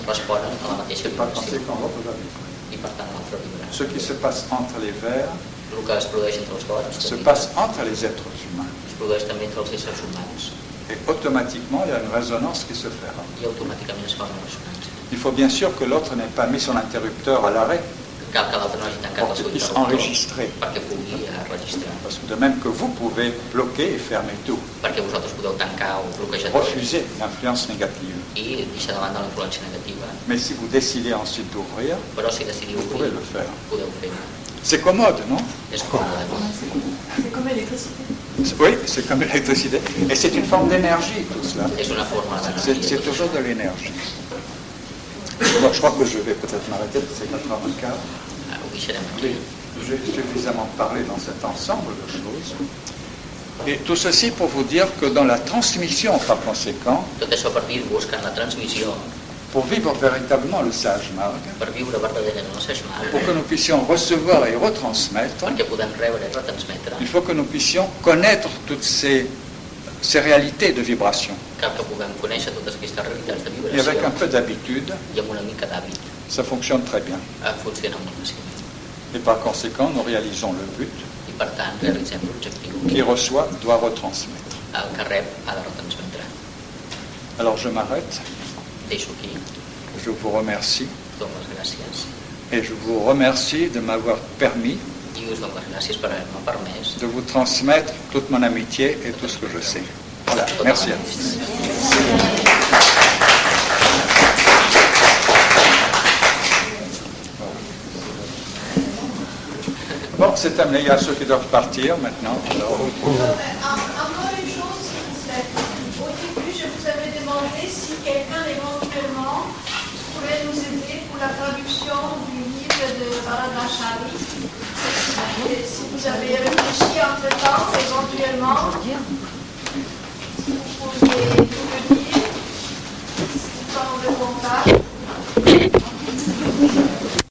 Speaker 1: responen a la mateixa
Speaker 2: C'est pas penser
Speaker 1: vibració
Speaker 2: qu'en l'autre va vibrer.
Speaker 1: i per tant l'altre vibrarà.
Speaker 2: Ce qui se passe entre les vers
Speaker 1: El que es produeix entre els gots
Speaker 2: se
Speaker 1: també
Speaker 2: passe entre les êtres humains.
Speaker 1: es produeix també entre els éssers humans
Speaker 2: Et automatiquement, il y a une résonance qui se fera.
Speaker 1: i automàticament es fa una ressonància.
Speaker 2: Il faut bien sûr que l'autre n'ait pas mis son interrupteur à l'arrêt
Speaker 1: Cal que l'altre no hagi tancat
Speaker 2: pour
Speaker 1: el
Speaker 2: qu'il
Speaker 1: seu
Speaker 2: puisse
Speaker 1: interruptor
Speaker 2: enregistrer.
Speaker 1: perquè pugui eh, registrar.
Speaker 2: Parce que de même que vous pouvez bloquer et fermer tout,
Speaker 1: Perquè vosaltres podeu tancar o bloquejar tot
Speaker 2: refuser l'influence négative.
Speaker 1: i deixar de banda la influència negativa.
Speaker 2: Mais si vous décidez ensuite d'ouvrir,
Speaker 1: Però si decidiu
Speaker 2: vous pouvez
Speaker 1: obrir,
Speaker 2: le faire.
Speaker 1: podeu fer.
Speaker 2: C'est commode, non
Speaker 1: És com
Speaker 4: C'est comme l'électricité.
Speaker 2: Oui, c'est comme l'électricité. Et c'est une forme d'énergie, tout cela.
Speaker 1: és una forma
Speaker 2: C'est c'est
Speaker 1: d'energia.
Speaker 2: toujours de l'énergie. Bon, je crois que je vais peut-être m'arrêter, parce que c'est 4 h quart.
Speaker 1: Ara Ah, ho deixarem
Speaker 2: Mais
Speaker 1: aquí.
Speaker 2: J'ai suffisamment parlé dans cet ensemble de choses. Et tout ceci pour vous dire que dans la transmission, par conséquent,
Speaker 1: Tot això per dir-vos que en la transmissió,
Speaker 2: pour vivre véritablement le sage marg,
Speaker 1: per viure verdaderament el Sejmal,
Speaker 2: pour que nous puissions recevoir et retransmettre,
Speaker 1: perquè podem rebre i retransmetre,
Speaker 2: il faut que nous puissions connaître toutes ces, ces réalités de vibration.
Speaker 1: cal que puguem conèixer totes aquestes realitats de
Speaker 2: Et avec un
Speaker 1: vibració
Speaker 2: peu d'habitude,
Speaker 1: i amb una mica d'hàbit
Speaker 2: ça fonctionne très bien.
Speaker 1: eh, funciona molt fàcilment.
Speaker 2: Et par conséquent, nous réalisons le but.
Speaker 1: i per tant realitzem l'objectiu.
Speaker 2: Qui reçoit doit retransmettre.
Speaker 1: El que rep ha de retransmetre.
Speaker 2: Alors je m'arrête,
Speaker 1: Deixo aquí,
Speaker 2: je vous remercie
Speaker 1: dono les gràcies
Speaker 2: et je vous remercie de m'avoir permis
Speaker 1: i us dono les gràcies per haver-me permès.
Speaker 2: de vous transmettre toute mon amitié et tout ce que je sais. Voilà,
Speaker 1: tota
Speaker 2: merci à vous. Bon, c'est terminé, il y a ceux qui doivent partir maintenant. Alors,
Speaker 7: Euh, Encore une chose, s'il vous plaît. Au début, je vous avais demandé si quelqu'un éventuellement pourrait nous aider pour la traduction du livre de Baradachari. Si vous avez réfléchi entre-temps, éventuellement,